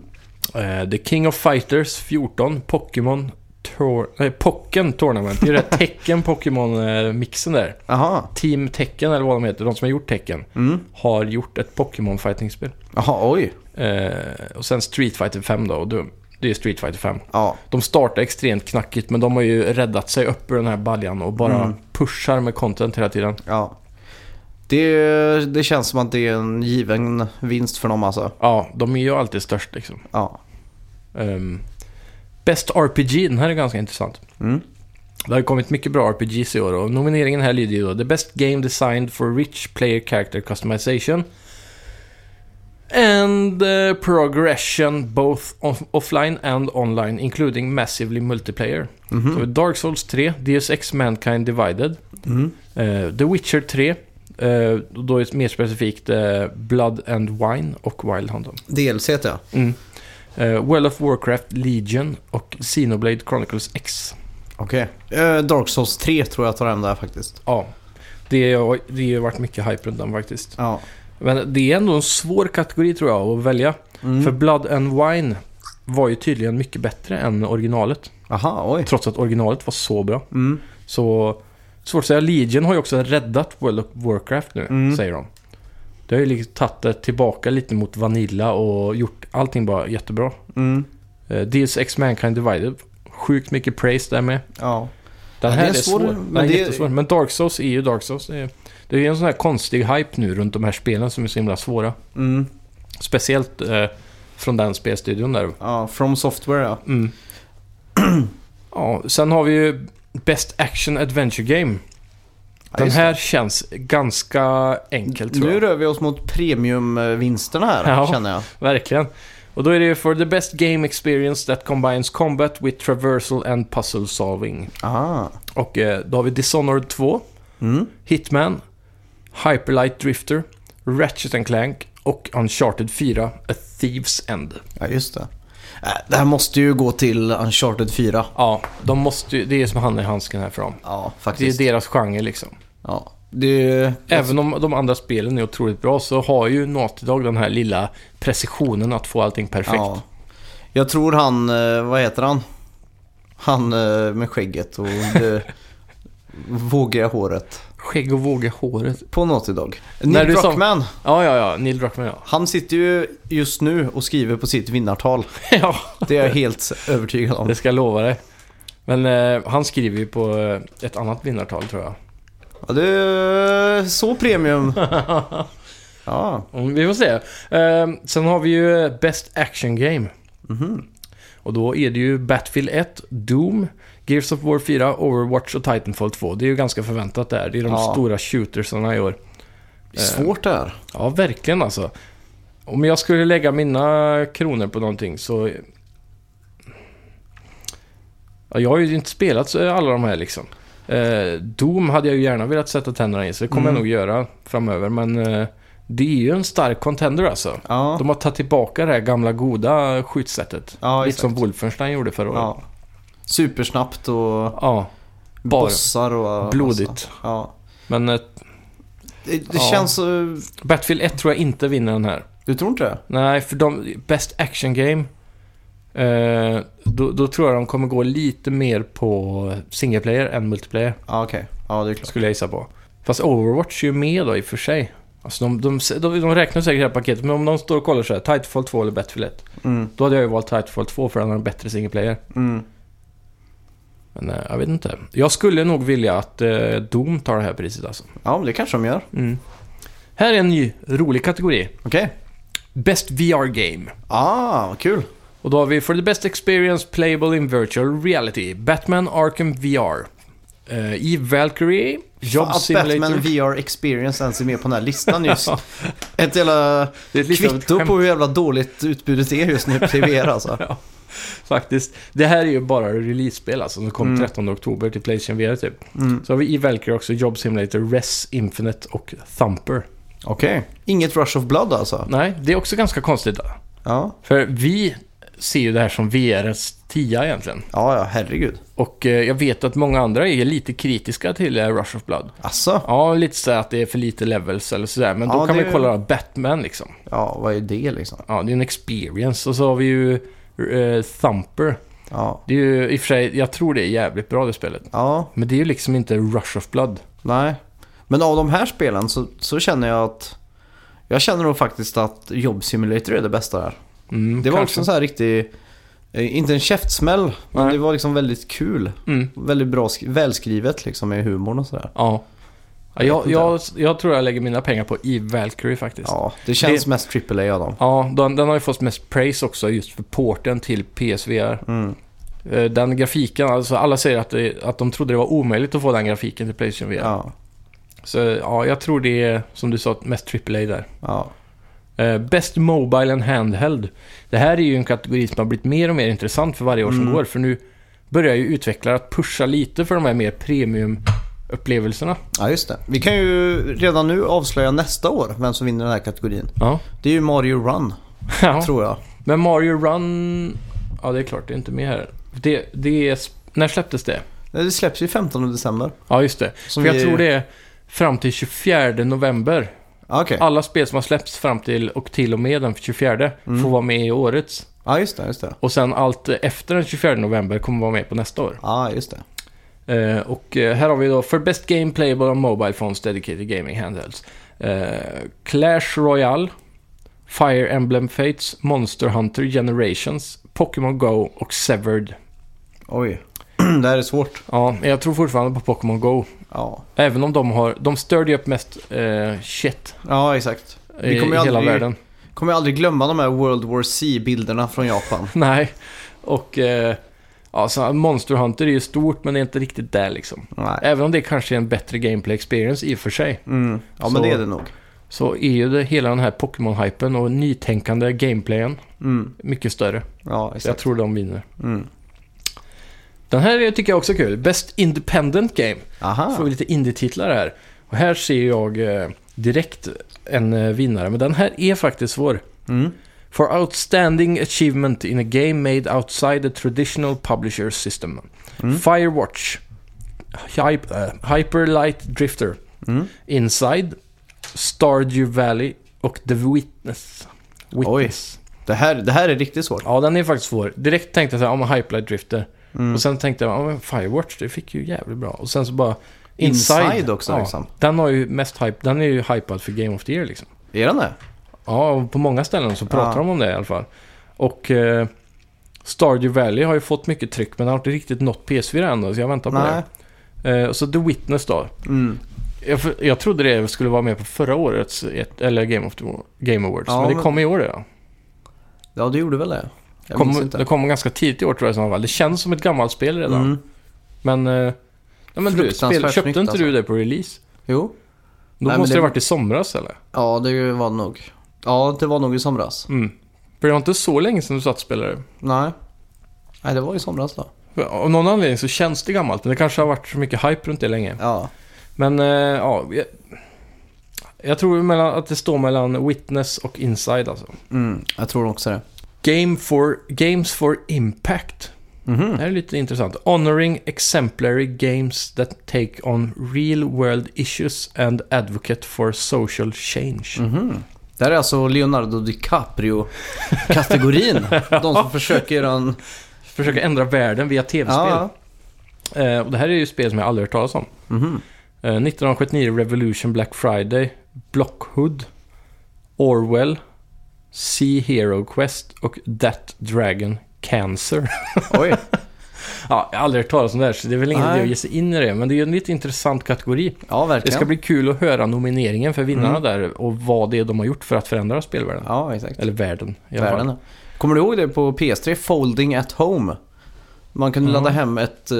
[SPEAKER 1] Eh, The King of Fighters 14. Pokémon Tor- nej, Pocken Tournament. Det är ju det här tecken Pokémon-mixen där.
[SPEAKER 2] Jaha.
[SPEAKER 1] Team Tekken eller vad de heter, de som har gjort tecken.
[SPEAKER 2] Mm.
[SPEAKER 1] Har gjort ett Pokémon fighting-spel.
[SPEAKER 2] Jaha, oj.
[SPEAKER 1] Eh, och sen Street Fighter 5 då. Och då- det är Street Fighter 5.
[SPEAKER 2] Ja.
[SPEAKER 1] De startar extremt knackigt men de har ju räddat sig upp ur den här baljan och bara
[SPEAKER 2] Mm.
[SPEAKER 1] pushar med content hela tiden.
[SPEAKER 2] ja. Det, det känns som att det är en given vinst för dem alltså.
[SPEAKER 1] Ja, de är ju alltid störst liksom.
[SPEAKER 2] Ja.
[SPEAKER 1] Ehm, Best RPG, den här är ganska intressant.
[SPEAKER 2] Mm.
[SPEAKER 1] Det har ju kommit mycket bra RPGs i år och nomineringen här lyder ju då The Best Game Designed for Rich Player Character Customization And eh, Progression both off- offline and online including massively multiplayer. Så Dark Souls 3, Deus Ex Mankind Divided,
[SPEAKER 2] Mm.
[SPEAKER 1] eh, The Witcher 3, eh, och då är det mer specifikt eh, Blood and Wine och Wild Hunt. då.
[SPEAKER 2] DLC ja.
[SPEAKER 1] Mm. Eh, World of Warcraft Legion och Xenoblade Chronicles X.
[SPEAKER 2] Okej. Eh, Dark Souls 3 tror jag tar hem där faktiskt.
[SPEAKER 1] Ja, det har det har ju varit mycket hype runt den faktiskt.
[SPEAKER 2] Ja.
[SPEAKER 1] Men det är ändå en svår kategori tror jag att välja.
[SPEAKER 2] Mm.
[SPEAKER 1] För Blood and Wine var ju tydligen mycket bättre än originalet.
[SPEAKER 2] Aha, oj.
[SPEAKER 1] Trots att originalet var så bra.
[SPEAKER 2] Mm.
[SPEAKER 1] Så svårt att säga. Legion har ju också räddat World of Warcraft nu,
[SPEAKER 2] Mm.
[SPEAKER 1] säger de. Det har ju liksom tagit det tillbaka lite mot Vanilla och gjort allting bara jättebra.
[SPEAKER 2] Mm.
[SPEAKER 1] Eh, Deus Ex Mankind Divided. Sjukt mycket praise där med.
[SPEAKER 2] Ja.
[SPEAKER 1] Den
[SPEAKER 2] Ja,
[SPEAKER 1] här
[SPEAKER 2] det
[SPEAKER 1] är,
[SPEAKER 2] är svår,
[SPEAKER 1] svår,
[SPEAKER 2] men
[SPEAKER 1] men den är
[SPEAKER 2] det-
[SPEAKER 1] jättesvår. Men Dark Souls är ju Dark Souls. Det är, det är ju en sån här konstig hype nu runt de här spelen som är så himla svåra.
[SPEAKER 2] Mm.
[SPEAKER 1] Speciellt eh, från den spelstudion där.
[SPEAKER 2] Ja, From Software ja.
[SPEAKER 1] Mm. ja, sen har vi ju Best Action Adventure Game.
[SPEAKER 2] Ja,
[SPEAKER 1] Den
[SPEAKER 2] just
[SPEAKER 1] här känns ganska enkel tror jag.
[SPEAKER 2] Nu rör vi oss mot premiumvinsterna här,
[SPEAKER 1] Ja.
[SPEAKER 2] känner jag.
[SPEAKER 1] Verkligen. Och då är det ju for the best game experience that combines combat with traversal and puzzle solving.
[SPEAKER 2] Ah.
[SPEAKER 1] Och eh, då har vi Dishonored 2,
[SPEAKER 2] Mm.
[SPEAKER 1] Hitman, Hyperlight Drifter, Ratchet and Clank och Uncharted 4, A Thieves End.
[SPEAKER 2] Ja, just det. Äh, Det här måste ju gå till Uncharted 4.
[SPEAKER 1] Ja, de måste ju, det är som handen i handsken här för dem.
[SPEAKER 2] Ja,
[SPEAKER 1] Det är
[SPEAKER 2] faktiskt.
[SPEAKER 1] deras genre liksom.
[SPEAKER 2] Ja. Det är...
[SPEAKER 1] Även om de andra spelen är otroligt bra så har ju Naughty Dog den här lilla precisionen att få allting perfekt.
[SPEAKER 2] Ja. Jag tror han, eh, vad heter han? Han eh, med skägget och det vågiga håret.
[SPEAKER 1] Skägg och våga håret.
[SPEAKER 2] På Naughty Dog.
[SPEAKER 1] När
[SPEAKER 2] Neil
[SPEAKER 1] du sa-
[SPEAKER 2] Druckmann,
[SPEAKER 1] Ja, ja, ja. Neil Druckmann, ja.
[SPEAKER 2] han sitter ju just nu och skriver på sitt vinnartal.
[SPEAKER 1] ja.
[SPEAKER 2] Det är jag helt övertygad om.
[SPEAKER 1] Det ska jag lova dig. Men eh, han skriver ju på eh, ett annat vinnartal tror jag.
[SPEAKER 2] Ja, det är så premium. Ja,
[SPEAKER 1] Mm, vi får se. Eh, sen har vi ju eh, Best Action Game. Mhm. Och då är det ju Battlefield 1, Doom, Gears of War 4, Overwatch och Titanfall 2. Det är ju ganska förväntat där. Det är de
[SPEAKER 2] Ja.
[SPEAKER 1] stora shootersarna i år.
[SPEAKER 2] det är svårt det här.
[SPEAKER 1] Ja, verkligen alltså. Om jag skulle lägga mina kronor på någonting så... Ja, jag har ju inte spelat så- alla de här liksom. Eh, Doom hade jag ju gärna velat sätta tänderna i, så det kommer
[SPEAKER 2] Mm.
[SPEAKER 1] jag nog göra framöver. Men eh, det är ju en stark contender alltså.
[SPEAKER 2] Ja,
[SPEAKER 1] De har tagit tillbaka det här gamla goda skjutsättet.
[SPEAKER 2] ja
[SPEAKER 1] Lite som
[SPEAKER 2] exakt.
[SPEAKER 1] Wolfenstein gjorde förra året. Ja.
[SPEAKER 2] Ja. Supersnabbt och
[SPEAKER 1] Bara.
[SPEAKER 2] bossar och...
[SPEAKER 1] Blodigt.
[SPEAKER 2] Ja.
[SPEAKER 1] Men eh,
[SPEAKER 2] Det, det
[SPEAKER 1] Ja.
[SPEAKER 2] känns... eh,
[SPEAKER 1] Battlefield 1 tror jag inte vinner den här.
[SPEAKER 2] Du tror inte det?
[SPEAKER 1] Nej, för de, Best Action Game, eh, då, då tror jag de kommer gå lite mer på single player än multiplayer,
[SPEAKER 2] Ja, okej. Ja, det är klart.
[SPEAKER 1] skulle jag gissa på. Fast Overwatch är ju med då i och för sig. Alltså de, de, de, de räknar säkert det här paketet, men om de står och kollar så här, Titanfall 2 eller Battlefield 1,
[SPEAKER 2] Mm.
[SPEAKER 1] då hade jag ju valt Titanfall 2 för den har en bättre single player.
[SPEAKER 2] Mm.
[SPEAKER 1] Men eh, jag vet inte. Jag skulle nog vilja att eh, Doom tar det här priset alltså.
[SPEAKER 2] Ja, men det kanske de gör.
[SPEAKER 1] Här är en ny rolig kategori.
[SPEAKER 2] Okej.
[SPEAKER 1] Best VR Game.
[SPEAKER 2] Ah, vad kul.
[SPEAKER 1] Och då har vi For the best experience playable in virtual reality, Batman Arkham VR. Eh, I Valkyrie, Job
[SPEAKER 2] Fan, att
[SPEAKER 1] Simulator.
[SPEAKER 2] Batman VR Experience ens är med på den här listan just. ett jävla
[SPEAKER 1] det är ett litet
[SPEAKER 2] kvitto
[SPEAKER 1] skämt,
[SPEAKER 2] på hur jävla dåligt utbudet är just nu på VR alltså.
[SPEAKER 1] Faktiskt. Det här är ju bara release-spel alltså, som kom
[SPEAKER 2] Mm.
[SPEAKER 1] 13 oktober till Playstation VR typ.
[SPEAKER 2] Mm.
[SPEAKER 1] Så har vi i Valkyrie också Job Simulator, Res Infinite och Thumper.
[SPEAKER 2] Okej. Inget Rush of Blood alltså?
[SPEAKER 1] Nej, det är också ganska konstigt. då.
[SPEAKER 2] Ja.
[SPEAKER 1] För vi ser ju det här som VRs 10 egentligen.
[SPEAKER 2] Ja, ja, herregud.
[SPEAKER 1] Och eh, jag vet att många andra är lite kritiska till eh, Rush of Blood.
[SPEAKER 2] Alltså.
[SPEAKER 1] Ja, lite så här att det är för lite levels eller sådär. Men då
[SPEAKER 2] Ja,
[SPEAKER 1] kan
[SPEAKER 2] det-
[SPEAKER 1] vi kolla Batman liksom.
[SPEAKER 2] Ja, vad är det liksom?
[SPEAKER 1] Ja, det är en experience. Och så har vi ju eh, Thumper.
[SPEAKER 2] Ja.
[SPEAKER 1] Det är ju i och för sig, jag tror det är jävligt bra det spelet.
[SPEAKER 2] Ja,
[SPEAKER 1] Men det är ju liksom inte Rush of Blood.
[SPEAKER 2] nej. Men av de här spelen så, så känner jag att... Jag känner nog faktiskt att Job Simulator är det bästa här.
[SPEAKER 1] Mm,
[SPEAKER 2] Det var
[SPEAKER 1] kanske.
[SPEAKER 2] också en sån här riktig, eh, inte en käftsmäll, men
[SPEAKER 1] Nej.
[SPEAKER 2] det var liksom väldigt kul.
[SPEAKER 1] Mm,
[SPEAKER 2] Väldigt bra, sk- välskrivet liksom med humorn och sådär.
[SPEAKER 1] ja. ja
[SPEAKER 2] Jag vet
[SPEAKER 1] jag,
[SPEAKER 2] inte.
[SPEAKER 1] jag, jag tror jag lägger mina pengar på Eve Valkyrie faktiskt. Ja.
[SPEAKER 2] Ja, det känns mest AAA av dem.
[SPEAKER 1] den, den har ju fått mest praise också just för porten till PSVR.
[SPEAKER 2] Mm.
[SPEAKER 1] Eh, Den grafiken, alltså alla säger att, det, att de trodde det var omöjligt att få den grafiken till Playstation VR.
[SPEAKER 2] Ja,
[SPEAKER 1] Så ja, jag tror det är, som du sa, mest AAA där.
[SPEAKER 2] ja.
[SPEAKER 1] Eh, Best Mobile and Handheld. Det här är ju en kategori som har blivit mer och mer intressant för varje år som
[SPEAKER 2] Mm.
[SPEAKER 1] går. För nu börjar ju utvecklare att pusha lite för de här mer premiumupplevelserna.
[SPEAKER 2] ja, just det. Vi kan ju redan nu avslöja nästa år vem som vinner den här kategorin.
[SPEAKER 1] Ja.
[SPEAKER 2] Det är ju Mario Run,
[SPEAKER 1] ja.
[SPEAKER 2] tror jag.
[SPEAKER 1] Men Mario Run... Ja, det är klart, det är inte med här. Det, det är... sp- När släpptes det?
[SPEAKER 2] Nej, Det släpps ju 15 december.
[SPEAKER 1] Ja, just det.
[SPEAKER 2] Som
[SPEAKER 1] för jag
[SPEAKER 2] vi-
[SPEAKER 1] tror det är fram till 24 november.
[SPEAKER 2] Ja, Okej.
[SPEAKER 1] Alla spel som har släppts fram till och till och med den 24
[SPEAKER 2] Mm.
[SPEAKER 1] får vara med i årets.
[SPEAKER 2] Ja, just det. Just det.
[SPEAKER 1] Och sen allt efter den 24 november kommer vara med på nästa år.
[SPEAKER 2] Ja, just det.
[SPEAKER 1] Eh, och eh, här har vi då för Best Game Playable on Mobile Phones Dedicated Gaming Handhelds. Eh, Clash Royale, Fire Emblem Fates, Monster Hunter Generations, Pokémon Go och Severed.
[SPEAKER 2] Oj. det här är svårt.
[SPEAKER 1] Ja, men jag tror fortfarande på Pokémon Go.
[SPEAKER 2] Ja,
[SPEAKER 1] Även om de har... De störde ju upp mest eh, shit
[SPEAKER 2] ja exakt.
[SPEAKER 1] i,
[SPEAKER 2] Vi kommer
[SPEAKER 1] i
[SPEAKER 2] ju
[SPEAKER 1] hela
[SPEAKER 2] aldrig,
[SPEAKER 1] världen.
[SPEAKER 2] kommer ju aldrig glömma de här World War C-bilderna från Japan.
[SPEAKER 1] Nej. Och... Eh, ja, så Monster Hunter är ju stort, men det är inte riktigt där liksom.
[SPEAKER 2] Nej.
[SPEAKER 1] Även om det kanske är en bättre gameplay experience i och för sig.
[SPEAKER 2] Mm. Ja, men
[SPEAKER 1] Så-
[SPEAKER 2] det är det nog.
[SPEAKER 1] Så är ju det, hela den här Pokémon-hypen och nytänkande gameplayen
[SPEAKER 2] Mm.
[SPEAKER 1] mycket större.
[SPEAKER 2] Ja,
[SPEAKER 1] Så jag
[SPEAKER 2] exakt.
[SPEAKER 1] tror de vinner.
[SPEAKER 2] Mm.
[SPEAKER 1] Den här tycker jag också är kul. Best Independent Game.
[SPEAKER 2] Aha.
[SPEAKER 1] Får vi lite indie-titlar här. Och här ser jag eh, direkt en eh, vinnare. Men den här är faktiskt svår.
[SPEAKER 2] Mm.
[SPEAKER 1] For outstanding achievement in a game made outside the traditional publisher system.
[SPEAKER 2] Mm.
[SPEAKER 1] Firewatch. Hype, eh, Hyper Light Drifter.
[SPEAKER 2] Mm.
[SPEAKER 1] Inside. Stardew Valley. Och The Witness. Witness.
[SPEAKER 2] Det, här, det här är riktigt svårt.
[SPEAKER 1] Ja, den är faktiskt svår. Direkt tänkte jag så här, om Hype Light Drifter.
[SPEAKER 2] Mm.
[SPEAKER 1] Och sen tänkte jag, ja men Firewatch, det fick ju jävligt bra. Och sen så bara...
[SPEAKER 2] Inside, också
[SPEAKER 1] ja,
[SPEAKER 2] liksom.
[SPEAKER 1] Den har ju mest hype, den är ju hypad för Game of the Year liksom.
[SPEAKER 2] Är den det?
[SPEAKER 1] Ja, och på många ställen så pratar
[SPEAKER 2] Ja.
[SPEAKER 1] de om det i alla fall. Och eh, Stardew Valley har ju fått mycket tryck, men har inte riktigt nått PS4 än, så jag väntar på
[SPEAKER 2] Nej.
[SPEAKER 1] det. Eh, och så The Witness då.
[SPEAKER 2] Mm.
[SPEAKER 1] Jag, för- jag trodde det skulle vara med på förra årets, ett, eller Game, of the, Game Awards,
[SPEAKER 2] Ja,
[SPEAKER 1] men det
[SPEAKER 2] men-
[SPEAKER 1] kom i år ja.
[SPEAKER 2] Ja, det gjorde väl det. Jag minns
[SPEAKER 1] Kom,
[SPEAKER 2] inte.
[SPEAKER 1] det kom ganska tidigt i år tror jag i så fall. Det känns som ett gammalt spel redan.
[SPEAKER 2] Mm.
[SPEAKER 1] Men, eh, ja, men du,
[SPEAKER 2] Fruktansvärt
[SPEAKER 1] spel, köpte
[SPEAKER 2] snyggt,
[SPEAKER 1] inte du det
[SPEAKER 2] alltså.
[SPEAKER 1] på release?
[SPEAKER 2] Jo.
[SPEAKER 1] Då
[SPEAKER 2] Nej, men
[SPEAKER 1] måste
[SPEAKER 2] det-
[SPEAKER 1] det ha varit i somras eller?
[SPEAKER 2] Ja, det var det nog. Ja, det var nog i somras.
[SPEAKER 1] Mm. För det var inte så länge sedan du satt och spelade.
[SPEAKER 2] Nej. Nej, det var i somras då.
[SPEAKER 1] För Av någon anledning så känns det gammalt, men det kanske har varit så mycket hype runt det länge.
[SPEAKER 2] Ja.
[SPEAKER 1] Men, eh, ja. Jag, jag tror mellan, att det står mellan Witness och Inside alltså.
[SPEAKER 2] Mm. Jag tror också det.
[SPEAKER 1] Game for, games for Impact.
[SPEAKER 2] Mhm.
[SPEAKER 1] Det här är lite intressant. Honoring exemplary games that take on real world issues and advocate for social change.
[SPEAKER 2] Mhm. Det här är alltså Leonardo DiCaprio-kategorin. De som försöker göra en...
[SPEAKER 1] Försöka ändra världen via tv-spel.
[SPEAKER 2] Ja.
[SPEAKER 1] Eh, och det här är ju spel som jag aldrig hört talas om.
[SPEAKER 2] Mhm.
[SPEAKER 1] Eh, 1979 Revolution, Black Friday, Blockhood, Orwell, Sea Hero Quest och That Dragon Cancer.
[SPEAKER 2] Oj.
[SPEAKER 1] ja, jag har aldrig hört talas om det här, så det är väl ingen
[SPEAKER 2] Nej.
[SPEAKER 1] idé att ge sig in i det. Men det är ju en lite intressant kategori.
[SPEAKER 2] Ja,
[SPEAKER 1] Det
[SPEAKER 2] verkligen. Mm.
[SPEAKER 1] ska bli kul att höra nomineringen för vinnarna där och vad det är de har gjort för att förändra spelvärlden.
[SPEAKER 2] Ja, exakt.
[SPEAKER 1] Eller världen i alla fall.
[SPEAKER 2] Världen. Kommer du ihåg det på PS3? Folding at home. Man kunde
[SPEAKER 1] Mm.
[SPEAKER 2] ladda hem ett, eh,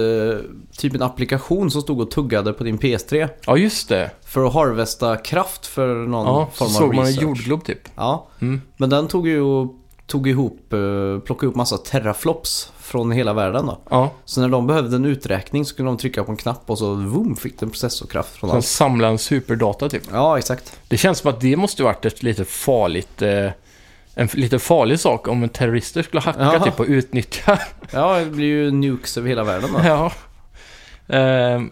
[SPEAKER 2] typ en applikation som stod och tuggade på din PS3
[SPEAKER 1] Ja, just det.
[SPEAKER 2] för att harvesta kraft för någon
[SPEAKER 1] Ja, så
[SPEAKER 2] form av
[SPEAKER 1] såg man en
[SPEAKER 2] research.
[SPEAKER 1] jordglob typ.
[SPEAKER 2] Ja,
[SPEAKER 1] Mm.
[SPEAKER 2] men den tog ju och tog ihop, eh, plockade ihop massa terraflops från hela världen då.
[SPEAKER 1] Ja,
[SPEAKER 2] Så när de behövde en uträkning så kunde de trycka på en knapp och så vroom fick den processorkraft från
[SPEAKER 1] som
[SPEAKER 2] allt.
[SPEAKER 1] samla en superdata typ.
[SPEAKER 2] Ja, exakt.
[SPEAKER 1] Det känns som att det måste ju varit ett lite farligt... Eh, en f- lite farlig sak om en terrorister skulle hacka
[SPEAKER 2] Ja.
[SPEAKER 1] typ och utnyttja.
[SPEAKER 2] Ja, det blir ju nukes över hela världen då.
[SPEAKER 1] ja. Ehm,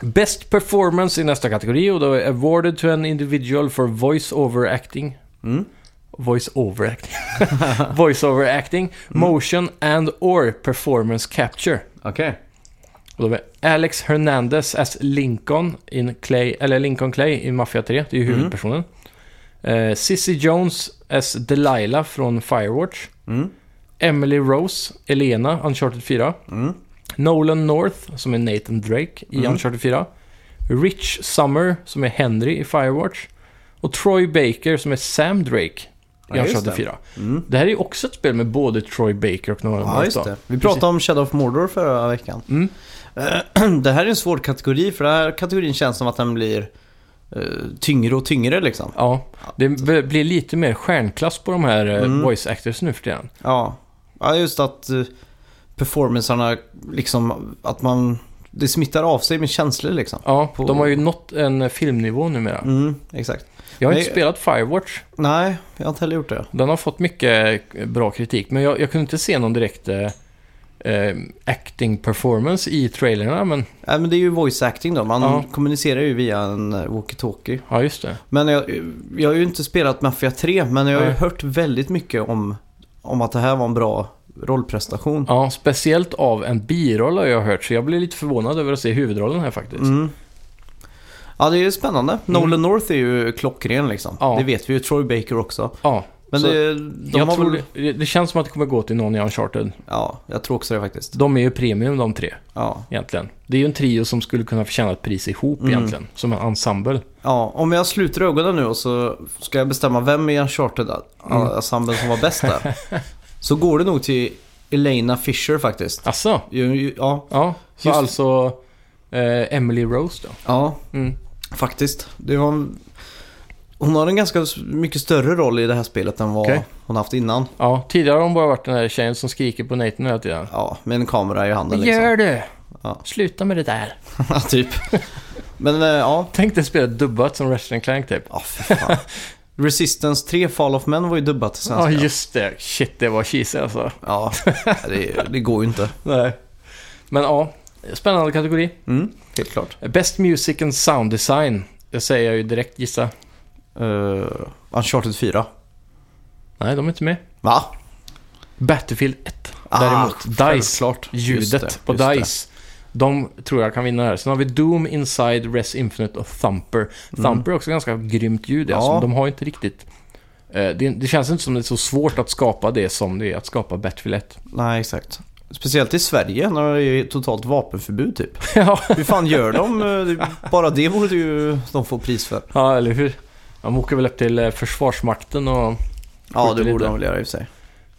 [SPEAKER 1] best performance i nästa kategori och då är awarded to an individual for voice over acting.
[SPEAKER 2] Mm.
[SPEAKER 1] Voice over acting. voice over acting. Motion and or performance capture.
[SPEAKER 2] Okej.
[SPEAKER 1] Och då är Alex Hernandez as Lincoln in Clay, eller Lincoln Clay i Mafia 3, det är ju
[SPEAKER 2] Mm.
[SPEAKER 1] huvudpersonen. Eh, Sissy Jones as Delilah från Firewatch.
[SPEAKER 2] Mm.
[SPEAKER 1] Emily Rose, Elena, Uncharted 4.
[SPEAKER 2] Mm.
[SPEAKER 1] Nolan North, som är Nathan Drake i
[SPEAKER 2] Mm.
[SPEAKER 1] Uncharted 4. Rich Summer, som är Henry i Firewatch. Och Troy Baker, som är Sam Drake i
[SPEAKER 2] Ja, just
[SPEAKER 1] Uncharted
[SPEAKER 2] det.
[SPEAKER 1] 4.
[SPEAKER 2] Mm.
[SPEAKER 1] Det här är ju också ett spel med både Troy Baker och några
[SPEAKER 2] Ja,
[SPEAKER 1] andra
[SPEAKER 2] just
[SPEAKER 1] då.
[SPEAKER 2] det. Vi pratade om Shadow of Mordor förra veckan.
[SPEAKER 1] Mm.
[SPEAKER 2] Det här är en svår kategori för den här kategorin känns som att den blir eh, tyngre och tyngre liksom.
[SPEAKER 1] Ja, det b- blir lite mer stjärnklass på de här eh,
[SPEAKER 2] Mm.
[SPEAKER 1] voice actors nu för tiden.
[SPEAKER 2] Ja, ja just att eh, performancerna liksom, att man, det smittar av sig med känslor liksom.
[SPEAKER 1] Ja,
[SPEAKER 2] På-
[SPEAKER 1] de har ju nått en eh, filmnivå numera.
[SPEAKER 2] Mm, exakt.
[SPEAKER 1] Jag har
[SPEAKER 2] Men-
[SPEAKER 1] inte spelat Firewatch.
[SPEAKER 2] Nej, jag har inte heller gjort det.
[SPEAKER 1] Den har fått mycket eh, bra kritik, men jag, jag kunde inte se någon direkt eh, eh, acting performance i trailerna. Men
[SPEAKER 2] Nej, men det är ju voice acting då. Man
[SPEAKER 1] Ja.
[SPEAKER 2] kommunicerar ju via en eh, walkie-talkie.
[SPEAKER 1] ja, just det.
[SPEAKER 2] Men jag, jag har ju inte spelat Mafia 3, men jag har ju
[SPEAKER 1] Nej.
[SPEAKER 2] hört väldigt mycket om, om att det här var en bra rollprestation.
[SPEAKER 1] Ja, speciellt av en biroll har jag hört, så jag blev lite förvånad över att se huvudrollen här faktiskt.
[SPEAKER 2] Mm. Ja, det är ju spännande. Nolan North är ju klockren liksom.
[SPEAKER 1] Mm. Ja.
[SPEAKER 2] Det vet vi ju. Troy Baker också.
[SPEAKER 1] Ja,
[SPEAKER 2] Men
[SPEAKER 1] Så
[SPEAKER 2] det, de
[SPEAKER 1] jag
[SPEAKER 2] har
[SPEAKER 1] tror
[SPEAKER 2] väl...
[SPEAKER 1] det, det känns som att det kommer gå till någon i Uncharted.
[SPEAKER 2] Ja, jag tror också det faktiskt.
[SPEAKER 1] De är ju premium de tre,
[SPEAKER 2] Ja.
[SPEAKER 1] egentligen. Det är ju en trio som skulle kunna förtjäna ett pris ihop, egentligen. Som en ensemble.
[SPEAKER 2] ja, om jag sluter ögonen nu och så ska jag bestämma vem i
[SPEAKER 1] Mm.
[SPEAKER 2] Uncharted-ensemblen som var bäst där. så går det nog till Elena Fisher faktiskt.
[SPEAKER 1] Asså?
[SPEAKER 2] Ju- ju- Ja,
[SPEAKER 1] Ja, så
[SPEAKER 2] Just-
[SPEAKER 1] alltså eh, Emily Rose då.
[SPEAKER 2] ja
[SPEAKER 1] Mm.
[SPEAKER 2] faktiskt. Det var en... Hon har en ganska s- mycket större roll i det här spelet än vad
[SPEAKER 1] Okej.
[SPEAKER 2] hon haft innan.
[SPEAKER 1] Ja, tidigare har hon bara varit den här tjejen som skriker på Nathan hela tiden.
[SPEAKER 2] Ja, med en kamera i handen
[SPEAKER 1] Vad
[SPEAKER 2] liksom.
[SPEAKER 1] gör du?
[SPEAKER 2] Ja.
[SPEAKER 1] Sluta med det där.
[SPEAKER 2] Ja, typ. Men eh, ja,
[SPEAKER 1] Tänk dig spela dubbat som Ratchet Clank typ.
[SPEAKER 2] Ja, fy fan. Resistance 3 Fall of Men var ju dubbat till
[SPEAKER 1] Ja,
[SPEAKER 2] svenska.
[SPEAKER 1] just det. Shit, det var cheesy alltså.
[SPEAKER 2] Ja, det, det går ju inte.
[SPEAKER 1] Nej. Men ja, spännande kategori.
[SPEAKER 2] Mm, helt klart.
[SPEAKER 1] Best Music and Sound Design. Det säger jag ju direkt gissa.
[SPEAKER 2] Uh, Uncharted 4.
[SPEAKER 1] Nej, de är inte med.
[SPEAKER 2] Va?
[SPEAKER 1] Battlefield 1
[SPEAKER 2] Ah,
[SPEAKER 1] däremot. DICE.
[SPEAKER 2] självklart. Just
[SPEAKER 1] Ljudet
[SPEAKER 2] det,
[SPEAKER 1] på
[SPEAKER 2] just det.
[SPEAKER 1] DICE. De tror jag kan vinna här. Sen har vi Doom, Inside, Res Infinite och Thumper. Thumper är också ganska grymt ljud.
[SPEAKER 2] Mm. Ja.
[SPEAKER 1] Alltså, de har ju inte riktigt... eh, Det, det känns inte som det är så svårt att skapa det som det är att skapa Battlefield 1.
[SPEAKER 2] Nej, exakt. Speciellt i Sverige när det är totalt vapenförbud typ.
[SPEAKER 1] ja.
[SPEAKER 2] Hur fan gör de? Eh, det- Bara det borde ju de få pris för.
[SPEAKER 1] ja, eller hur? De åker väl upp till eh, Försvarsmakten och...
[SPEAKER 2] Ja, det
[SPEAKER 1] Skjuter
[SPEAKER 2] borde
[SPEAKER 1] lite.
[SPEAKER 2] de väl göra i och för sig.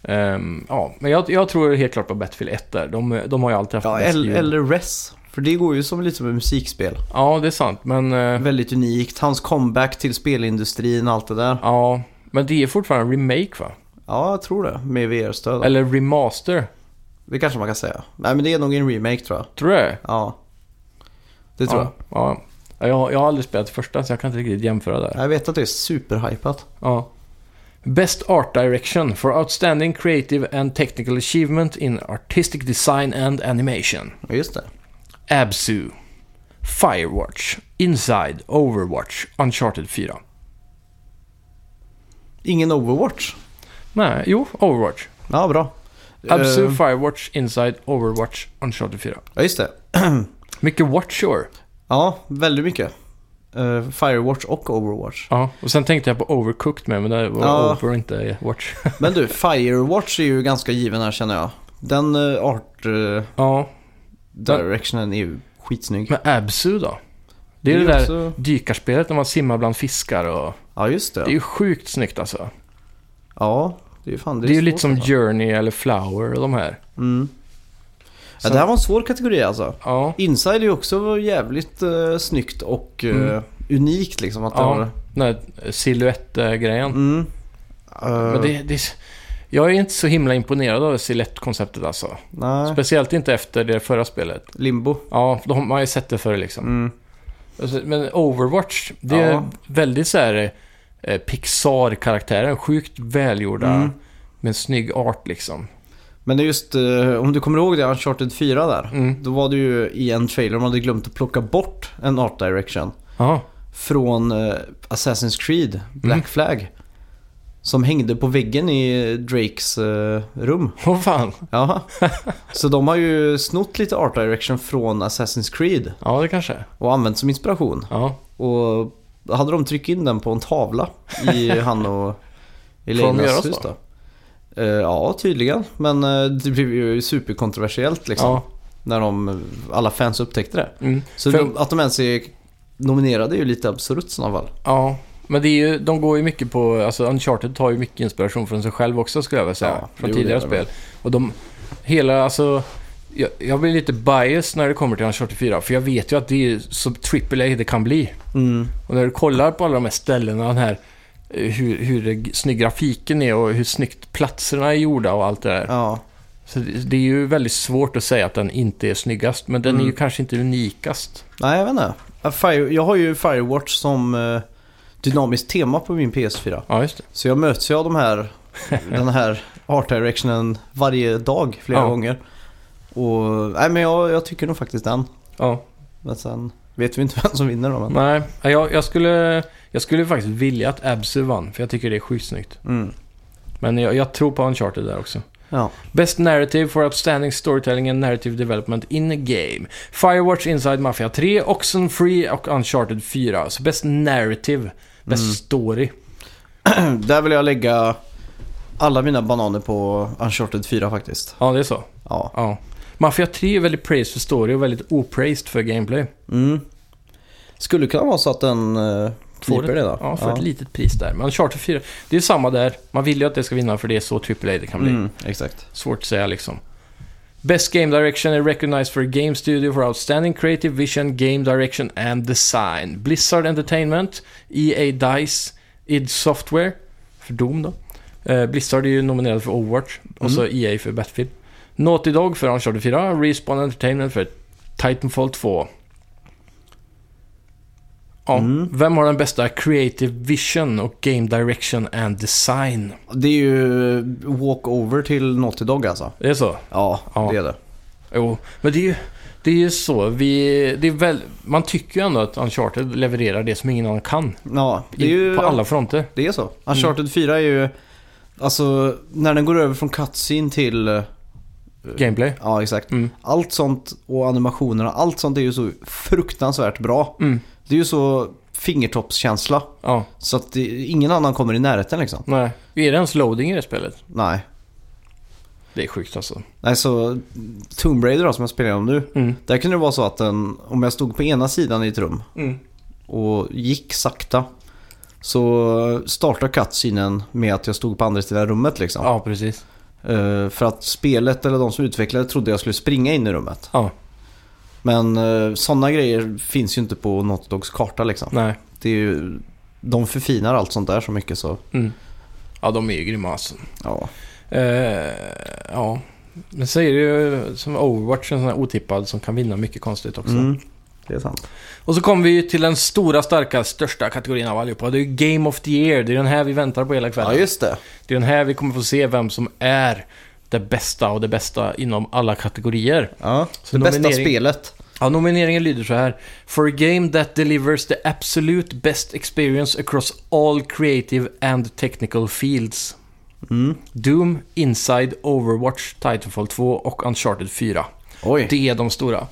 [SPEAKER 1] Ehm, ja, men jag, jag tror helt klart på Battlefield 1 där. De, de har ju alltid haft
[SPEAKER 2] Ja,
[SPEAKER 1] bäst
[SPEAKER 2] eller,
[SPEAKER 1] ljud.
[SPEAKER 2] eller Res. För det går ju som lite som ett musikspel.
[SPEAKER 1] Ja, det är sant. Men, eh,
[SPEAKER 2] Väldigt unikt. Hans comeback till spelindustrin och allt det där.
[SPEAKER 1] ja, men det är fortfarande en remake va?
[SPEAKER 2] Ja, jag tror det. Med VR-stöd.
[SPEAKER 1] Eller remaster,
[SPEAKER 2] Det kanske man kan säga. Nej men det är nog en remake tror jag.
[SPEAKER 1] tror jag
[SPEAKER 2] Ja. Det tror
[SPEAKER 1] ja, jag. Ja. Jag, jag har aldrig spelat första så jag kan inte riktigt jämföra där.
[SPEAKER 2] jag. Jag vet att det är superhypat.
[SPEAKER 1] Ja. Best Art Direction for Outstanding Creative and Technical Achievement in Artistic Design and Animation.
[SPEAKER 2] Ja, Just det.
[SPEAKER 1] Absu. Firewatch. Inside. Overwatch. Uncharted 4.
[SPEAKER 2] Ingen Overwatch.
[SPEAKER 1] Nej, jo, Overwatch.
[SPEAKER 2] Ja, bra.
[SPEAKER 1] Absu,
[SPEAKER 2] Eh,
[SPEAKER 1] Firewatch, Inside, Overwatch, Uncharted 4.
[SPEAKER 2] ja, just det.
[SPEAKER 1] Mycket Watch i år.
[SPEAKER 2] Ja, väldigt mycket. Eh, Firewatch och Overwatch.
[SPEAKER 1] Ja, och sen tänkte jag på Overcooked med, men det var
[SPEAKER 2] Ja.
[SPEAKER 1] Over och inte Watch.
[SPEAKER 2] Men du, Firewatch är ju ganska given här känner jag. Den eh, art eh,
[SPEAKER 1] ja,
[SPEAKER 2] directionen är ju skitsnygg.
[SPEAKER 1] men Absu då? Det är det,
[SPEAKER 2] ju
[SPEAKER 1] där
[SPEAKER 2] också-
[SPEAKER 1] dykarspelet när man simmar bland fiskar och...
[SPEAKER 2] Ja, just
[SPEAKER 1] Det är
[SPEAKER 2] det.
[SPEAKER 1] ju sjukt snyggt alltså.
[SPEAKER 2] Ja, det är ju fan
[SPEAKER 1] Det är ju lite
[SPEAKER 2] svårt,
[SPEAKER 1] som
[SPEAKER 2] alltså.
[SPEAKER 1] Journey eller Flower och de här.
[SPEAKER 2] Mm. Ja,
[SPEAKER 1] Så-
[SPEAKER 2] det här var en svår kategori alltså.
[SPEAKER 1] Ja,
[SPEAKER 2] Inside är ju också jävligt eh, snyggt och eh,
[SPEAKER 1] Mm.
[SPEAKER 2] unikt liksom. Att det
[SPEAKER 1] Ja.
[SPEAKER 2] var...
[SPEAKER 1] den här siluettgrejen.
[SPEAKER 2] mm. Eh,
[SPEAKER 1] Men det, det... är- Jag är inte så himla imponerad av siluettkonceptet alltså.
[SPEAKER 2] Nej.
[SPEAKER 1] Speciellt inte efter det förra spelet.
[SPEAKER 2] Limbo.
[SPEAKER 1] Ja, de man har ju sett det förr liksom.
[SPEAKER 2] Mm.
[SPEAKER 1] Alltså, Men Overwatch, det är
[SPEAKER 2] Ja.
[SPEAKER 1] väldigt så här eh, Pixar-karaktären. Sjukt välgjorda
[SPEAKER 2] Mm.
[SPEAKER 1] med en snygg art liksom.
[SPEAKER 2] Men det är just, eh, om du kommer ihåg det, Uncharted 4 där.
[SPEAKER 1] Mm.
[SPEAKER 2] Då var det ju i en trailer man hade glömt att plocka bort en art direction.
[SPEAKER 1] Ja,
[SPEAKER 2] Från eh, Assassin's Creed, Black
[SPEAKER 1] Mm.
[SPEAKER 2] Flag. Som hängde på väggen i Drakes eh, rum.
[SPEAKER 1] vad fan.
[SPEAKER 2] Ja. Så de har ju snott lite art direction från Assassin's Creed
[SPEAKER 1] Ja, det kanske.
[SPEAKER 2] och använt som inspiration.
[SPEAKER 1] Ja.
[SPEAKER 2] Och då hade de tryckt in den på en tavla i han och
[SPEAKER 1] göra
[SPEAKER 2] Elenas
[SPEAKER 1] så?
[SPEAKER 2] hus då. Eh, ja, tydligen. Men eh, det blev ju superkontroversiellt liksom.
[SPEAKER 1] ja.
[SPEAKER 2] När de, alla fans upptäckte det.
[SPEAKER 1] Mm.
[SPEAKER 2] Så
[SPEAKER 1] För-
[SPEAKER 2] de, att de ens är nominerade är ju lite absurt i sådana fall.
[SPEAKER 1] Ja, men det är ju, de går ju mycket på, alltså Uncharted tar ju mycket inspiration från sig själv också skulle jag vilja säga.
[SPEAKER 2] Ja, det
[SPEAKER 1] från
[SPEAKER 2] gjorde
[SPEAKER 1] tidigare
[SPEAKER 2] det väl.
[SPEAKER 1] spel. Och de, hela, alltså, jag, jag blir lite biased när det kommer till Uncharted 4. För jag vet ju att det är så AAA det kan bli. Och när du kollar på alla de här ställena, den här, eh, hur, hur det, snygg grafiken är och hur snyggt platserna är gjorda och allt det där.
[SPEAKER 2] Ja.
[SPEAKER 1] Så det, det är ju väldigt svårt att säga att den inte är snyggast, men den är ju
[SPEAKER 2] Mm.
[SPEAKER 1] kanske inte unikast.
[SPEAKER 2] Nej, jag vet inte. Ja, Fire, jag har ju Firewatch som eh, dynamiskt tema på min PS4.
[SPEAKER 1] Ja, just det.
[SPEAKER 2] Så jag möts ju av de här, den här art directionen varje dag flera
[SPEAKER 1] Ja.
[SPEAKER 2] gånger. Och, nej men jag, jag tycker nog faktiskt den.
[SPEAKER 1] Ja.
[SPEAKER 2] Men sen vet vi inte vem som vinner då. Men...
[SPEAKER 1] Nej, jag, jag, skulle, jag skulle faktiskt vilja att Absu vann, för jag tycker det är sjukt snyggt.
[SPEAKER 2] Mm.
[SPEAKER 1] Men jag, jag tror på Uncharted där också.
[SPEAKER 2] Ja.
[SPEAKER 1] Best Narrative for Outstanding Storytelling and Narrative Development in a Game. Firewatch Inside Mafia 3, Oxenfree och Uncharted
[SPEAKER 2] Mm.
[SPEAKER 1] 4. Så Best Narrative, Best Story.
[SPEAKER 2] Där vill jag lägga alla mina bananer på Uncharted 4 faktiskt.
[SPEAKER 1] Ja, det är så.
[SPEAKER 2] Ja.
[SPEAKER 1] Ja. Mafia 3 är väldigt praised för story och väldigt opraised för gameplay.
[SPEAKER 2] Mm. Skulle kunna vara så att den eh,
[SPEAKER 1] Får
[SPEAKER 2] kniper
[SPEAKER 1] ett,
[SPEAKER 2] det då.
[SPEAKER 1] Ja, för ett litet pris där. Men Charter 4, det är samma där. Man vill ju att det ska vinna för det är så AAA det kan bli.
[SPEAKER 2] mm, exakt.
[SPEAKER 1] Svårt att säga liksom. Best Game Direction är recognized for a game studio for outstanding creative vision, game direction and design. Blizzard Entertainment, EA Dice, id Software, för Doom då. Eh, Blizzard är ju nominerad för Overwatch och så EA för Battlefield. Naughty Dog för Uncharted 4, Respawn Entertainment för Titanfall 2. Ja, vem har den bästa creative vision och game direction and design?
[SPEAKER 2] Det är ju walkover till Naughty Dog alltså.
[SPEAKER 1] Det är så?
[SPEAKER 2] Ja,
[SPEAKER 1] Ja.
[SPEAKER 2] det är det.
[SPEAKER 1] Jo, men det är ju, det är ju så. Vi, det är väl, man tycker ju ändå att Uncharted levererar det som ingen annan kan.
[SPEAKER 2] Ja, det
[SPEAKER 1] I,
[SPEAKER 2] är ju...
[SPEAKER 1] på alla fronter.
[SPEAKER 2] Det är så. Uncharted
[SPEAKER 1] Mm.
[SPEAKER 2] 4 är ju... Alltså, när den går över från cutscene till... eh,
[SPEAKER 1] Gameplay.
[SPEAKER 2] Ja, exakt.
[SPEAKER 1] Mm.
[SPEAKER 2] Allt sånt och animationerna, allt sånt är ju så fruktansvärt bra.
[SPEAKER 1] Mm.
[SPEAKER 2] Det är ju så fingertoppskänsla.
[SPEAKER 1] Ja,
[SPEAKER 2] Så att det, ingen annan kommer i närheten liksom.
[SPEAKER 1] nej. Är det ens loading i det spelet?
[SPEAKER 2] Nej.
[SPEAKER 1] Det är sjukt alltså.
[SPEAKER 2] Nej, så Tomb Raider då, som jag spelar om nu.
[SPEAKER 1] Mm.
[SPEAKER 2] Där kunde det vara så att den, om jag stod på ena sidan i ett rum
[SPEAKER 1] Mm.
[SPEAKER 2] och gick sakta. Så startar cutscenen med att jag stod på andra sidan rummet liksom.
[SPEAKER 1] Ja, precis.
[SPEAKER 2] Eh, För att spelet eller de som utvecklade trodde jag skulle springa in i rummet.
[SPEAKER 1] Ja,
[SPEAKER 2] Men sådana grejer finns ju inte på Naughty Dogs karta liksom.
[SPEAKER 1] nej.
[SPEAKER 2] Det är ju, de förfinar allt sånt där så mycket så
[SPEAKER 1] Mm. Ja, de är ju grymma alltså.
[SPEAKER 2] ja.
[SPEAKER 1] Eh, ja. Men så är det ju som Overwatch, en sån här otippad som kan vinna mycket konstigt också.
[SPEAKER 2] Mm. Det är sant.
[SPEAKER 1] Och så kommer vi ju till den stora, starka, största kategorin av allihopa. Det är ju Game of the Year. Det är den här vi väntar på hela kvällen.
[SPEAKER 2] just det.
[SPEAKER 1] Det är den här vi kommer få se vem som är det bästa och det bästa inom alla kategorier.
[SPEAKER 2] Ja.
[SPEAKER 1] Så
[SPEAKER 2] det bästa
[SPEAKER 1] nominering-
[SPEAKER 2] spelet.
[SPEAKER 1] Ja, nomineringen lyder så här. For a game that delivers the absolute best experience across all creative and technical fields.
[SPEAKER 2] Mm.
[SPEAKER 1] Doom, Inside, Overwatch, Titanfall 2 och Uncharted 4.
[SPEAKER 2] Oj.
[SPEAKER 1] Det är de stora.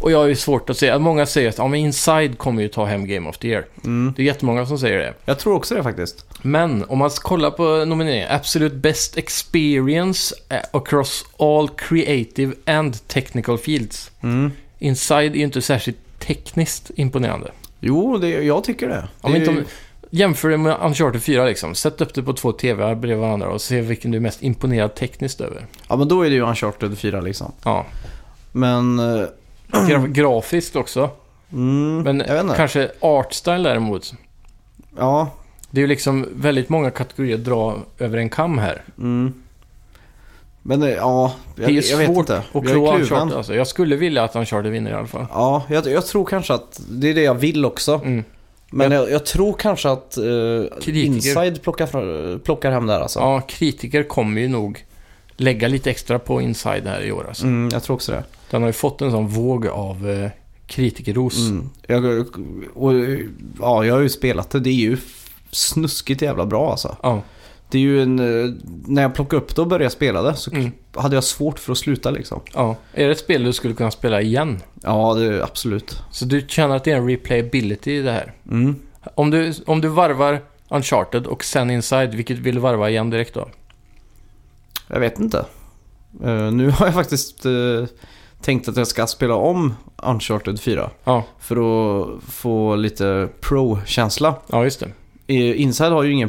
[SPEAKER 1] Och jag har ju svårt att säga, många säger att ja, men Inside kommer ju ta hem Game of the Year.
[SPEAKER 2] Mm.
[SPEAKER 1] Det är jättemånga som säger det.
[SPEAKER 2] Jag tror också det faktiskt.
[SPEAKER 1] Men om man kollar på nomineringen. Absolute best experience eh, across all creative and technical fields.
[SPEAKER 2] Mm.
[SPEAKER 1] Inside är ju inte särskilt tekniskt imponerande.
[SPEAKER 2] Jo, det, jag tycker det.
[SPEAKER 1] Om
[SPEAKER 2] det är
[SPEAKER 1] inte
[SPEAKER 2] ju-
[SPEAKER 1] om, jämför det med Uncharted 4 liksom. Sätt upp det på två TVar bredvid varandra och se vilken du är mest imponerad tekniskt över.
[SPEAKER 2] Ja, men då är det ju Uncharted 4 liksom.
[SPEAKER 1] Ja.
[SPEAKER 2] Men... eh,
[SPEAKER 1] Gra- grafiskt också.
[SPEAKER 2] Mm,
[SPEAKER 1] Men
[SPEAKER 2] jag vet inte.
[SPEAKER 1] kanske artstyle däremot.
[SPEAKER 2] Ja.
[SPEAKER 1] Det är ju liksom väldigt många kategorier att dra över en kam här.
[SPEAKER 2] Mm. Men eh, ja, jag,
[SPEAKER 1] det är
[SPEAKER 2] jag vet
[SPEAKER 1] svårt
[SPEAKER 2] inte.
[SPEAKER 1] att
[SPEAKER 2] Jag är
[SPEAKER 1] klå
[SPEAKER 2] kluven.
[SPEAKER 1] Uncharted alltså. Jag skulle vilja att Uncharted vinner i alla fall.
[SPEAKER 2] Ja, jag, jag tror kanske att det är det jag vill också.
[SPEAKER 1] Mm.
[SPEAKER 2] Men jag, jag tror kanske att eh,
[SPEAKER 1] Kritiker.
[SPEAKER 2] Inside plockar, fra- plockar hem där alltså.
[SPEAKER 1] Ja, kritiker kommer ju nog lägga lite extra på Inside här i år. Alltså.
[SPEAKER 2] Mm, jag tror också det.
[SPEAKER 1] Den har ju fått en sån våg av eh, kritikerros.
[SPEAKER 2] Mm. Jag, och, ja, jag har ju spelat det. Det är ju snuskigt jävla bra alltså.
[SPEAKER 1] Ja,
[SPEAKER 2] Det är ju en... eh, När jag plockade upp det och började spela det så
[SPEAKER 1] Mm.
[SPEAKER 2] hade jag svårt för att sluta liksom.
[SPEAKER 1] ja. Är det ett spel du skulle kunna spela igen?
[SPEAKER 2] Ja, det är absolut.
[SPEAKER 1] Så du känner att det är en replayability i det här?
[SPEAKER 2] Mm.
[SPEAKER 1] Om du, om du varvar Uncharted och sen Inside, vilket vill du varva igen direkt då?
[SPEAKER 2] Jag vet inte. Eh, nu har jag faktiskt eh, tänkt att jag ska spela om Uncharted 4.
[SPEAKER 1] Ja,
[SPEAKER 2] För att få lite pro-känsla.
[SPEAKER 1] ja just det.
[SPEAKER 2] Eh, Inside har ju ingen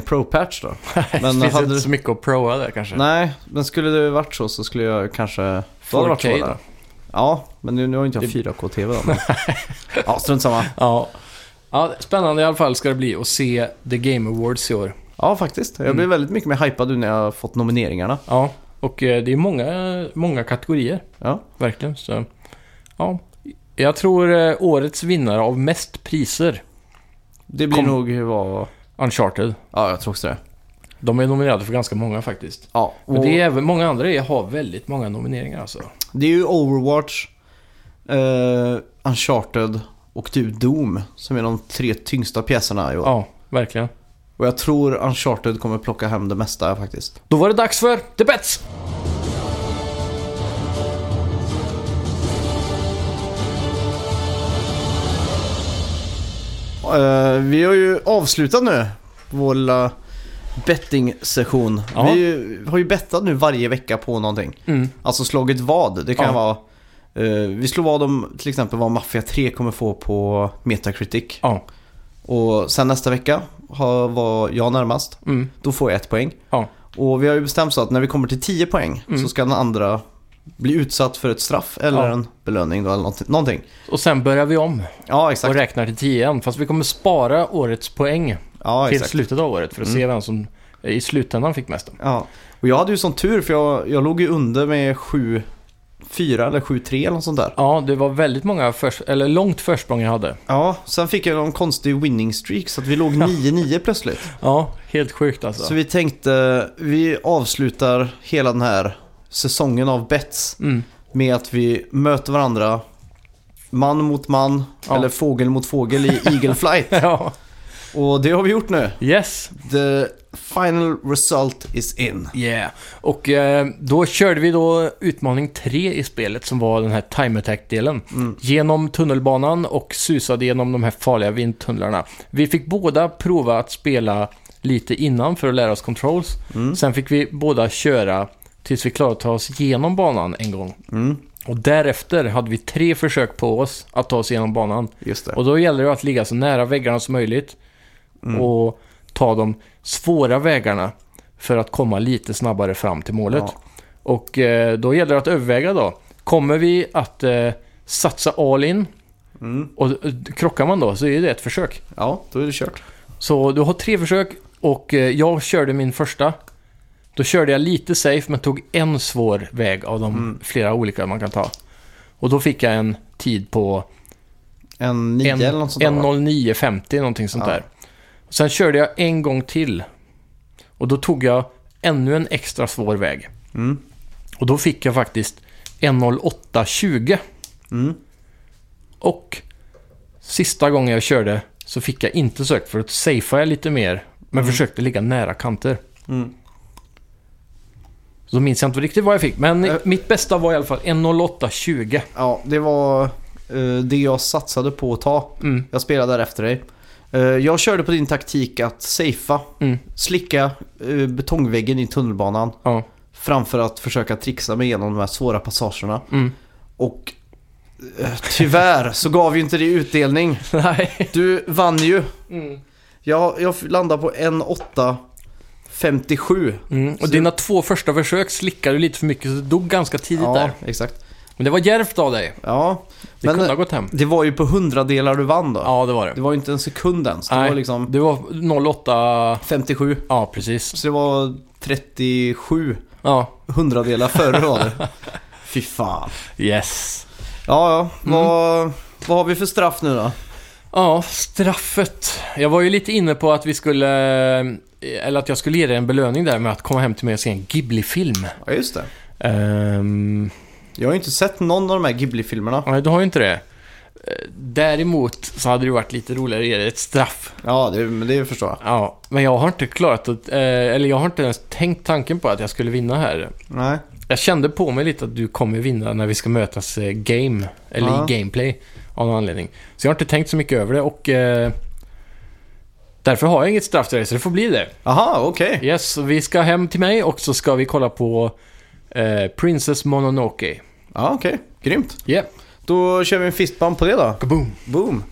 [SPEAKER 2] pro-patch då.
[SPEAKER 1] det finns
[SPEAKER 2] hade
[SPEAKER 1] inte
[SPEAKER 2] du-
[SPEAKER 1] så mycket att proa där kanske.
[SPEAKER 2] Nej, men skulle det varit så så skulle jag kanske... då hade det varit
[SPEAKER 1] 4K
[SPEAKER 2] så
[SPEAKER 1] då.
[SPEAKER 2] där. Ja, men nu, nu har inte jag 4K-TV då. Men... ja, strunt samma.
[SPEAKER 1] Ja. ja, spännande i alla fall ska det bli att se The Game Awards i år.
[SPEAKER 2] Ja, faktiskt. Jag
[SPEAKER 1] Mm.
[SPEAKER 2] blir väldigt mycket mer hypad nu när jag har fått nomineringarna.
[SPEAKER 1] Ja, och eh, det är många, många kategorier.
[SPEAKER 2] Ja.
[SPEAKER 1] Verkligen. Så, ja. Jag tror eh, årets vinnare av mest priser,
[SPEAKER 2] Det blir
[SPEAKER 1] Kom.
[SPEAKER 2] nog vad...
[SPEAKER 1] Uncharted.
[SPEAKER 2] Ja, jag tror också det.
[SPEAKER 1] De är nominerade för ganska många faktiskt.
[SPEAKER 2] Ja, och...
[SPEAKER 1] Men det är även, många andra är- har väldigt många nomineringar alltså.
[SPEAKER 2] Det är ju Overwatch, eh, Uncharted och typ Doom som är de tre tyngsta pjäserna i år.
[SPEAKER 1] Ja, verkligen.
[SPEAKER 2] Och jag tror Uncharted kommer plocka hem det mesta faktiskt.
[SPEAKER 1] Då var det dags för The Bets!
[SPEAKER 2] Eh, vi har ju avslutat nu vår lilla betting-session.
[SPEAKER 1] Ja.
[SPEAKER 2] Vi har ju bettat nu varje vecka på någonting.
[SPEAKER 1] Mm.
[SPEAKER 2] Alltså slagit vad. Det kan
[SPEAKER 1] Ja.
[SPEAKER 2] vara... eh, vi slår vad om till exempel vad Mafia 3 kommer få på Metacritic.
[SPEAKER 1] Ja.
[SPEAKER 2] Och sen nästa vecka har, var jag närmast.
[SPEAKER 1] Mm.
[SPEAKER 2] Då får jag ett poäng.
[SPEAKER 1] Ja.
[SPEAKER 2] Och vi har ju bestämt så att när vi kommer till 10 poäng
[SPEAKER 1] Mm.
[SPEAKER 2] så ska den andra bli utsatt för ett straff eller
[SPEAKER 1] Ja.
[SPEAKER 2] en belöning då, eller någonting- någonting.
[SPEAKER 1] Och sen börjar vi om
[SPEAKER 2] Ja, exakt.
[SPEAKER 1] och räknar till 10 igen. Fast vi kommer spara årets poäng
[SPEAKER 2] Ja,
[SPEAKER 1] till
[SPEAKER 2] exakt. Mm.
[SPEAKER 1] slutet av året för att se vem som i slutändan fick mest.
[SPEAKER 2] Ja. Och jag hade ju sån tur för jag, jag låg ju under med 7-4 eller 7-3 eller något sånt där.
[SPEAKER 1] Ja, det var väldigt många, förs- eller långt försprång jag hade.
[SPEAKER 2] Ja, sen fick jag någon konstig winning streak så att vi låg 9-9 plötsligt.
[SPEAKER 1] Ja, helt sjukt alltså.
[SPEAKER 2] Så vi tänkte, vi avslutar hela den här säsongen av bets
[SPEAKER 1] Mm.
[SPEAKER 2] med att vi möter varandra man mot man
[SPEAKER 1] Ja.
[SPEAKER 2] eller fågel mot fågel i Eagle Flight.
[SPEAKER 1] Ja,
[SPEAKER 2] Och det har vi gjort nu.
[SPEAKER 1] yes.
[SPEAKER 2] The final result is in.
[SPEAKER 1] Yeah. Och eh, då körde vi då utmaning 3 i spelet som var den här time attack-delen. Genom tunnelbanan och susade genom de här farliga vindtunnlarna. Vi fick båda prova att spela lite innan för att lära oss controls. Sen fick vi båda köra tills vi klarade att ta oss igenom banan en gång. Och därefter hade vi tre försök på oss att ta oss igenom banan.
[SPEAKER 2] Just det.
[SPEAKER 1] Och då gäller det att ligga så nära väggarna som möjligt och ta de svåra vägarna för att komma lite snabbare fram till målet.
[SPEAKER 2] Ja.
[SPEAKER 1] Och eh, då gäller det att överväga då. Kommer vi att eh, satsa all in och eh, krockar man då så är det ett försök.
[SPEAKER 2] Ja, då är det kört.
[SPEAKER 1] Så du har tre försök och eh, jag körde min första. Då körde jag lite safe men tog en svår väg av de flera olika man kan ta. Och då fick jag en tid på
[SPEAKER 2] En 9
[SPEAKER 1] en-
[SPEAKER 2] eller något sånt där, va?
[SPEAKER 1] 1.09.50 någonting sånt
[SPEAKER 2] Ja.
[SPEAKER 1] där. Sen körde jag en gång till. Och då tog jag ännu en extra svår väg.
[SPEAKER 2] Mm.
[SPEAKER 1] Och då fick jag faktiskt 1.08.20.
[SPEAKER 2] Mm.
[SPEAKER 1] Och sista gången jag körde så fick jag inte sökt för att safea jag lite mer. Men försökte ligga nära kanter.
[SPEAKER 2] Mm.
[SPEAKER 1] Så minns jag inte riktigt vad jag fick. Men
[SPEAKER 2] Äh.
[SPEAKER 1] mitt bästa var i alla fall 1.08.20.
[SPEAKER 2] Ja, det var eh, det jag satsade på att ta.
[SPEAKER 1] Mm.
[SPEAKER 2] Jag spelade där efter dig. Eh, jag körde på din taktik att safea,
[SPEAKER 1] Mm.
[SPEAKER 2] slicka eh, betongväggen i tunnelbanan
[SPEAKER 1] Ja.
[SPEAKER 2] framför att försöka trixa mig igenom de här svåra passagerna.
[SPEAKER 1] Mm.
[SPEAKER 2] Och eh, tyvärr så gav ju inte det utdelning.
[SPEAKER 1] Nej.
[SPEAKER 2] Du vann ju.
[SPEAKER 1] Mm.
[SPEAKER 2] Jag, jag landade på 1,857.
[SPEAKER 1] Mm. Och
[SPEAKER 2] Så-
[SPEAKER 1] dina två första försök slickade du lite för mycket så du dog ganska tidigt
[SPEAKER 2] Ja,
[SPEAKER 1] där.
[SPEAKER 2] exakt.
[SPEAKER 1] Men det var djärvt av dig.
[SPEAKER 2] Ja,
[SPEAKER 1] Det
[SPEAKER 2] men
[SPEAKER 1] kunde ha
[SPEAKER 2] eh,
[SPEAKER 1] gått hem.
[SPEAKER 2] det var ju på hundradelar du vann då.
[SPEAKER 1] Ja, det var det.
[SPEAKER 2] Det var ju inte en sekund ens. Det
[SPEAKER 1] Nej,
[SPEAKER 2] var liksom
[SPEAKER 1] det var 08...
[SPEAKER 2] 57.
[SPEAKER 1] Ja, precis.
[SPEAKER 2] Så det var 37
[SPEAKER 1] Ja.
[SPEAKER 2] hundradelar före var det. Fy fan.
[SPEAKER 1] Yes.
[SPEAKER 2] Ja, ja. Vad, vad har vi för straff nu då?
[SPEAKER 1] Ja, straffet. Jag var ju lite inne på att vi skulle... eh, Eller att jag skulle ge dig en belöning där med att komma hem till mig och se en Ghibli-film.
[SPEAKER 2] Ja, just det.
[SPEAKER 1] Ehm,
[SPEAKER 2] Jag har ju inte sett någon av de här Ghibli-filmerna.
[SPEAKER 1] nej, du har ju inte det. Eh, Däremot så hade det varit lite roligare att ge dig ett straff.
[SPEAKER 2] Ja, det, men det förstår jag.
[SPEAKER 1] Ja, men jag har inte klarat att... eh, Eller jag har inte ens tänkt tanken på att jag skulle vinna här.
[SPEAKER 2] Nej.
[SPEAKER 1] Jag kände på mig lite att du kommer vinna när vi ska mötas eh, game, eller
[SPEAKER 2] Ja.
[SPEAKER 1] i gameplay av någon anledning. Så jag har inte tänkt så mycket över det och eh, därför har jag inget straff till dig, så det får bli det.
[SPEAKER 2] Aha, okej.
[SPEAKER 1] Yes, vi ska hem till mig och så ska vi kolla på eh, Princess Mononoke.
[SPEAKER 2] Ja, okej. Grymt.
[SPEAKER 1] Yeah.
[SPEAKER 2] Då kör vi en fistband på det då.
[SPEAKER 1] Kaboom.
[SPEAKER 2] Boom.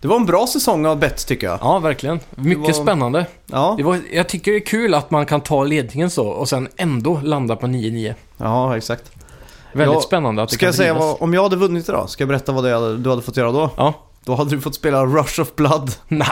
[SPEAKER 2] Det var en bra säsong av bets tycker jag.
[SPEAKER 1] Ja, verkligen. Mycket
[SPEAKER 2] Det var-
[SPEAKER 1] spännande.
[SPEAKER 2] Ja,
[SPEAKER 1] Det var, jag tycker det är kul att man kan ta ledningen så och sen ändå landa på 9-9.
[SPEAKER 2] ja exakt.
[SPEAKER 1] Väldigt
[SPEAKER 2] Ja,
[SPEAKER 1] spännande att det
[SPEAKER 2] Ska
[SPEAKER 1] kan
[SPEAKER 2] jag säga
[SPEAKER 1] drivas.
[SPEAKER 2] vad, om jag hade vunnit idag, ska jag berätta vad det hade, du hade fått göra då?
[SPEAKER 1] Ja.
[SPEAKER 2] Då hade du fått spela Rush of Blood.
[SPEAKER 1] Nej.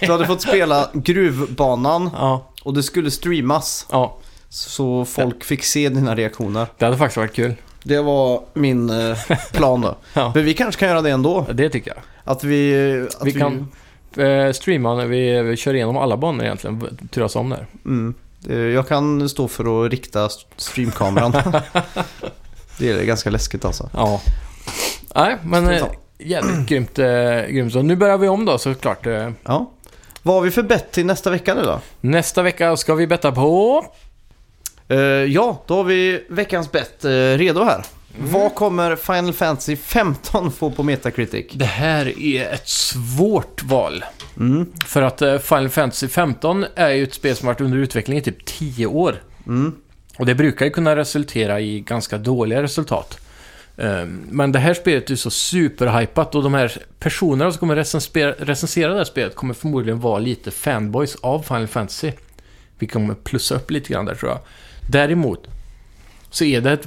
[SPEAKER 2] Du hade fått spela gruvbanan
[SPEAKER 1] Ja.
[SPEAKER 2] och det skulle streamas.
[SPEAKER 1] ja,
[SPEAKER 2] Så folk fick se dina reaktioner.
[SPEAKER 1] det hade faktiskt varit kul.
[SPEAKER 2] Det var min eh, plan då.
[SPEAKER 1] Ja.
[SPEAKER 2] Men vi kanske kan göra det ändå.
[SPEAKER 1] Det tycker jag.
[SPEAKER 2] Att vi... Att
[SPEAKER 1] vi kan eh, streama när vi, vi kör igenom alla banor egentligen, v- turas om där.
[SPEAKER 2] Mm, det, jag kan stå för att rikta st- streamkameran. det är ganska läskigt alltså.
[SPEAKER 1] Ja. Nej, men eh,
[SPEAKER 2] Streama.
[SPEAKER 1] jävligt grymt. Eh, grymt. Så nu börjar vi om då såklart. Eh,
[SPEAKER 2] Ja. Vad har vi för bett till nästa vecka nu då?
[SPEAKER 1] nästa vecka ska vi betta på...
[SPEAKER 2] Eh, ja, då har vi veckans bett eh, redo här. Vad kommer Final Fantasy 15 få på Metacritic?
[SPEAKER 1] Det här är ett svårt val.
[SPEAKER 2] Mm.
[SPEAKER 1] För att eh, Final Fantasy 15 är ju ett spel som varit under utveckling i typ 10 år.
[SPEAKER 2] Mm.
[SPEAKER 1] Och det brukar ju kunna resultera i ganska dåliga resultat. Eh, Men det här spelet är ju så superhypat och de här personerna som kommer recensera, recensera det här spelet kommer förmodligen vara lite fanboys av Final Fantasy. Vi kommer plussa upp lite grann där tror jag. Däremot så är det ett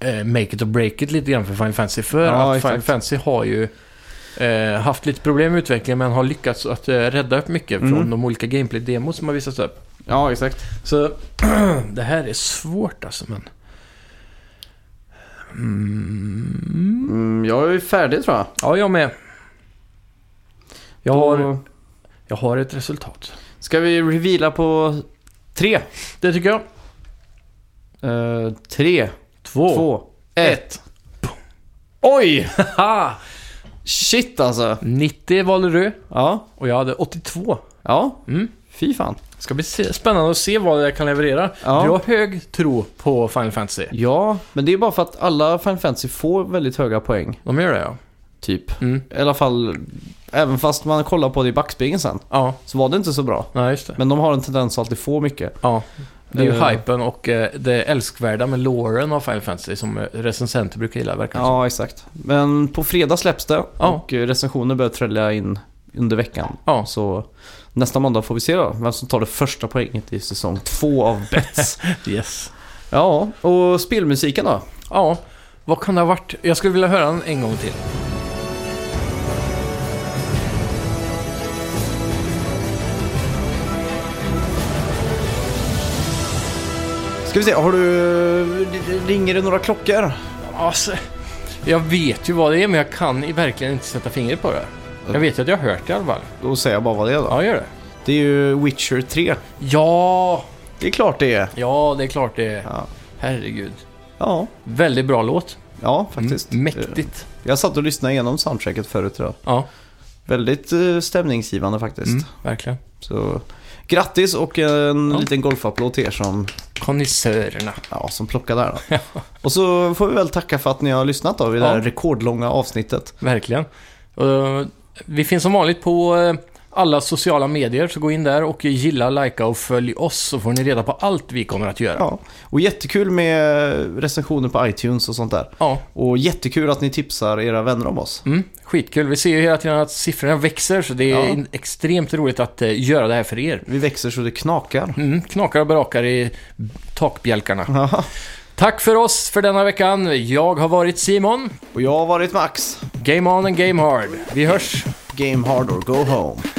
[SPEAKER 1] eh, make it or break it lite grann för Final Fantasy. För
[SPEAKER 2] Ja,
[SPEAKER 1] att Final
[SPEAKER 2] exakt.
[SPEAKER 1] Fantasy har ju eh, haft lite problem med utvecklingen men har lyckats att eh, rädda upp mycket
[SPEAKER 2] Mm.
[SPEAKER 1] från de olika gameplay-demos som har visats upp.
[SPEAKER 2] Ja, exakt.
[SPEAKER 1] Så det här är svårt alltså men... Mm.
[SPEAKER 2] Mm, jag är ju färdig tror jag.
[SPEAKER 1] Ja, jag med. Jag
[SPEAKER 2] Då
[SPEAKER 1] har, jag har ett resultat.
[SPEAKER 2] Ska vi reveala på tre?
[SPEAKER 1] Det tycker jag.
[SPEAKER 2] Eh, tre,
[SPEAKER 1] Två.
[SPEAKER 2] två,
[SPEAKER 1] ett.
[SPEAKER 2] ett. Oj!
[SPEAKER 1] Haha!
[SPEAKER 2] Shit alltså.
[SPEAKER 1] 90 valde du
[SPEAKER 2] Ja,
[SPEAKER 1] och jag hade 82.
[SPEAKER 2] ja.
[SPEAKER 1] Mm.
[SPEAKER 2] Fy fan.
[SPEAKER 1] Ska bli se- spännande att se vad jag kan leverera.
[SPEAKER 2] Ja.
[SPEAKER 1] Du har hög tro på Final Fantasy.
[SPEAKER 2] Ja, men det är bara för att alla Final Fantasy får väldigt höga poäng.
[SPEAKER 1] De gör det ja.
[SPEAKER 2] Typ.
[SPEAKER 1] Mm.
[SPEAKER 2] I alla fall, även fast man kollar på det i backspegeln sen,
[SPEAKER 1] Ja,
[SPEAKER 2] så var det inte så bra.
[SPEAKER 1] nej just det.
[SPEAKER 2] Men de har en tendens att alltid få mycket.
[SPEAKER 1] Ja. Det är ju
[SPEAKER 2] Eh.
[SPEAKER 1] hypen och eh, det älskvärda med loren av Final Fantasy som eh, recensenter brukar gilla verkar det som.
[SPEAKER 2] Ja, exakt. Men på fredag släpps det
[SPEAKER 1] Ja.
[SPEAKER 2] och eh, recensioner börjar trälla in under veckan.
[SPEAKER 1] Ja.
[SPEAKER 2] Så nästa måndag får vi se då vem som tar det första poänget i säsong två av Bets.
[SPEAKER 1] Yes.
[SPEAKER 2] ja, och spelmusiken då?
[SPEAKER 1] Ja, vad kan det ha varit? Jag skulle vilja höra den en gång till.
[SPEAKER 2] Ska vi se, har du... Ringer det några klockor?
[SPEAKER 1] Alltså, jag vet ju vad det är men jag kan i- verkligen inte sätta fingret på det. Jag vet ju att jag har hört det i alla fall.
[SPEAKER 2] Då säger jag bara vad det är då.
[SPEAKER 1] Ja, gör det.
[SPEAKER 2] Det är ju Witcher 3.
[SPEAKER 1] Ja,
[SPEAKER 2] Det är klart det är.
[SPEAKER 1] ja det är klart det är.
[SPEAKER 2] Ja,
[SPEAKER 1] Herregud.
[SPEAKER 2] ja,
[SPEAKER 1] Väldigt bra låt.
[SPEAKER 2] ja faktiskt.
[SPEAKER 1] Mm, mäktigt.
[SPEAKER 2] Eh, Jag satt och lyssnade igenom soundtracket förut idag.
[SPEAKER 1] Ja,
[SPEAKER 2] Väldigt eh, stämningsgivande faktiskt.
[SPEAKER 1] mm, verkligen.
[SPEAKER 2] Så grattis och en
[SPEAKER 1] Ja.
[SPEAKER 2] liten golfapplåd till er som,
[SPEAKER 1] Konnässörerna.
[SPEAKER 2] ja, som plockade där. Då. och så får vi väl tacka för att ni har lyssnat då vid det
[SPEAKER 1] Ja.
[SPEAKER 2] här rekordlånga avsnittet.
[SPEAKER 1] Verkligen. Eh, vi finns som vanligt på eh, alla sociala medier, så gå in där och gilla, likea och följ oss så får ni reda på allt vi kommer att göra. Ja.
[SPEAKER 2] Ja. Och jättekul med recensioner på iTunes och sånt där. Och jättekul att ni tipsar era vänner om oss.
[SPEAKER 1] Mm, skitkul. Vi ser ju hela tiden att siffrorna växer, så det är
[SPEAKER 2] Ja.
[SPEAKER 1] in- extremt roligt att eh, göra det här för er.
[SPEAKER 2] Vi växer så det knakar.
[SPEAKER 1] Mm, knakar och brakar i takbjälkarna.
[SPEAKER 2] Ja.
[SPEAKER 1] Tack för oss för denna veckan. Jag har varit Simon.
[SPEAKER 2] och jag har varit Max.
[SPEAKER 1] Game on and game hard. Vi hörs!
[SPEAKER 2] Game hard or go home.